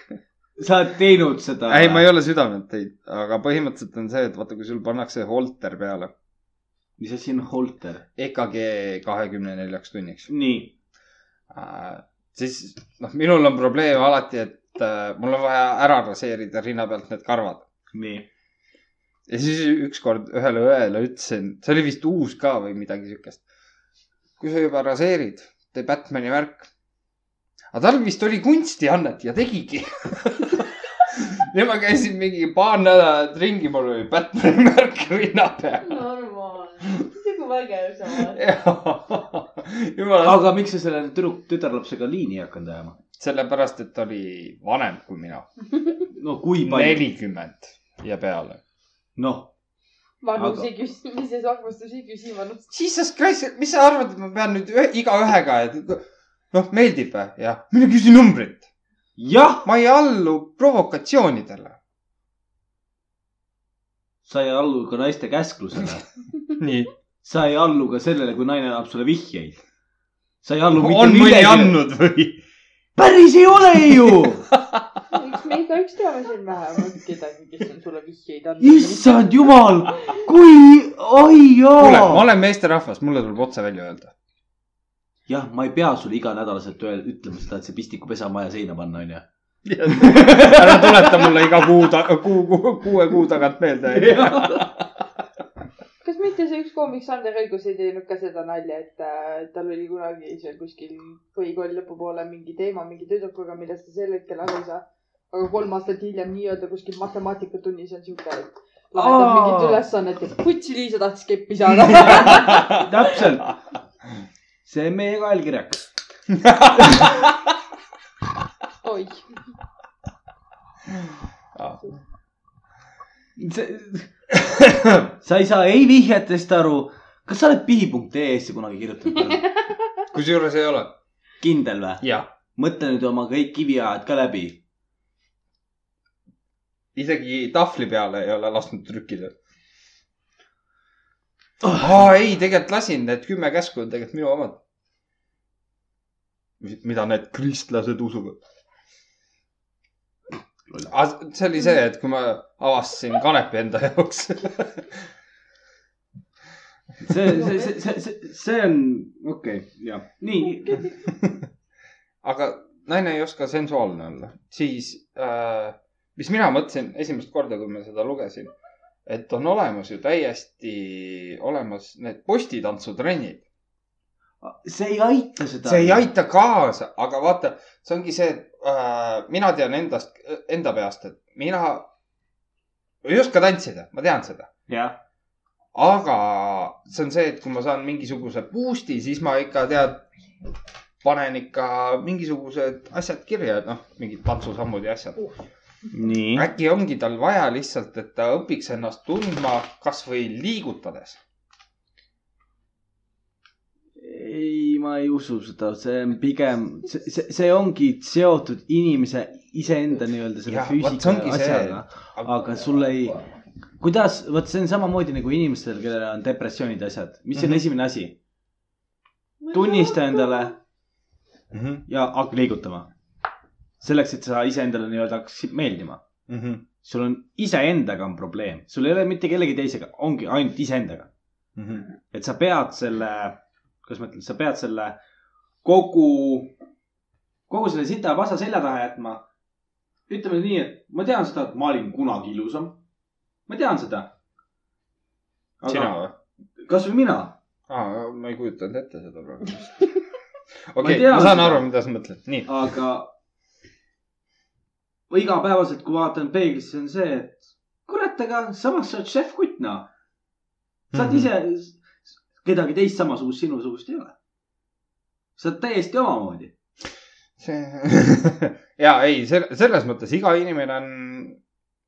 Speaker 3: sa oled teinud seda ?
Speaker 2: ei , ma ei ole südamelt teinud , aga põhimõtteliselt on see , et vaata , kui sul pannakse holter peale .
Speaker 3: mis asi on holter ?
Speaker 2: EKG kahekümne neljaks tunniks .
Speaker 3: nii ,
Speaker 2: Äh, siis noh , minul on probleem alati , et äh, mul on vaja ära raseerida rinna pealt need karvad .
Speaker 3: nii .
Speaker 2: ja siis ükskord ühele õele ütlesin , see oli vist uus ka või midagi siukest . kui sa juba raseerid , tee Batman'i värk . aga tal vist oli kunstiannet ja tegigi . ja ma käisin mingi paar nädalat ringi , mul oli Batman'i värk rinna peal .
Speaker 4: normaalne , nagu vägev samas .
Speaker 2: jumala ,
Speaker 3: aga miks sa selle tüdruk , tütarlapsega liini ei hakanud ajama ?
Speaker 2: sellepärast , et ta oli vanem kui mina ,
Speaker 3: no kui palju ?
Speaker 2: nelikümmend ja peale .
Speaker 3: noh ,
Speaker 6: vanuse
Speaker 3: Aga-
Speaker 6: küsimises armastus ei küsi vanust .
Speaker 2: Jesus Christ , mis sa arvad , et ma pean nüüd ühe, igaühega , et noh , meeldib või ? jah , mine küsi numbrit .
Speaker 3: jah ,
Speaker 2: ma ei allu provokatsioonidele .
Speaker 3: sa ei allu ka naiste käsklusele .
Speaker 2: nii .
Speaker 3: sa ei allu ka sellele , kui naine annab sulle vihjeid . sa ei allu
Speaker 2: on mõni . andnud või ?
Speaker 3: päris ei ole ju .
Speaker 6: eks me igaüks teame siin vähemalt kedagi , kes on sulle vihjeid andnud .
Speaker 3: issand jumal , kui , oi
Speaker 2: kuule , ma
Speaker 3: jaa .
Speaker 2: olen meesterahvas , mulle tuleb otse välja öelda .
Speaker 3: jah , ma ei pea sulle iganädalaselt öel- ütlema seda , et see pistikupesa on vaja seina panna , onju .
Speaker 2: ära tuleta mulle iga kuu , kuu, kuu , kuue kuu tagant meelde .
Speaker 6: kas mitte see üks koomik Sander Õigus ei teinud ka seda nalja , et äh, tal oli kunagi seal kuskil põhikooli lõpupoole mingi teema mingi tüdrukuga , millest ta sel hetkel aru ei saa . aga kolm aastat hiljem nii-öelda kuskil matemaatikatunnis on siuke , et lahendab
Speaker 3: Aa.
Speaker 6: mingit ülesannet , et putsi Liisa tahtis keppi saada .
Speaker 3: täpselt . see on meie kaelkirjak .
Speaker 6: oi ,
Speaker 3: sa ei saa ei vihjetest aru . kas sa oled pihi.ee-sse kunagi kirjutanud ?
Speaker 2: kusjuures ei ole .
Speaker 3: kindel või ?
Speaker 2: jah ,
Speaker 3: mõtle nüüd oma kõik kiviajad ka läbi .
Speaker 2: isegi tahvli peale ei ole lasknud trükkida . aa , ei , tegelikult lasin , need kümme käsku on tegelikult minu omad . mida need kristlased usuvad . see oli see , et kui ma avastasin kanepi enda jaoks .
Speaker 3: see , see , see , see , see , see on okei okay, , jah , nii .
Speaker 2: aga naine ei oska sensuaalne olla , siis äh, , mis mina mõtlesin esimest korda , kui ma seda lugesin , et on olemas ju täiesti olemas need postitantsutrennid .
Speaker 3: see ei aita seda .
Speaker 2: see ei . aita kaasa , aga vaata , see ongi see , et äh, mina tean endast , enda peast , et mina ei oska tantsida , ma tean seda .
Speaker 3: jah ,
Speaker 2: aga see on see , et kui ma saan mingisuguse boost'i , siis ma ikka tead , panen ikka mingisugused asjad kirja , noh , mingid tantsusammud ja
Speaker 3: Mm.
Speaker 2: asjad .
Speaker 3: nii .
Speaker 2: äkki ongi tal vaja lihtsalt , et ta õpiks ennast tundma kasvõi liigutades .
Speaker 3: ei , ma ei usu seda , see on pigem , see , see , see ongi seotud inimese iseenda nii-öelda selle
Speaker 2: Jah, vot see
Speaker 3: füüsika
Speaker 2: ongi see.
Speaker 3: asjaga . aga sul ei , kuidas , vot see on samamoodi nagu inimestel , kellel on depressioonid ja asjad , mis on mm
Speaker 2: Mhm.
Speaker 3: -hmm. esimene asi ? tunnista endale
Speaker 2: Mhm,
Speaker 3: ja hakka liigutama . selleks , et sa iseendale nii-öelda hakkasid meeldima .
Speaker 2: mhm.
Speaker 3: sul on iseendaga on probleem , sul ei ole mitte kellegi teisega , ongi ainult iseendaga .
Speaker 2: Mhm.
Speaker 3: et sa pead selle , kuidas ma ütlen , sa pead selle kogu , kogu selle sita vasa selja taha jätma . ütleme nii , et ma tean seda , et ma olin kunagi ilusam . ma tean seda .
Speaker 2: sina või ?
Speaker 3: kasvõi mina .
Speaker 2: aa , ma ei kujutanud ette seda praegu .
Speaker 3: Ma
Speaker 2: okei ,
Speaker 3: tean
Speaker 2: ma saan
Speaker 3: seda.
Speaker 2: aru , mida sa mõtled , nii .
Speaker 3: aga ma igapäevaselt , kui vaatan peeglisse , on see , et kurat , aga samas sa oled šef Kutna . sa oled ise , kedagi teist samasugust sinusugust ei ole . sa oled täiesti omamoodi .
Speaker 2: see , ja ei , selles mõttes iga inimene on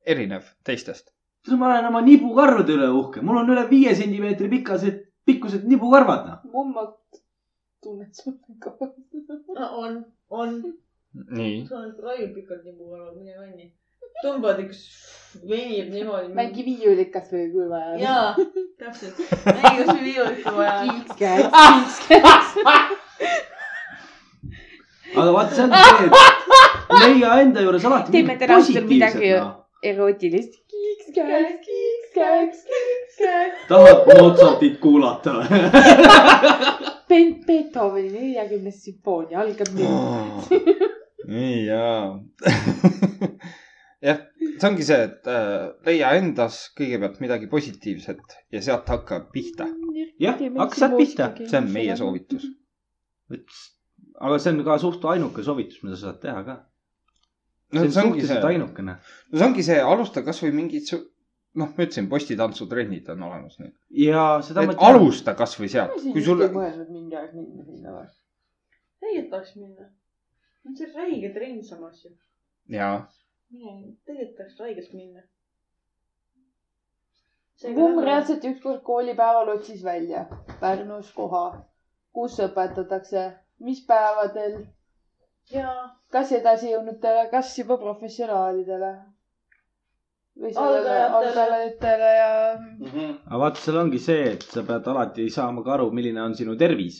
Speaker 2: erinev teistest .
Speaker 3: ma olen oma nibukarvade üle uhke , mul on üle viie sentimeetri pikased , pikkused nibukarvad , noh .
Speaker 6: mummot tunned sulle ka .
Speaker 4: Ah, on , on .
Speaker 2: nii .
Speaker 4: sa oled raiu pikalt nibu olnud , mine vanni . tõmbad üks , venib niimoodi .
Speaker 6: mängi viiulit kasvõi kui vaja .
Speaker 4: jaa , täpselt . mängi kas või viiulit kui vaja .
Speaker 6: kiiks käes , kiiks käes .
Speaker 3: aga vaata , see on see , et leia enda juures alati
Speaker 1: Teeme
Speaker 3: midagi
Speaker 1: täna õhtul
Speaker 3: positiivset,
Speaker 1: midagi-
Speaker 3: noh.
Speaker 1: erootilist .
Speaker 6: kiiks käes , kiiks käes , kiiks käes .
Speaker 3: tahad Mozartit kuulata või ?
Speaker 6: Beethoveni neljakümnes sümfoonia algab nüüd .
Speaker 2: nii jaa . jah , see ongi see , et äh, leia endas kõigepealt midagi positiivset ja sealt hakkab pihta .
Speaker 3: jah , hakka sealt pihta .
Speaker 2: see on meie soovitus .
Speaker 3: aga see on ka suht ainuke soovitus , mida sa saad teha ka .
Speaker 2: no
Speaker 3: see on
Speaker 2: see ongi
Speaker 3: suhteliselt
Speaker 2: see ,
Speaker 3: ainukene .
Speaker 2: no see ongi see , alusta kasvõi mingid , noh , ma ütlesin , postitantsutrennid on olemas nüüd .
Speaker 3: ja seda ma
Speaker 2: et . alusta kasvõi sealt , kui
Speaker 6: siin
Speaker 2: sul
Speaker 6: ei , mõelnud mingi aeg minna sinna või ?
Speaker 4: tegelikult tahaks minna . see on räige trenn samas ju .
Speaker 2: jaa .
Speaker 4: mine , tegelikult tahaks raigelt minna .
Speaker 6: mumm . reaalselt ükskord koolipäeval otsis välja Pärnus koha , kus õpetatakse , mis päevadel ,
Speaker 4: jaa ,
Speaker 6: kas edasijõudnutele , kas juba professionaalidele . või sellele
Speaker 4: Algajatele.
Speaker 6: algajatele ja
Speaker 3: aga vaata , seal ongi see , et sa pead alati saama ka aru , milline on sinu tervis .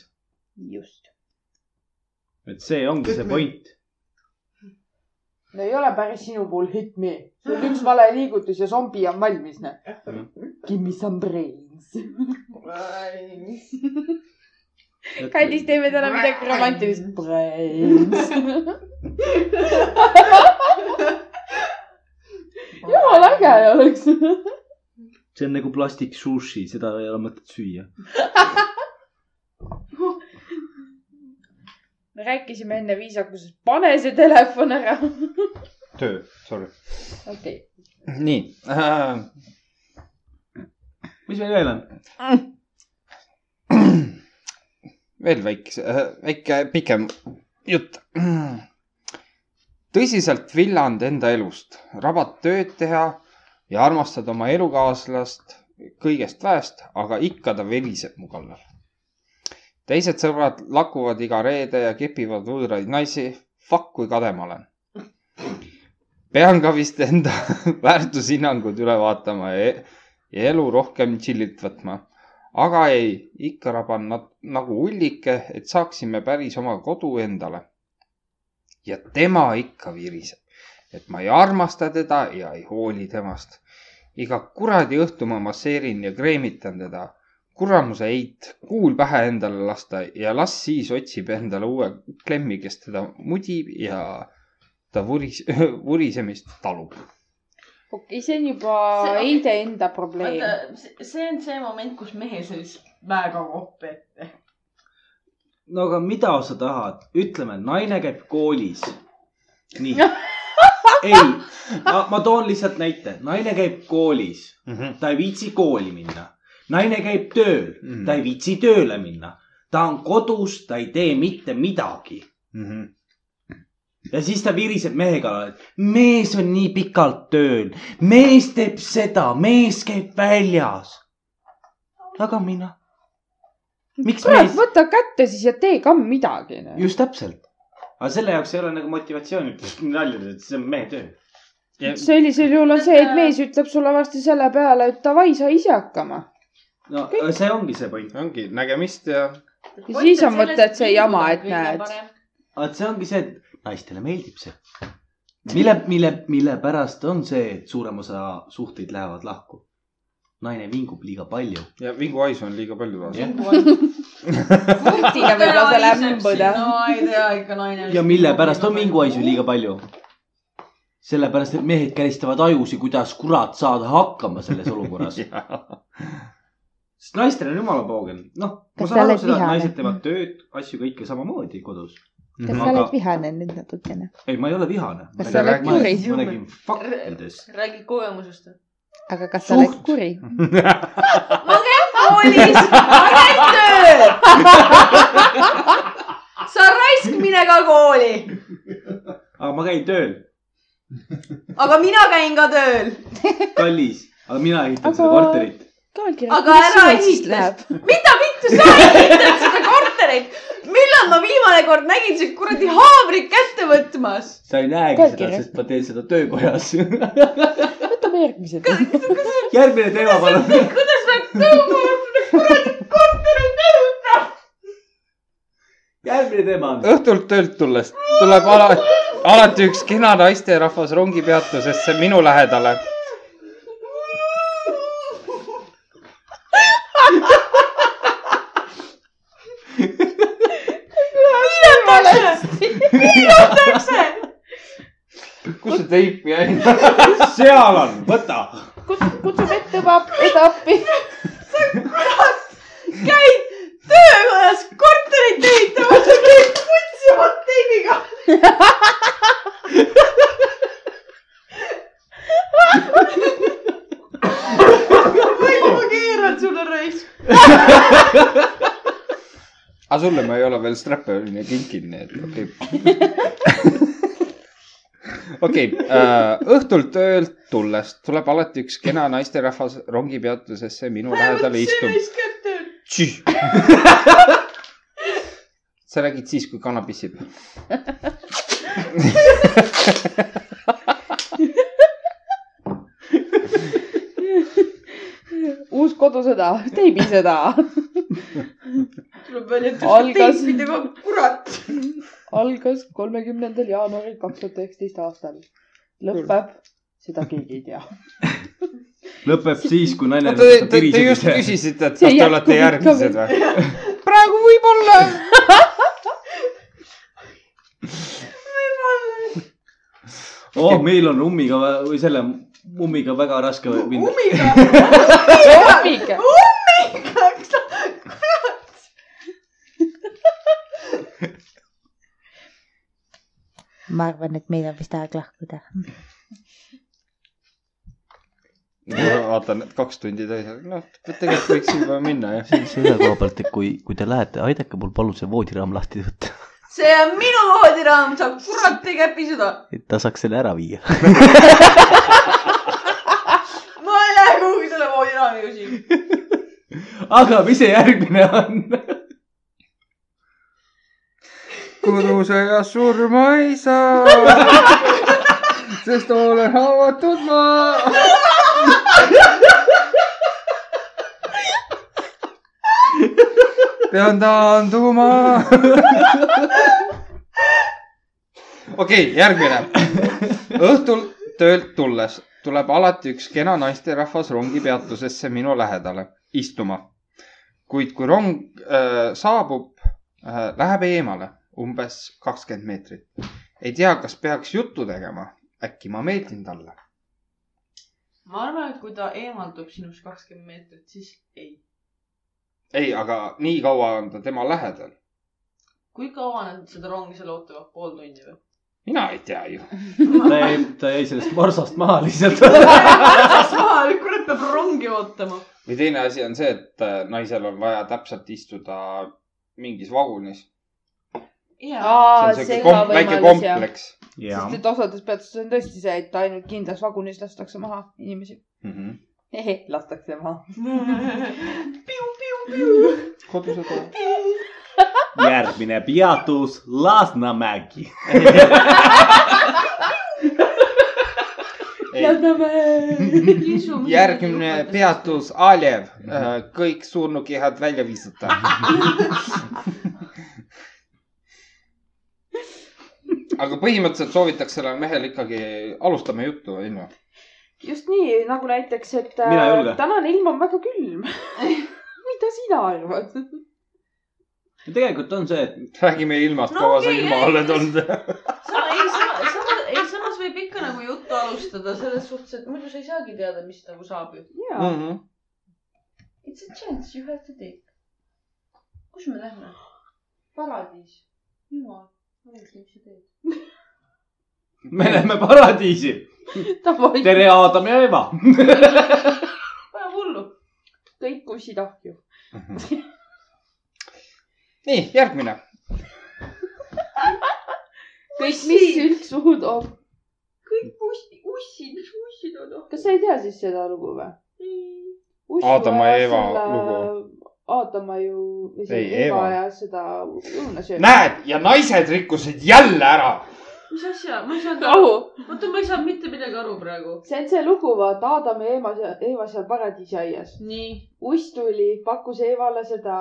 Speaker 1: just .
Speaker 3: et see ongi see point .
Speaker 6: no ei ole päris sinu puhul hit me . see on üks vale liigutus ja zombi on valmis , noh . Give me some brains .
Speaker 1: Kandis , teeme täna midagi romantilist .
Speaker 6: Brains . jumala äge oleks .
Speaker 3: see on nagu plastik sushi , seda ei ole mõtet süüa .
Speaker 1: me rääkisime enne viisakusest , pane see telefon ära .
Speaker 2: töö , sorry .
Speaker 1: okei ,
Speaker 2: nii äh, .
Speaker 3: mis meil veel on ?
Speaker 2: veel väikese , väike pikem jutt . tõsiselt villand enda elust , rabad tööd teha ja armastad oma elukaaslast kõigest väest , aga ikka ta viriseb mu kallal . teised sõbrad lakuvad iga reede ja kepivad võõraid naisi . Fuck , kui kade ma olen . pean ka vist enda väärtushinnangud üle vaatama ja, ja elu rohkem chill'ilt võtma aga ei , ikka raban nad nagu ullike , et saaksime päris oma kodu endale . ja tema ikka viriseb , et ma ei armasta teda ja ei hooli temast . iga kuradi õhtu ma masseerin ja kreemitan teda . kuramuse eit , kuul pähe endale lasta ja las siis otsib endale uue klemmi , kes teda mudib ja ta vuris , vurisemist talub .
Speaker 1: okei , see on juba
Speaker 4: See-
Speaker 1: Heide enda probleem .
Speaker 4: vaata , see on see moment , kus mees oli väga kopp ette .
Speaker 3: no aga mida sa tahad , ütleme , naine käib koolis . nii . ei , ma toon lihtsalt näite , naine käib koolis , ta ei viitsi kooli minna . naine käib tööl , ta ei viitsi tööle minna . ta on kodus , ta ei tee mitte midagi
Speaker 2: Mhm.
Speaker 3: ja siis ta viriseb mehe kallal , et mees on nii pikalt tööl , mees teeb seda , mees käib väljas . aga mina ? miks
Speaker 1: kurat ,
Speaker 3: mees ,
Speaker 1: võta kätte siis ja tee ka midagi . noh.
Speaker 3: just täpselt . aga selle jaoks ei ole nagu motivatsiooni , nalja , et see on mehe töö .
Speaker 1: sellisel juhul on see , et mees ütleb sulle varsti selle peale , et davai , sa ise hakkama .
Speaker 3: no aga see ongi see point ,
Speaker 2: ongi nägemist ja
Speaker 1: Ja siis on mõte, et see jama, et näed. .
Speaker 3: vaat see ongi see , et naistele meeldib see . mille , mille , mille pärast on see , et suurem osa suhteid lähevad lahku . naine vingub liiga palju .
Speaker 2: ja vinguhaisu on liiga palju taas .
Speaker 1: punktiga võib-olla see läheb nõmbuda .
Speaker 4: no ei tea ikka naine .
Speaker 3: ja mille pärast on vinguhaisu liiga palju ? sellepärast , et mehed käristavad ajusi , kuidas kurat saada hakkama selles olukorras . sest naistel on jumala poogen , noh , ma
Speaker 1: Kas
Speaker 3: saan
Speaker 1: sa
Speaker 3: aru
Speaker 1: oled
Speaker 3: seda , et
Speaker 1: vihane?
Speaker 3: naised teevad tööd , asju kõike samamoodi kodus .
Speaker 1: kas sa
Speaker 3: Aga-
Speaker 1: oled vihane nüüd natukene ?
Speaker 3: ei , ma ei ole vihane .
Speaker 1: Kas sa oled kuri?
Speaker 3: ma räägin faktidest .
Speaker 4: räägid kogemusest või ?
Speaker 1: aga kas sa oled
Speaker 3: Suht-
Speaker 1: kuri ?
Speaker 4: koolis , käid tööl . sa raisk , mine ka kooli .
Speaker 3: aga ma käin tööl ,
Speaker 4: aga mina käin ka tööl .
Speaker 3: kallis , aga mina ehitan
Speaker 9: Aga-
Speaker 3: seda korterit .
Speaker 4: Aga ära ehita mida vittu sa ehitad seda korterit ? millal ma viimane kord nägin sind kuradi haavrit kätte võtmas ?
Speaker 3: sa ei näegi seda ,
Speaker 9: Kalkirjas.
Speaker 3: sest ma teen seda töökojas .
Speaker 9: võtame järgmise .
Speaker 3: järgmine teema , palun .
Speaker 4: kuidas nad tõmbavad seda kuradi korterit õhku ?
Speaker 3: järgmine teema on .
Speaker 2: õhtult töölt tulles tuleb alati , alati üks kena naisterahvas rongipeatusesse minu lähedale .
Speaker 4: täpselt .
Speaker 2: kus see teip jäi ?
Speaker 3: seal on , võta .
Speaker 1: kutsub ette juba , ette appi .
Speaker 4: käid töökojas korterit ehitamas ja käid putsimas teibiga . muidu ma keeran sulle raisk .
Speaker 2: aga sulle ma ei ole veel strapperini kinkinud , nii et okei okay. . okei okay, , õhtult töölt tulles tuleb alati üks kena naisterahvas rongipeatusesse minu lähedale istub . sa räägid siis , kui kana pissib .
Speaker 1: uus kodusõda , teibisõda
Speaker 4: tuleb välja , et
Speaker 1: Algas-
Speaker 4: ükskord teistpidi , kurat .
Speaker 1: algas kolmekümnendal jaanuaril kaks tuhat üheksateist aastal . lõpeb , seda keegi ei tea .
Speaker 3: lõpeb siis , kui naine .
Speaker 2: Te, te, te just . küsisite , et
Speaker 1: See
Speaker 2: kas te
Speaker 1: jätkub
Speaker 2: olete
Speaker 1: ikka
Speaker 2: järgmised või ?
Speaker 1: praegu võib-olla .
Speaker 3: oh , meil on ummiga vä- või selle ummiga väga raske minna .
Speaker 4: ummiga ,
Speaker 1: hommik ,
Speaker 4: ummiga , kurat .
Speaker 7: ma arvan , et meil on vist aeg lahkuda .
Speaker 2: vaatan , et kaks tundi täis , noh , tegelikult võiks juba minna jah .
Speaker 10: selle koha pealt , et kui , kui te lähete , aidake mul palun see voodiraam lahti võtta ,
Speaker 4: see on minu voodiraam , sa kurat ei käpi seda .
Speaker 10: et ta saaks selle ära viia .
Speaker 4: ma ei lähe kuhugi selle voodiraamiga siin .
Speaker 3: aga mis see järgmine on ?
Speaker 2: kodusõja surma ei saa , sest olen haavatud ma . pean taanduma . okei , järgmine . õhtul töölt tulles tuleb alati üks kena naisterahvas rongipeatusesse minu lähedale istuma . kuid kui rong äh, saabub , äh, läheb eemale umbes kakskümmend meetrit . ei tea , kas peaks juttu tegema , äkki ma meeldin talle .
Speaker 4: ma arvan , et kui ta eemaldub sinust kakskümmend meetrit , siis ei .
Speaker 2: ei , aga nii kaua on ta tema lähedal .
Speaker 4: kui kaua nad seda rongi seal ootavad , pool tundi või ?
Speaker 2: mina ei tea ju .
Speaker 3: ta jäi , ta jäi sellest varsast maha lihtsalt .
Speaker 4: maal , kurat peab rongi ootama .
Speaker 2: või teine asi on see , et äh, naisel on vaja täpselt istuda mingis vagunis . see
Speaker 4: jaa ,
Speaker 1: aa ,
Speaker 2: on
Speaker 1: see
Speaker 2: siuke
Speaker 1: ka
Speaker 2: kom- väike
Speaker 1: võimalus jah .
Speaker 2: kompleks .
Speaker 3: jaa
Speaker 1: sest , et osades peatustes on tõesti see , et ainult kindlas vagunis lastakse maha inimesi .
Speaker 2: Mhm.
Speaker 1: lastakse maha .
Speaker 2: kodusõda .
Speaker 3: järgmine peatus Lasnamägi .
Speaker 2: järgmine . peatus , Aljev . kõik surnukehad välja visata . aga põhimõtteliselt soovitaks sellele mehele ikkagi , alustame juttu , onju .
Speaker 1: just nii nagu näiteks , et
Speaker 3: Mina ei julge.
Speaker 1: äh, tänane ilm on väga külm . mida sina arvad ?
Speaker 3: tegelikult on see , et
Speaker 2: räägime ilmast
Speaker 4: No
Speaker 2: no, , kaua sa
Speaker 4: okei,
Speaker 2: ilma
Speaker 4: ei,
Speaker 2: oled olnud .
Speaker 4: ei , samas , ei samas võib ikka nagu juttu alustada selles suhtes , et muidu sa ei saagi teada , mis nagu saab ju .
Speaker 1: jaa ,
Speaker 4: It's a chance you have to take . kus me lähme ? paradiis . jumal , ma ei tea , mis sa teed .
Speaker 3: me läheme paradiisi .
Speaker 1: davai ,
Speaker 3: tere , Aadam ja Eva .
Speaker 4: vaja hullu .
Speaker 1: kõik kussid ahju .
Speaker 2: nii , järgmine .
Speaker 1: kõik , mis sülk suhu toob .
Speaker 6: kõik ussid , ussid , mis ussid on
Speaker 4: noh.
Speaker 1: kas sa ei tea siis seda lugu või ?
Speaker 2: Aadama ja Eeva lugu. .
Speaker 1: Aadama ju , või see
Speaker 2: Ei,
Speaker 1: Eeva
Speaker 2: Eeva.
Speaker 1: ja seda õunasööki .
Speaker 2: näed , ja naised rikkusid jälle ära .
Speaker 4: mis asja , ma ei saanud
Speaker 1: rahu
Speaker 4: aru ,, oota , ma ei saanud mitte midagi aru praegu .
Speaker 1: see on see lugu , vaata Aadam ja Eeva , Eeva seal paradiisiaias .
Speaker 4: nii ,
Speaker 1: uss tuli , pakkus Eevale seda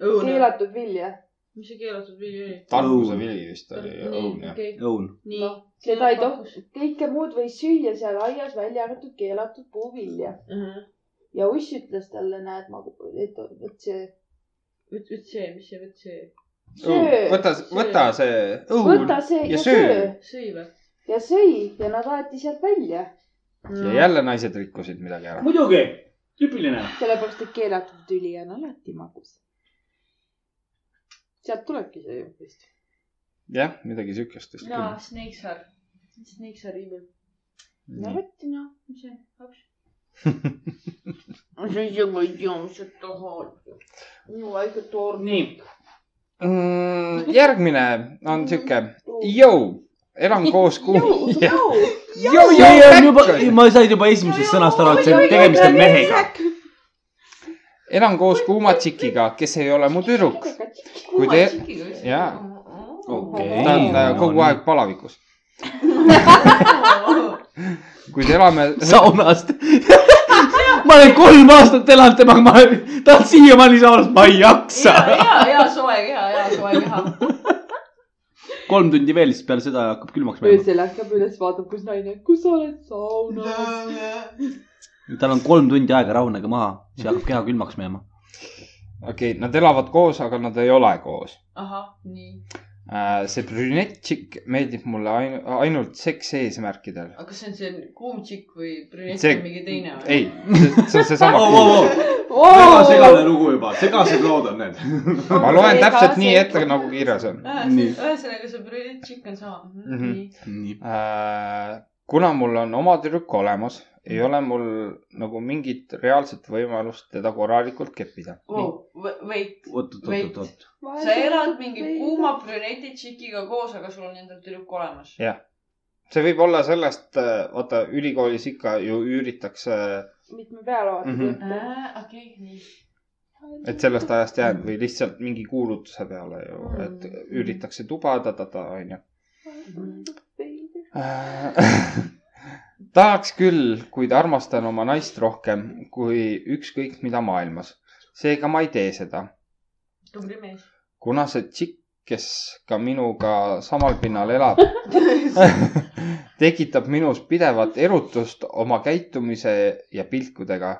Speaker 4: õuna ,
Speaker 1: keelatud vilja .
Speaker 4: mis see keelatud vili oli ?
Speaker 2: tarkuse vili vist oli , õun jah .
Speaker 4: okei ,
Speaker 3: õun .
Speaker 4: nii .
Speaker 1: seda ei tohi , kõike muud võis süüa seal aias , välja arvatud keelatud puuvilja . ja uss ütles talle , näed , ma , et vot see ,
Speaker 4: vot , vot see , mis see , vot see ,
Speaker 1: söö ,
Speaker 2: võta , võta see õun
Speaker 1: võta see
Speaker 2: ja
Speaker 1: ja
Speaker 2: söö
Speaker 1: söö .
Speaker 4: sõi või ?
Speaker 1: ja sõi ja nad aeti sealt välja , Mm,
Speaker 2: ja jälle naised rikkusid midagi ära .
Speaker 3: muidugi , tüüpiline .
Speaker 1: sellepärast et keelatud tüli on alati magus . sealt tulebki see ju vist .
Speaker 2: jah , midagi siukest vist
Speaker 4: jaa
Speaker 2: küll .,
Speaker 4: Snakes are , Snakes are evil .
Speaker 1: no vot ,
Speaker 4: noh , mis see , hops .
Speaker 6: siis ju ma ei tea , mis sa tahad . minu väike torn .
Speaker 3: nii ,
Speaker 2: Mm, järgmine on siuke , jõu , elan koos kuu- . jõu ,
Speaker 3: see on
Speaker 2: jõu
Speaker 3: juba ,, ma sain juba esimesest sõnast aru , et see on tegemist on mehega .
Speaker 2: elan koos kuuma tšikiga , kes ei ole mu tüdruk . kui te , jaa , Oh.
Speaker 3: okei
Speaker 2: ta on äh, kogu . aeg palavikus . kuid elame ,
Speaker 3: saunast . ma olen kolm aastat elanud temaga , ma tahan siiamaani saunas , ma ei jaksa .
Speaker 11: hea , hea soe keha , hea soe keha .
Speaker 3: kolm tundi veel , siis peale seda hakkab külmaks minema .
Speaker 1: öösel ärkab üles , vaatab , kus naine , kus sa oled saunas .
Speaker 3: tal on kolm tundi aega rahunege maha , siis hakkab keha külmaks minema .
Speaker 2: okei , nad elavad koos , aga nad ei ole koos .
Speaker 4: ahah , nii .
Speaker 2: see brünett tšikk meeldib mulle ain- ainult seksi eesmärkidel .
Speaker 4: aga kas see on see kuum tšikk või brünett
Speaker 2: See-
Speaker 4: või mingi teine või ?
Speaker 2: ei , see on seesama kuum .
Speaker 3: väga segane lugu juba , segased lood on need .
Speaker 2: ma loen täpselt nii ette , nagu kirjas on .
Speaker 3: Nii.
Speaker 4: ühesõnaga , see brünett tšikk on sama
Speaker 2: Mhm.
Speaker 4: nii .
Speaker 3: nii ,
Speaker 2: Äh, kuna mul on oma tüdruk olemas , ei ole mul nagu mingit reaalset võimalust teda korralikult keppida .
Speaker 4: Wow, wa- wait ,
Speaker 3: oot , oot , oot , oot , oot .
Speaker 4: sa elad mingi kuuma brüneti tšikiga koos , aga sul on endal tüdruk olemas .
Speaker 2: see võib olla sellest , vaata ülikoolis ikka ju üüritakse ,
Speaker 1: mitme peale
Speaker 2: Mhm.
Speaker 1: vaatad .
Speaker 4: okei , nii .
Speaker 2: et sellest ajast jäänud või lihtsalt mingi kuulutuse peale ju , et üüritakse tuba ta-ta-ta onju . Äh, tahaks küll , kuid armastan oma naist rohkem kui ükskõik mida maailmas . seega ma ei tee seda
Speaker 4: tubli mees .
Speaker 2: kuna see tšikk , kes ka minuga samal pinnal elab , tekitab minus pidevat erutust oma käitumise ja pilkudega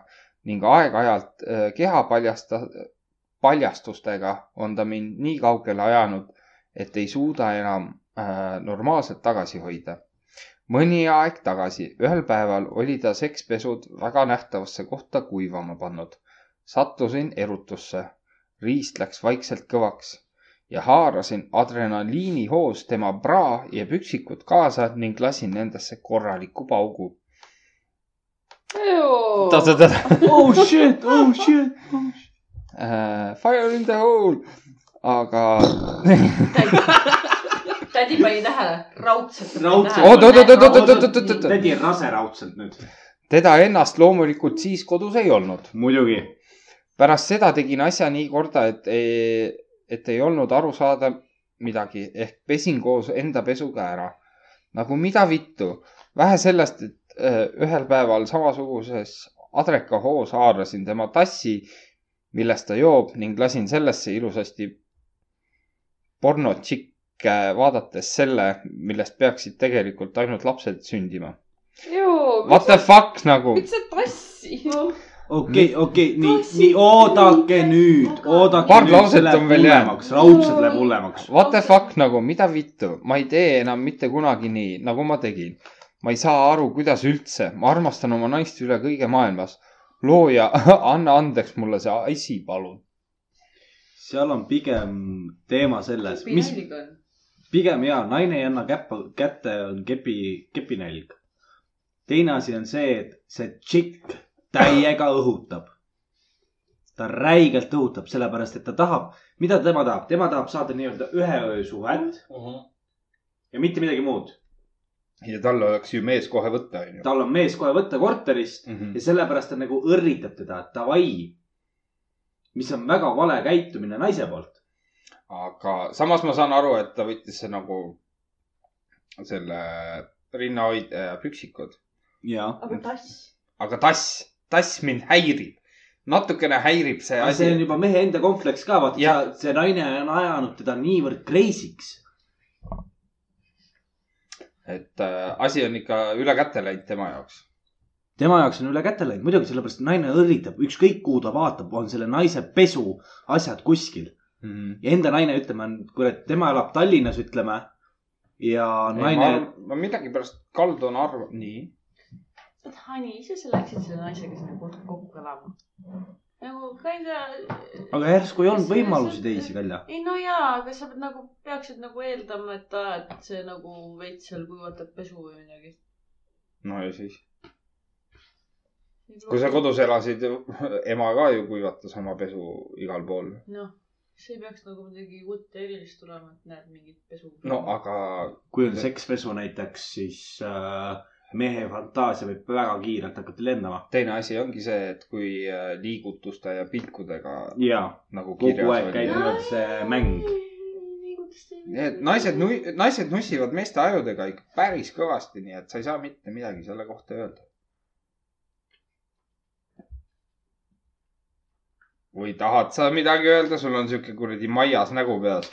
Speaker 2: ning aeg-ajalt äh, keha paljasta- , paljastustega on ta mind nii kaugele ajanud , et ei suuda enam äh, normaalselt tagasi hoida . mõni aeg tagasi , ühel päeval oli ta sekspesud väga nähtavasse kohta kuivama pannud . sattusin erutusse , riist läks vaikselt kõvaks ja haarasin adrenaliinihoos tema praa ja püksikud kaasa ning lasin nendesse korraliku paugu .
Speaker 3: oh shit , oh shit .
Speaker 2: Äh, Fire in the hole , aga
Speaker 4: tädi pani tähele , raudselt .
Speaker 3: Raudselt.
Speaker 2: oot , oot , oot , oot , oot , oot , oot , oot , oot ,
Speaker 3: tädi on rase raudselt nüüd .
Speaker 2: teda ennast loomulikult siis kodus ei olnud .
Speaker 3: muidugi .
Speaker 2: pärast seda tegin asja nii korda , et , et ei olnud aru saada midagi ehk pesin koos enda pesuga ära . nagu mida vittu , vähe sellest , et eh, ühel päeval samasuguses adrekahoos haarasin tema tassi , millest ta joob ning lasin sellesse ilusasti pornotšikke vaadates selle , millest peaksid tegelikult ainult lapsed sündima . What the fuck nagu ,
Speaker 6: miks sa tassi ?
Speaker 3: okei , okei , nii , nii oodake nüüd , oodake .
Speaker 2: Paar lauset on veel jäänud. .
Speaker 3: raudselt läheb hullemaks .
Speaker 2: what the fuck nagu , mida vittu , ma ei tee enam mitte kunagi nii , nagu ma tegin . ma ei saa aru , kuidas üldse , ma armastan oma naist üle kõige maailmas . looja , anna andeks mulle see asi , palun .
Speaker 3: seal on pigem teema selles , mis
Speaker 4: naljaga on ?
Speaker 3: pigem ja naine ei anna käppa , kätte , on kepi , kepinälg . teine asi on see , et see tšikk täiega õhutab . ta räigelt õhutab , sellepärast et ta tahab , mida tema tahab , tema tahab saada nii-öelda ühe öö suhet . ja mitte midagi muud .
Speaker 2: ja tal oleks ju Mhm. mees kohe võtta , onju .
Speaker 3: tal on mees kohe võtta korterist mm -hmm. ja sellepärast ta nagu õrritab teda , et davai . mis on väga vale käitumine naise poolt .
Speaker 2: aga samas ma saan aru , et ta võttis see nagu selle rinnahoidja püksikud ,
Speaker 3: ja .
Speaker 11: aga tass .
Speaker 2: aga tass , tass mind häirib , natukene häirib see
Speaker 3: aga see on
Speaker 2: asi .
Speaker 3: juba mehe enda kompleks ka ,
Speaker 2: Jah.
Speaker 3: vaata , see naine on ajanud teda niivõrd crazy'ks .
Speaker 2: et äh, asi on ikka üle käte läinud tema jaoks .
Speaker 3: tema jaoks on üle käte läinud , muidugi sellepärast , et naine õrritab , ükskõik kuhu ta vaatab , on selle naise pesu asjad kuskil . ja enda naine , ütleme , on , kurat , tema elab Tallinnas , ütleme . ja naine
Speaker 2: ma , ma millegipärast kaldun arvama , nii .
Speaker 4: Hani , ise sa läksid selle naisega sinna kokku kokku elama ? nagu kinda .
Speaker 3: aga järsku ei olnud võimalusi teisi välja .
Speaker 4: ei no jaa , aga sa pead nagu , peaksid nagu eeldama , et aa , et see nagu veits seal kuivatab pesu või midagi .
Speaker 2: no ja siis , kui sa . kodus elasid , ema ka ju kuivatas oma pesu igal pool .
Speaker 4: noh , see ei peaks nagu midagi uut ja erilist tulema , et näed mingit pesu .
Speaker 2: no aga
Speaker 3: kui on sekspesu näiteks , siis äh, mehe fantaasia võib väga kiirelt hakata lendama .
Speaker 2: teine asi ongi see , et kui äh, liigutuste ja pilkudega
Speaker 3: ja
Speaker 2: nagu
Speaker 3: kogu
Speaker 2: kirjas
Speaker 3: aeg käib
Speaker 2: oli .
Speaker 3: niimoodi see mäng .
Speaker 2: nii et naised , naised nussivad meeste ajudega ikka päris kõvasti , nii et sa ei saa mitte midagi selle kohta öelda . või tahad sa midagi öelda , sul on siuke kuradi maias nägu peas .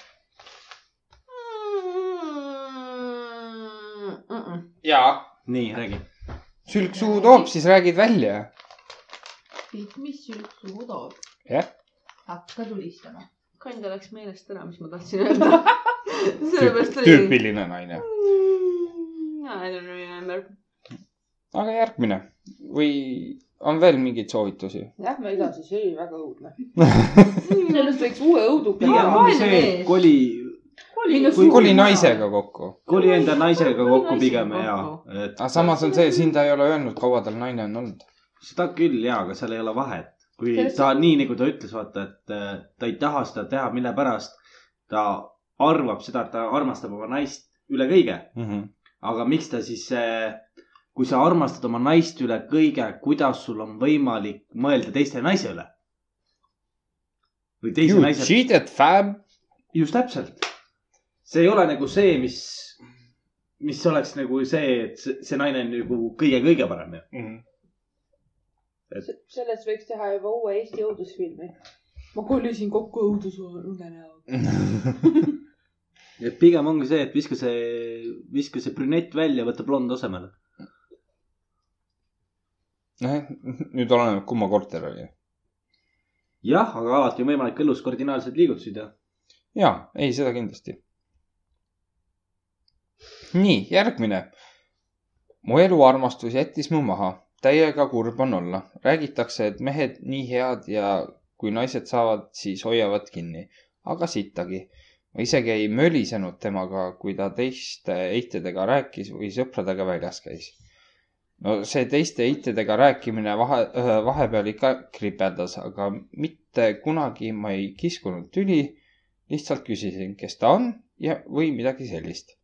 Speaker 2: jaa ,
Speaker 3: nii , räägi .
Speaker 2: sülg suhu toob , siis räägid välja .
Speaker 8: mis sülg suhu toob ?
Speaker 2: Jah. .
Speaker 8: hakka tulistama .
Speaker 4: kinda läks meelest ära , mis ma tahtsin öelda . sellepärast oli .
Speaker 2: tüüpiline naine .
Speaker 4: I don't remember .
Speaker 2: aga järgmine või on veel mingeid soovitusi ?
Speaker 6: Lähme edasi , see oli väga õudne . sellest võiks uue õuduka
Speaker 3: pigem
Speaker 6: teha .
Speaker 3: on see , et koli ,
Speaker 4: nagu
Speaker 2: kui koli naisega kokku .
Speaker 3: koli enda naisega kokku
Speaker 4: naisega
Speaker 3: pigem ja
Speaker 4: kokku. ,
Speaker 3: et
Speaker 2: aga samas on see , siin ta ei ole öelnud , kaua tal naine on olnud .
Speaker 3: seda küll ja , aga seal ei ole vahet . kui ta nii nagu ta ütles , vaata , et äh, ta ei taha seda teha , mille pärast ta arvab seda , et ta armastab oma naist üle kõige ,
Speaker 2: mm . -hmm.
Speaker 3: aga miks ta siis , kui sa armastad oma naist üle kõige , kuidas sul on võimalik mõelda teiste naise üle ? või teise
Speaker 2: You
Speaker 3: naise ,
Speaker 2: cheated fam .
Speaker 3: just täpselt . see ei ole nagu see , mis , mis oleks nagu see , et see, see naine on nagu kõige-kõige parem ju .
Speaker 6: sellest võiks teha juba uue Eesti õudusfilmi . ma kolisin kokku õudusune näoga .
Speaker 3: et pigem ongi see , et viska see , viska see brünett välja , võta blond asemele .
Speaker 2: nojah , Noh, nüüd oleneb , kumma korter oli .
Speaker 3: jah , aga alati on võimalik elus kardinaalseid liigutusi teha .
Speaker 2: ja , ei , seda kindlasti . nii , järgmine . mu eluarmastus jättis mu maha , täiega kurb on olla . räägitakse , et mehed nii head ja kui naised saavad , siis hoiavad kinni , aga sittagi . ma isegi ei mölisenud temaga , kui ta teiste eitedega rääkis või sõpradega väljas käis . no see teiste eitedega rääkimine vahe , vahepeal ikka kriperdas , aga mitte kunagi ma ei kiskunud tüli lihtsalt küsisin , kes ta on ja , või midagi sellist .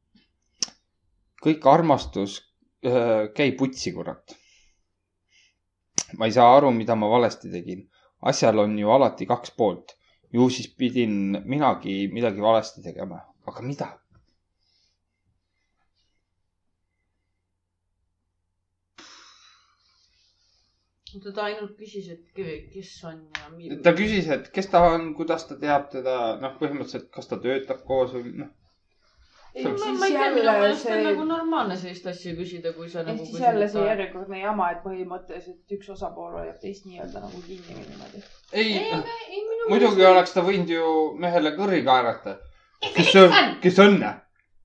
Speaker 2: kõik armastus öö, käib utsi , kurat . ma ei saa aru , mida ma valesti tegin . asjal on ju alati kaks poolt . ju siis pidin minagi midagi valesti tegema , aga mida ?
Speaker 4: ta ainult küsis , et kes on ja millal .
Speaker 2: ta küsis , et kes ta on , kuidas ta teab teda , noh , põhimõtteliselt , kas ta töötab koos või noh .
Speaker 4: ei , ma
Speaker 6: Siis
Speaker 4: ma ei tea , minu
Speaker 6: jälle
Speaker 4: meelest on
Speaker 6: see-
Speaker 4: nagu normaalne sellist asja küsida , kui sa
Speaker 6: ehk
Speaker 4: nagu .
Speaker 6: siis jälle see . järjekordne jama , et põhimõtteliselt üks osapool hoiab teist nii-öelda nagu kinni või niimoodi .
Speaker 2: ei,
Speaker 4: ei , aga ei minu
Speaker 2: muidugi oleks ta võinud ju mehele kõrri kaerata . kes see on , kes see on ?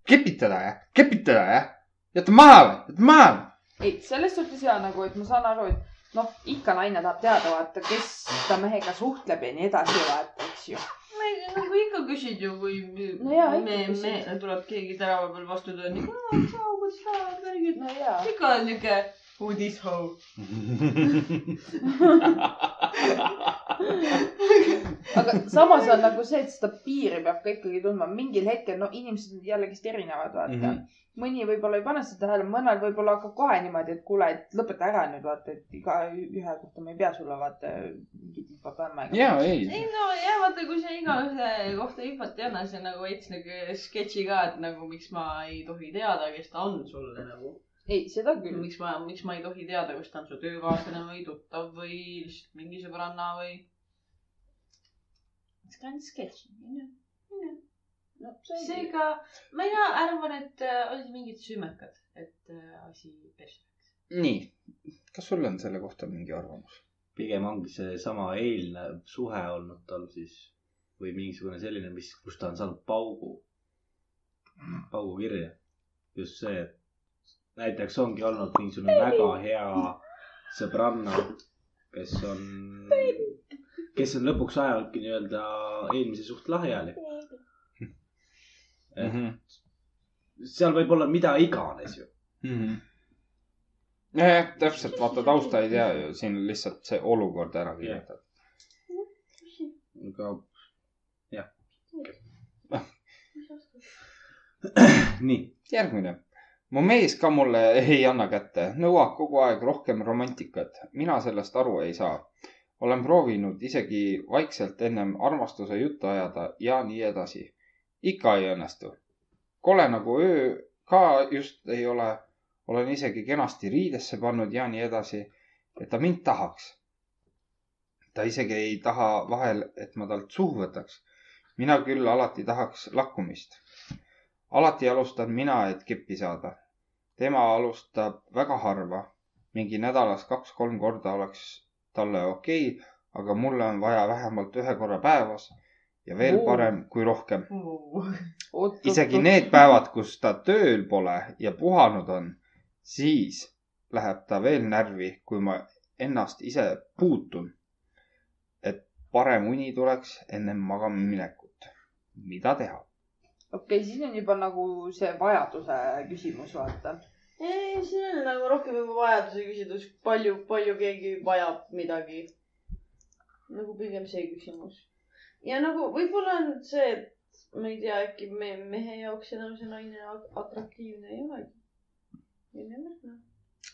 Speaker 2: kepitada jah , kepitada jah . jäta maha või , jäta maha või .
Speaker 6: ei , selles suhtes ja nagu , et ma saan aru , et noh , ikka naine tahab teada , vaata , kes ta mehega suhtleb ja nii edasi , vaata , eks ju .
Speaker 4: meelest , nagu ikka küsid ju , kui
Speaker 6: No jaa, ikka
Speaker 4: me ,
Speaker 6: küsid.
Speaker 4: me , tuleb keegi tänava peal vastu tulema , nii , kuidas sa , kuidas sa , värgid .
Speaker 6: no jaa .
Speaker 4: ikka on niuke , uudishoo .
Speaker 6: aga samas on nagu see , et seda piiri peab ka ikkagi tundma . mingil hetkel , no inimesed on jällegist erinevad , vaata mm .
Speaker 2: Mhm.
Speaker 6: -hmm. mõni võib-olla ei pane seda tähele , mõnel võib-olla hakkab kohe niimoodi , et kuule , et lõpeta ära nüüd , vaata , et igaühe kohta ma ei pea sulle , vaata , mingit infot andma .
Speaker 2: ja ei ,
Speaker 4: ei no ja vaata , kui sa igaühe kohta infot ei anna , see on nagu veits nagu sketši ka , et nagu miks ma ei tohi teada , kes ta on sulle nagu .
Speaker 6: ei , seda küll .
Speaker 4: miks ma , miks ma ei tohi teada , kas ta on su töökaaslane või tuttav või lihtsalt mingi sõbranna või . see on sketš , onju .
Speaker 6: no see, see... .
Speaker 4: seega mina arvan , et äh, olid mingid süümekad , et äh, asi persse .
Speaker 2: nii . kas sul on selle kohta mingi arvamus ?
Speaker 3: pigem ongi seesama eilne suhe olnud tal siis või mingisugune selline , mis , kus ta on saanud paugu , paugu kirja . just see , et näiteks ongi olnud mingisugune väga hea sõbranna , kes on , kes on lõpuks ajanudki nii-öelda eelmise suht lahjali . seal võib olla mida iganes ju .
Speaker 2: nojah , täpselt , vaata tausta ei tea ju , siin on lihtsalt see olukord ära kirjeldatud .
Speaker 3: aga jah . nii .
Speaker 2: järgmine . mu mees ka mulle ei anna kätte , nõuab kogu aeg rohkem romantikat . mina sellest aru ei saa . olen proovinud isegi vaikselt ennem armastuse juttu ajada ja nii edasi . ikka ei õnnestu . kole nagu öö ka just ei ole . olen isegi kenasti riidesse pannud ja nii edasi , et ta mind tahaks . ta isegi ei taha vahel , et ma talt suhu võtaks . mina küll alati tahaks lakkumist alati alustan mina , et kippi saada . tema alustab väga harva , mingi nädalas kaks-kolm korda oleks talle okei okay, , aga mulle on vaja vähemalt ühe korra päevas ja veel
Speaker 6: Oo.
Speaker 2: parem , kui rohkem .
Speaker 6: Oot,
Speaker 2: isegi need päevad , kus ta tööl pole ja puhanud on , siis läheb ta veel närvi , kui ma ennast ise puutun . et parem uni tuleks ennem magamaminekut . mida teha ?
Speaker 6: okei okay, , siis on juba nagu see vajaduse küsimus , vaata .
Speaker 4: ei , see on nagu rohkem juba vajaduse küsitlus , palju , palju keegi vajab midagi . nagu pigem see küsimus . ja nagu võib-olla on see , et ma ei tea , äkki me mehe jaoks enam see naine at- atraktiivne ei olegi . ei tea ,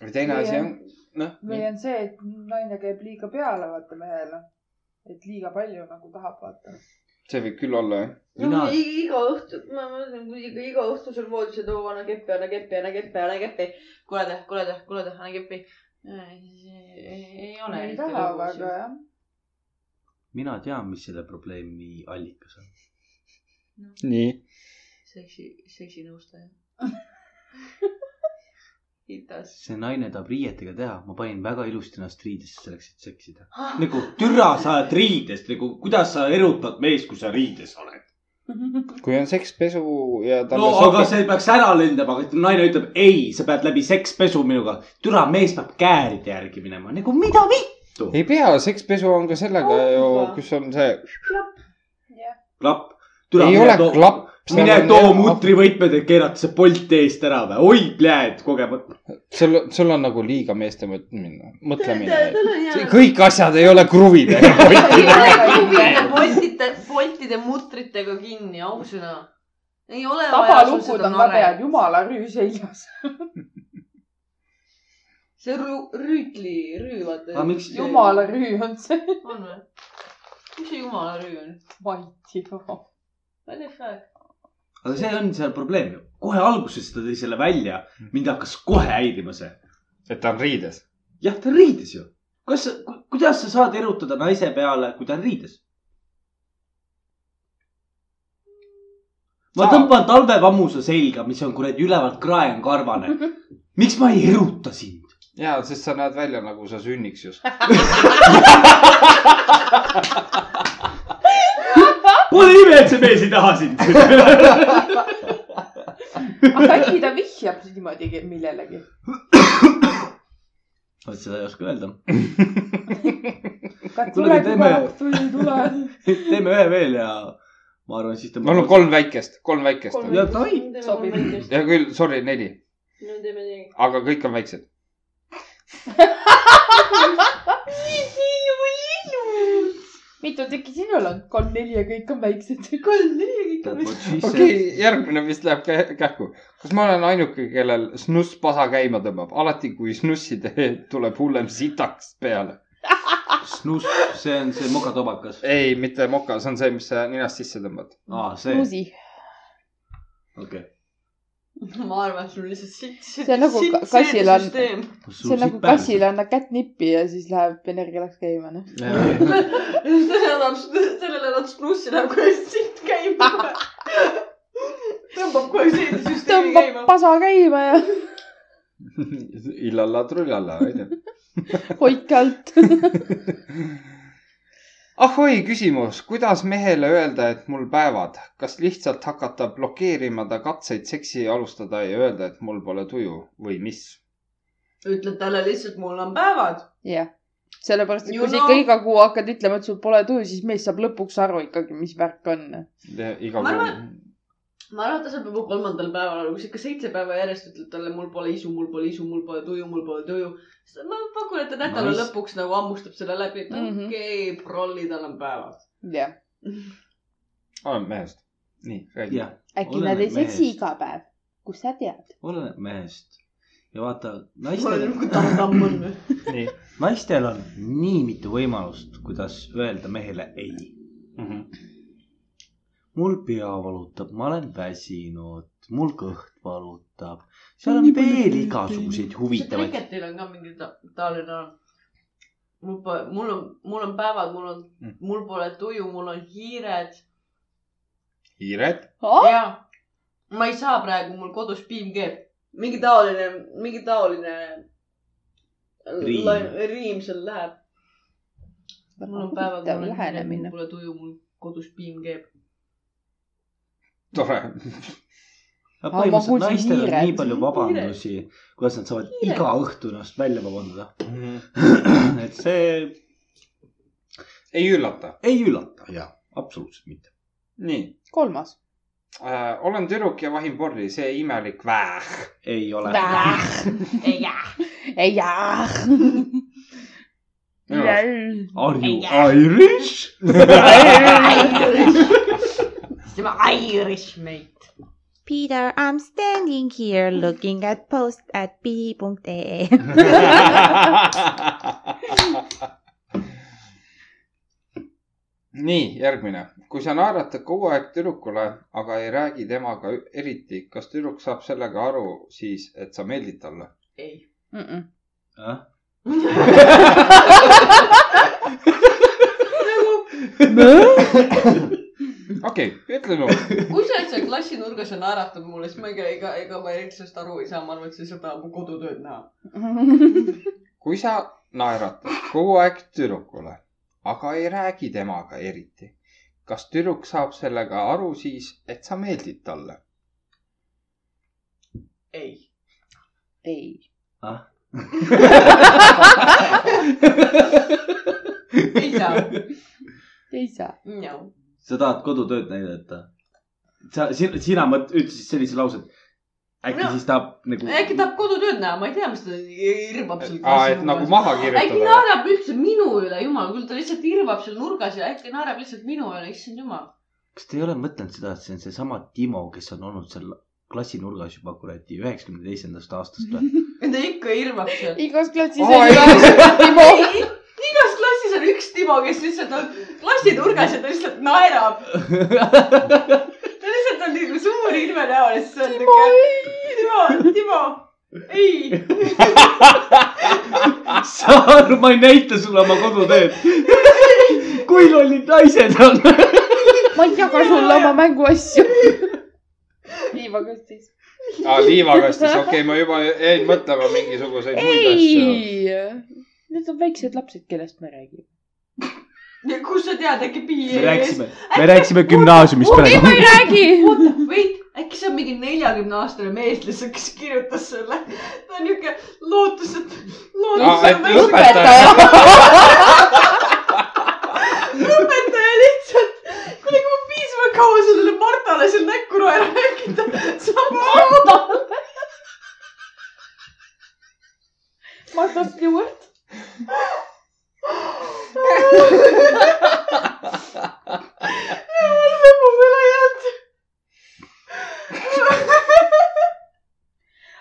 Speaker 2: või teine asi on , noh .
Speaker 6: või on see , et naine käib liiga peale , vaata mehele . et liiga palju nagu tahab , vaata .
Speaker 2: see võib küll olla jah .
Speaker 4: noh . no
Speaker 3: Mina-
Speaker 4: i- iga õhtu , ma mõtlen , kui iga , iga õhtu sul voodis , et oo , anna keppi , anna keppi , anna keppi , anna keppi . kuule teh , kuule teh , kuule teh , anna keppi . ei ei ole .
Speaker 6: ei taha väga jah .
Speaker 3: mina tean , mis selle probleemi allikas on .
Speaker 2: nii .
Speaker 4: seksi , seksinõustaja idas .
Speaker 3: see naine tahab riietega teha , ma panin väga ilusti ennast riidesse selleks , et seksida . nagu türa , sa oled riidest , nagu kuidas sa erutad meest , kui sa riides oled ?
Speaker 2: kui on sekspesu ja talle
Speaker 3: no aga see peaks ära lendama , aga naine ütleb ei , sa pead läbi sekspesu minuga . türa , mees peab kääride järgi minema , nagu mida vittu ?
Speaker 2: ei pea , sekspesu on ka sellega
Speaker 4: On
Speaker 2: ju
Speaker 4: ka. ,
Speaker 2: kus on see ,
Speaker 3: klapp .
Speaker 2: ei ole klapp .
Speaker 3: mine too . mutrivõtmed , et keerata see polt eest ära või , oi , pljääd , kogemata .
Speaker 2: sul , sul on nagu liiga meeste mõtlemine , mõtlemine .
Speaker 4: tal on hea .
Speaker 2: kõik asjad ei ole kruvid .
Speaker 4: Boltide , Boltide mutritega kinni , ausõna . ei ole vaja sul
Speaker 6: tabalukud
Speaker 4: seda
Speaker 6: on väga head ,
Speaker 4: nare .
Speaker 6: jumala rüü seljas .
Speaker 4: see rü- , rüütli , rüü , vaata
Speaker 3: Aga miks- .
Speaker 6: jumala . rüü on see .
Speaker 4: on või ? mis see jumala rüü on ?
Speaker 6: ma ei tea .
Speaker 4: ma ei tea , mis aeg .
Speaker 3: aga see on seal probleem ju . kohe alguses ta tõi selle välja , mind hakkas kohe häirima see .
Speaker 2: et ta on riides .
Speaker 3: jah , ta on riides ju . kas , kuidas sa saad erutada naise peale , kui ta on riides ? ma
Speaker 2: Saab.
Speaker 3: tõmban talvevammuse selga , mis on kuradi ülevalt krae on karvane .
Speaker 1: Mhm.
Speaker 3: miks ma ei eruta sind ?
Speaker 2: ja , sest sa näed välja nagu sa sünniks just .
Speaker 3: Pole ime , et see mees ei taha sind .
Speaker 6: aga äkki ta vihjab siis niimoodi ke- millelegi .
Speaker 3: vot seda ei oska öelda .
Speaker 6: kas
Speaker 3: Kuule,
Speaker 6: tuleb juba
Speaker 3: teeme-
Speaker 6: õhtul , tule .
Speaker 3: teeme ühe veel ja ma arvan , siis ta .
Speaker 2: mul on kolm väikest , kolm väikest .
Speaker 3: Ja davai.
Speaker 6: sobib.
Speaker 2: hea küll , sorry , neli ,
Speaker 4: no teeme nii .
Speaker 2: aga kõik on väiksed .
Speaker 6: mitu tükki sinul on ? kolm-neli ja kõik on väiksed . kolm-neli ja kõik on
Speaker 2: okei okay, , järgmine vist läheb kä- kähku . kas ma olen ainuke , kellel snuss pasa käima tõmbab ? alati , kui snussi teed , tuleb hullem sitaks peale .
Speaker 3: Snus , see on see mokatobakas .
Speaker 2: ei , mitte moka , see on see , mis sa ninast sisse tõmbad .
Speaker 3: aa , see ,
Speaker 1: nuusi .
Speaker 3: okei .
Speaker 4: ma arvan , et sul lihtsalt siit , siit ,
Speaker 1: See on nagu ka- kassil on-
Speaker 4: süsteem .
Speaker 1: see on nagu kassile annad kätt nippi ja siis läheb energia läks käima , noh .
Speaker 4: sellele annab , sellele annab snussi läheb kohe nagu siit käima . tõmbab kohe siit süsteemi
Speaker 1: tõmbab
Speaker 4: käima .
Speaker 1: pasa käima ja
Speaker 2: Illalla trullalla , onju .
Speaker 1: hoidke alt .
Speaker 2: ahoi , küsimus , kuidas mehele öelda , et mul päevad , kas lihtsalt hakata blokeerima ta katseid seksi alustada ja öelda , et mul pole tuju või mis ?
Speaker 4: ütled talle lihtsalt , mul on päevad .
Speaker 1: jah , sellepärast , et
Speaker 4: You
Speaker 1: kui sa ikka
Speaker 4: know-
Speaker 1: iga kuu hakkad ütlema , et sul pole tuju , siis mees saab lõpuks aru ikkagi , mis värk on .
Speaker 2: iga
Speaker 4: Ma
Speaker 2: kuu
Speaker 4: arvan- . ma arvan , et ta saab juba kolmandal päeval aru , kui sa ikka seitse päeva järjest ütled talle , mul pole isu , mul pole isu , mul pole tuju , mul pole tuju . ma pakun , et ta nädala
Speaker 3: Nice.
Speaker 4: lõpuks nagu hammustab selle läbi , et
Speaker 1: Mhm.
Speaker 4: okei , prolli , tal on päevad .
Speaker 1: jah ,
Speaker 2: olen Ah, mehest . nii , räägi .
Speaker 3: jah ,
Speaker 1: äkki
Speaker 3: Oleneb
Speaker 1: nad ei seksi
Speaker 3: mehest.
Speaker 1: iga päev , kust sa tead ?
Speaker 3: oleneb mehest . ja vaata ,
Speaker 4: ma olen
Speaker 3: naistel ,
Speaker 4: nagu targam on .
Speaker 2: nii .
Speaker 3: naistel on nii mitu võimalust , kuidas öelda mehele ei .
Speaker 2: Mhm.
Speaker 3: mul pea valutab , ma olen väsinud , mul kõht valutab , seal on
Speaker 8: Nii palju
Speaker 3: veel
Speaker 8: kui-
Speaker 3: igasuguseid
Speaker 4: see
Speaker 3: huvitavaid .
Speaker 4: Kriketil on ka mingi ta- taoline . mul pole , mul on , mul on päevad , mul on
Speaker 2: Mm. ,
Speaker 4: mul pole tuju , mul on hiired
Speaker 2: hiired .
Speaker 1: Oh?
Speaker 4: ja ma ei saa praegu , mul kodus piim keeb . mingi taoline , mingi taoline
Speaker 3: Riim.
Speaker 4: lain- riim seal läheb . mul on päevad ,
Speaker 1: huvitav
Speaker 4: mul on hiired ,
Speaker 1: lähenemine
Speaker 4: mul . pole tuju , mul kodus piim keeb .
Speaker 2: tore .
Speaker 3: aga
Speaker 1: Aa, ma kuulsin
Speaker 3: põhimõtteliselt naistel on
Speaker 1: hiired.
Speaker 3: nii palju vabandusi , kuidas nad saavad
Speaker 4: Hiired.
Speaker 3: iga õhtu ennast välja vabandada .
Speaker 2: Mhm.
Speaker 3: et see
Speaker 2: ei üllata .
Speaker 3: ei üllata ja absoluutselt mitte .
Speaker 2: nii
Speaker 1: kolmas .
Speaker 2: äh, . olen tüdruk ja vahin porri , see imelik väh .
Speaker 3: ei ole .
Speaker 1: jah .
Speaker 2: Minu arust.
Speaker 3: Are you Irish ?
Speaker 4: tema Irish mate .
Speaker 7: Peter , I m standing here looking at post at E. p.ee .
Speaker 2: nii , järgmine . kui sa naeratad kogu aeg tüdrukule , aga ei räägi temaga ü- eriti , kas tüdruk saab sellega aru siis , et sa meeldid talle ?
Speaker 4: ei .
Speaker 2: okei okay, , ütle no .
Speaker 4: kui sa oled seal klassinurgas ja naeratad mulle , siis ma ega , ega , ega ma eriti sellest aru ei saa , ma arvan , et sa ei saa täna mu kodutööd näha .
Speaker 2: kui sa naeratad kogu aeg tüdrukule , aga ei räägi temaga eriti , kas tüdruk saab sellega aru siis , et sa meeldid talle ?
Speaker 4: ei .
Speaker 1: ei .
Speaker 4: ei saa .
Speaker 1: ei saa .
Speaker 4: jah .
Speaker 3: sa tahad kodutööd näidata ? sa , sina, sina mõt- , ütlesid sellise lause , et äkki
Speaker 4: No.
Speaker 3: no. siis tahab nagu .
Speaker 4: äkki tahab kodutööd näha , ma ei tea , mis ta irvab seal
Speaker 2: aa , et nagu maha
Speaker 4: äkki
Speaker 2: kirjutada ?
Speaker 4: naerab üldse minu üle , jumal küll , ta lihtsalt irvab seal nurgas ja äkki naerab lihtsalt minu üle , issand jumal .
Speaker 3: kas te ei ole mõtelnud seda , et see on seesama Timo , kes on olnud seal klassinurgas juba kuradi üheksakümne teisendast aastast või ?
Speaker 4: ta ikka irvab seal .
Speaker 1: igas klassis on
Speaker 2: Aa,
Speaker 1: igas Timo .
Speaker 4: igas klassis on üks Timo , kes lihtsalt on klassinurgas ja ta lihtsalt naerab . ta lihtsalt on nii suur ilmenäol ja siis on . Timo , ei . Timo , Timo , ei
Speaker 3: sa arvad , ma ei näita sulle oma kodutööd ? kui lollid naised on ?
Speaker 1: ma ei jaga sulle oma mänguasju . liivakastis .
Speaker 2: aa , liivakastis , okei okay, , ma juba jäin mõtlema mingisuguseid muid asju .
Speaker 1: ei , need on väiksed lapsed , kellest me räägime .
Speaker 4: ja kus sa tead , äkki
Speaker 3: me
Speaker 4: piiri ees .
Speaker 3: rääkisime , me rääkisime gümnaasiumist
Speaker 1: ei , ma
Speaker 3: praegu .
Speaker 1: ei räägi .
Speaker 4: Wait , äkki see on mingi neljakümne aastane mees lihtsalt , kes kirjutas selle . ta on niuke lootus , et
Speaker 2: aa ,
Speaker 4: lootus on
Speaker 2: et
Speaker 4: väiksem
Speaker 2: lõpetaja .
Speaker 4: õpetaja lihtsalt . kuule , kui ma piisavalt kaua sellele Martale seal näkku naeran , äkki ta saab aru .
Speaker 6: Martha Stewart .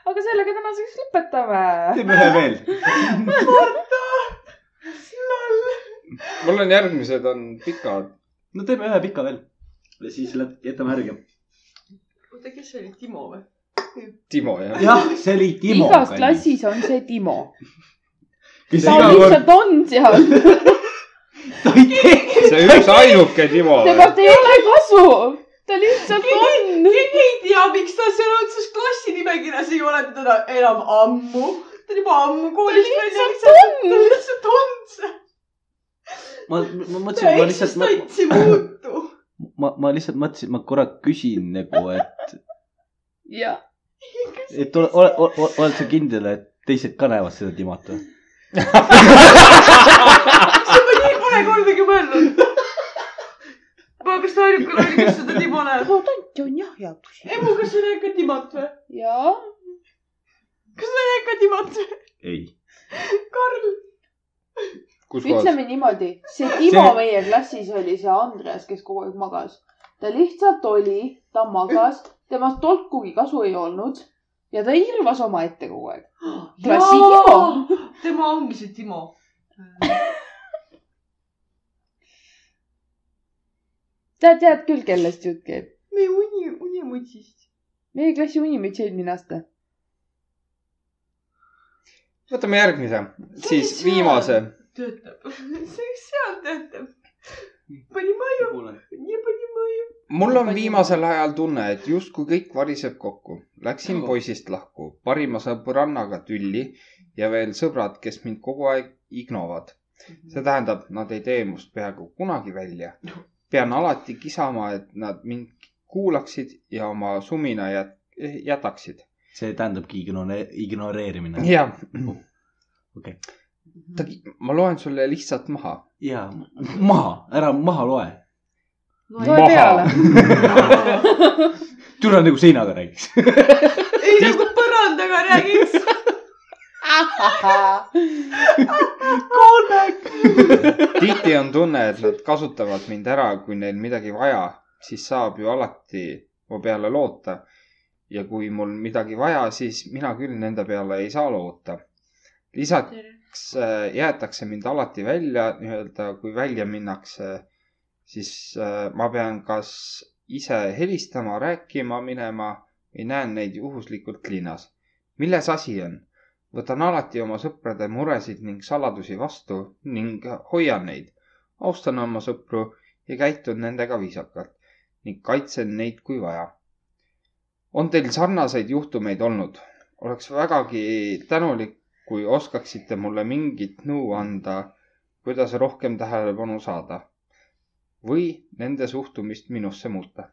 Speaker 6: aga sellega tänaseks lõpetame .
Speaker 3: teeme ühe veel .
Speaker 2: mul on järgmised on pikad .
Speaker 3: no teeme ühe pika veel . ja siis lä- jätame järgi .
Speaker 4: oota , kes see oli , Timo või ?
Speaker 2: Timo jah ja. .
Speaker 3: jah , see oli Timo .
Speaker 1: igas klassis on see Timo .
Speaker 3: kes
Speaker 1: ta
Speaker 3: iga kord ,
Speaker 1: lihtsalt on seal ,
Speaker 3: ta ei tee .
Speaker 2: see üks ainuke Timo .
Speaker 1: temast ei ole kasu , ta lihtsalt on .
Speaker 4: keegi ei tea , miks ta seal otsus klassi nimekirjas ei ole teda enam ammu . ta on juba ammu koolist välja visatud . ta lihtsalt on see .
Speaker 12: ma , ma
Speaker 4: ta
Speaker 12: mõtlesin , ma lihtsalt , ma ,
Speaker 4: eksistents ei muutu .
Speaker 12: ma , ma lihtsalt mõtlesin , ma korra küsin nagu , et ,
Speaker 1: jah ,
Speaker 12: et ole , ole, ole , oled sa kindel , et teised ka näevad seda Timot või ?
Speaker 4: ma nii pole kordagi mõelnud . ma , kas ta ainuke oli , kes seda Timo näeb ?
Speaker 5: no tont on jah jaotus .
Speaker 4: Emu , kas sa näed ka Timot või ?
Speaker 1: ja
Speaker 4: kas sa näed ka Timot või ?
Speaker 3: ei .
Speaker 4: Karl .
Speaker 2: kus kohas ?
Speaker 1: ütleme niimoodi , see Timo
Speaker 3: See-
Speaker 1: meie klassis oli see Andres , kes kogu aeg magas . ta lihtsalt oli , ta magas , temast tolkugi kasu ei olnud ja ta irvas omaette kogu aeg . Klassi Timo. .
Speaker 4: tema ongi see Timo .
Speaker 1: sa tead küll , kellest jutt käib .
Speaker 4: meie uni , unimutsist .
Speaker 1: meie klassi unimüts eelmine aasta .
Speaker 2: võtame järgmise , siis
Speaker 4: See on-
Speaker 2: viimase .
Speaker 4: töötab . see , kes seal töötab . Понимаю , не понимаю .
Speaker 2: mul on Nagu? viimasel ajal tunne , et justkui kõik variseb kokku . Läksin poisist lahku , parima sõbrannaga tülli ja veel sõbrad , kes mind kogu aeg ignovad . see tähendab , nad ei tee must peaaegu kunagi välja . pean alati kisama , et nad mind kuulaksid ja oma sumina jät- , jätaksid .
Speaker 12: see tähendabki ignore- , ignoreerimine .
Speaker 2: jah .
Speaker 12: Okei.
Speaker 2: ma loen sulle lihtsalt maha .
Speaker 12: jaa , maha , ära maha loe .
Speaker 1: loe peale .
Speaker 12: türa nagu seinaga räägiks .
Speaker 4: ei nagu põrandaga räägiks .
Speaker 2: tihti on tunne , et nad kasutavad mind ära , kui neil midagi vaja , siis saab ju alati mu peale loota . ja kui mul midagi vaja , siis mina küll nende peale ei saa loota . lisaks äh, jäetakse mind alati välja , nii-öelda kui välja minnakse , siis äh, ma pean kas ise helistama , rääkima minema või näen neid juhuslikult linnas . milles asi on ? võtan alati oma sõprade muresid ning saladusi vastu ning hoian neid . austan oma sõpru ja käitun nendega viisakalt ning kaitsen neid , kui vaja . on teil sarnaseid juhtumeid olnud ? oleks vägagi tänulik , kui oskaksite mulle mingit nõu anda , kuidas rohkem tähelepanu saada või nende suhtumist minusse muuta .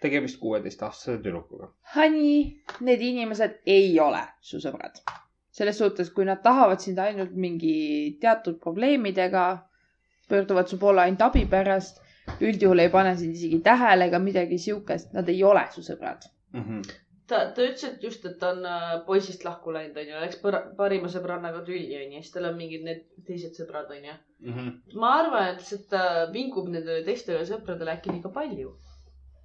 Speaker 2: tegemist kuueteistaastase tüdrukuga .
Speaker 1: Honey , need inimesed ei ole su sõbrad . selles suhtes , kui nad tahavad sind ainult mingi teatud probleemidega , pöörduvad su poole ainult abi pärast , üldjuhul ei pane sind isegi tähele ega midagi siukest , nad ei ole su sõbrad .
Speaker 2: Mm -hmm.
Speaker 4: ta , ta ütles , et just , et ta on äh, poisist lahku läinud , onju , läks põra- parima sõbrannaga tülli , onju , siis tal on mingid need teised sõbrad , onju .
Speaker 2: Mm -hmm.
Speaker 4: ma arvan , et lihtsalt ta vingub nendele teistele sõpradele äkki liiga palju .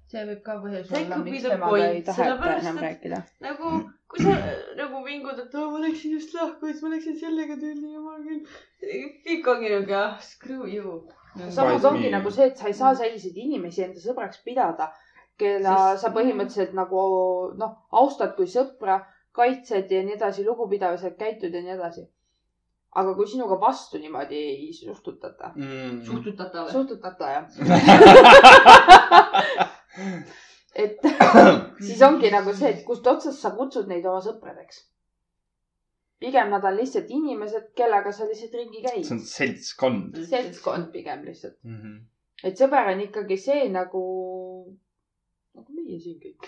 Speaker 8: see võib ka põhjus
Speaker 4: See
Speaker 8: olla ,
Speaker 4: ikka
Speaker 8: miks
Speaker 4: piisab
Speaker 8: temaga
Speaker 4: point.
Speaker 1: ei taheta
Speaker 4: Sellepärast,
Speaker 1: enam
Speaker 4: et-
Speaker 1: rääkida .
Speaker 4: nagu ,
Speaker 2: Mm.
Speaker 4: kui sa äh, nagu vingud , et "Oo, ma läksin just lahku , siis ma läksin sellega tülli , jumal küll . kõik ongi nagu jah , screw you .
Speaker 1: samas
Speaker 2: Vaid
Speaker 1: ongi
Speaker 2: nii.
Speaker 1: nagu see , et sa ei saa selliseid inimesi enda sõbraks pidada , keda
Speaker 4: Sest-
Speaker 1: sa põhimõtteliselt nagu noh , austad kui sõpra , kaitsed ja nii edasi , lugupidavalt käitud ja nii edasi . aga kui sinuga vastu niimoodi ei suhtutata ,
Speaker 2: Mm -hmm.
Speaker 4: suhtutatavale .
Speaker 1: suhtutata jah . et siis ongi nagu see , et kust otsast sa kutsud neid oma sõpradeks . pigem nad on lihtsalt inimesed , kellega sa lihtsalt ringi
Speaker 2: see on
Speaker 1: käid .
Speaker 2: seltskond
Speaker 1: seltskond pigem lihtsalt .
Speaker 2: mm . -hmm.
Speaker 1: et sõber on ikkagi see nagu , nagu meie siin kõik .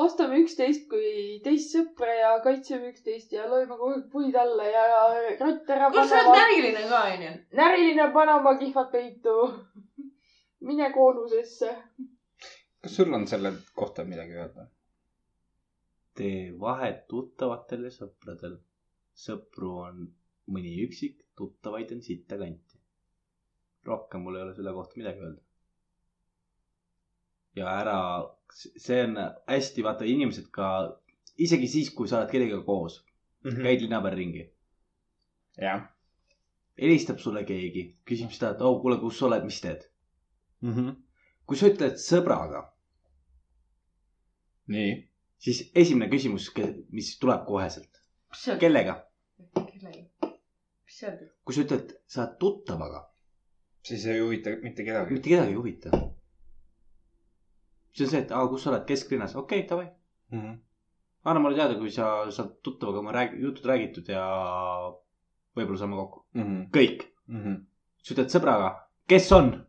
Speaker 1: ostame üksteist kui teist sõpra ja kaitseme üksteist ja loeme kogu aeg puid alla ja ratt ära
Speaker 4: kus sa oled
Speaker 1: panema .
Speaker 4: närviline ka , onju .
Speaker 1: näriline pane oma kihvad peitu . mine koolusesse .
Speaker 2: kas sul on selle kohta midagi öelda ?
Speaker 3: tee vahet tuttavatel ja sõpradel . sõpru on mõni üksik , tuttavaid on sittakanti . rohkem mul ei ole selle kohta midagi öelda . ja ära , see on hästi , vaata inimesed ka , isegi siis , kui sa oled kellegagi koos mm ,
Speaker 2: Mhm.
Speaker 3: -hmm. käid linna peal ringi .
Speaker 2: jah .
Speaker 3: helistab sulle keegi , küsib seda , et oh , kuule , kus sa oled , mis teed ?
Speaker 2: mm . -hmm.
Speaker 3: kui sa ütled sõbraga ,
Speaker 2: nii .
Speaker 3: siis esimene küsimus , mis tuleb koheselt ,
Speaker 4: mis seal ,
Speaker 3: kellega ?
Speaker 4: kellega , mis seal ,
Speaker 3: kui sa ütled , sa oled tuttavaga ,
Speaker 2: siis ei huvita mitte kedagi .
Speaker 3: mitte kedagi ei huvita . see on see , et aa , kus sa oled , kesklinnas , okei okay, , davai , anna mulle teada , kui sa saad tuttavaga oma räägi- , jutud räägitud ja võib-olla saame kokku ,
Speaker 2: Mhm.
Speaker 3: kõik . sa ütled sõbraga , kes on ?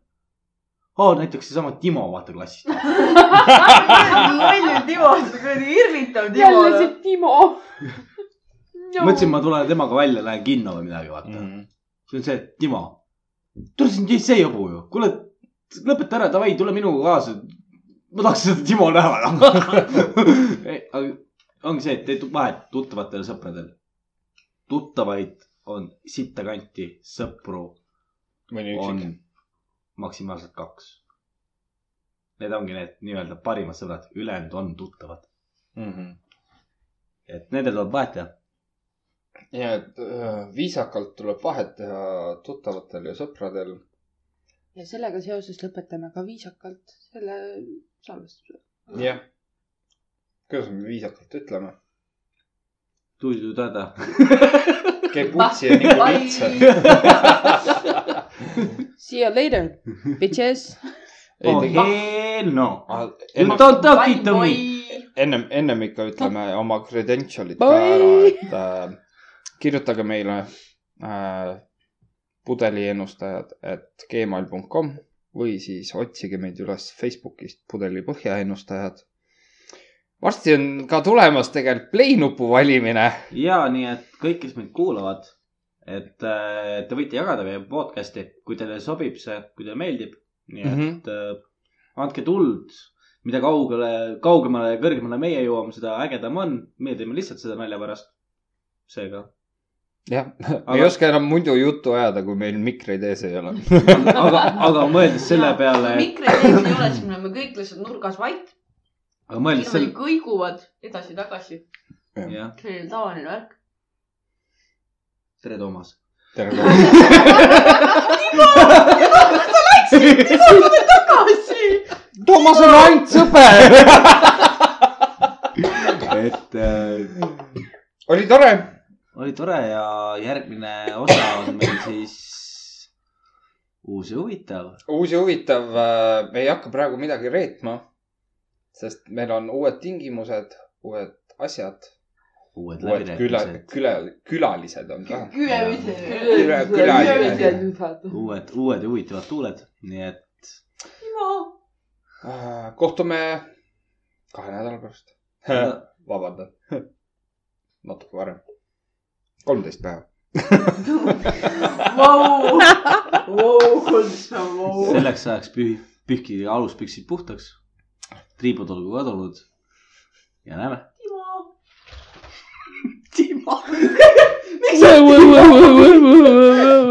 Speaker 3: oo , näiteks seesama Timo , vaata klassist .
Speaker 4: loll Timo , sa kuradi irvitav Timo .
Speaker 1: jälle see Timo no.
Speaker 3: mõtlesin , ma tulen temaga välja , lähen kinno või midagi , vaata .
Speaker 2: Mm. Mhm.
Speaker 3: see on see , et Timo , tule sind ei see jobu ju , kuule , lõpeta ära , davai , tule minuga kaasa . ma tahaks seda Timo näha . ongi see , et teed vahet tuttavatel ja sõpradel . tuttavaid on sitta kanti , sõpru
Speaker 2: mõni
Speaker 3: on
Speaker 2: üksik .
Speaker 3: maksimaalselt kaks . Need ongi need nii-öelda parimad sõbrad , ülejäänud on tuttavad ,
Speaker 2: Mhm.
Speaker 3: et nendel tuleb vahet teha .
Speaker 2: ja et öö, viisakalt tuleb vahet teha tuttavatel ja sõpradel .
Speaker 1: ja sellega seoses lõpetame ka viisakalt selle salvestuse .
Speaker 2: jah . kuidas me viisakalt ütleme ?
Speaker 3: tuidu-tada .
Speaker 2: käib putsi ja nipub üldse .
Speaker 1: See you later , bitches .
Speaker 2: ei Ah,
Speaker 3: oh
Speaker 2: tegelikult ,
Speaker 3: hell no . You
Speaker 2: ennem ,
Speaker 3: don't talk it to me .
Speaker 2: ennem , ennem ikka ütleme oma credential'id ka
Speaker 1: Bye.
Speaker 2: ära , et äh, kirjutage meile äh, pudeliennustajad at gmail.com või siis otsige meid üles Facebookist pudeli põhjaennustajad . varsti on ka tulemas tegelikult play nupu valimine .
Speaker 3: ja nii , et kõik , kes meid kuulavad , et äh, te võite jagada meie podcast'i , kui teile sobib see , kui teile meeldib . nii et mm
Speaker 2: Mhm.
Speaker 3: -hmm. andke tuld , mida kaugele , kaugemale ja kõrgemale meie jõuame , seda ägedam on . meie teeme lihtsalt seda nalja pärast . seega ,
Speaker 2: jah , ma ei
Speaker 3: Aga-
Speaker 2: oska enam muidu juttu ajada , kui meil mikreid ees ei ole .
Speaker 3: aga , aga mõeldes selle peale ,
Speaker 4: mikri sees ei ole , siis me oleme kõik lihtsalt nurgas vait .
Speaker 3: aga mõeldes selle ,
Speaker 4: niimoodi kõiguvad edasi-tagasi .
Speaker 3: jah ,
Speaker 4: selline tavaline värk .
Speaker 3: tere , Toomas .
Speaker 2: tere tulemast .
Speaker 4: tagasi .
Speaker 2: Toomas on ainult sõber .
Speaker 3: et äh,
Speaker 2: oli tore .
Speaker 3: oli tore ja järgmine osa on meil siis uus ja huvitav .
Speaker 2: uus ja huvitav , me ei hakka praegu midagi reetma , sest meil on uued tingimused , uued asjad ,
Speaker 3: uued
Speaker 2: uued küla ,
Speaker 3: läbirääkimised ,
Speaker 2: küla , külalised on ka .
Speaker 4: külaline .
Speaker 3: uued , uued ja huvitavad tuuled , nii et
Speaker 2: Äh, kohtume kahe nädala pärast . vabandan , natuke varem , kolmteist päeva .
Speaker 4: Vau , vau , kuldse vau .
Speaker 3: selleks ajaks pühi , pühkige aluspüksid puhtaks , triibud olgu kadunud ja näeme .
Speaker 4: Timo . miks sa
Speaker 1: Woo, woo, woo, woo, woo, woo, woo.
Speaker 7: E.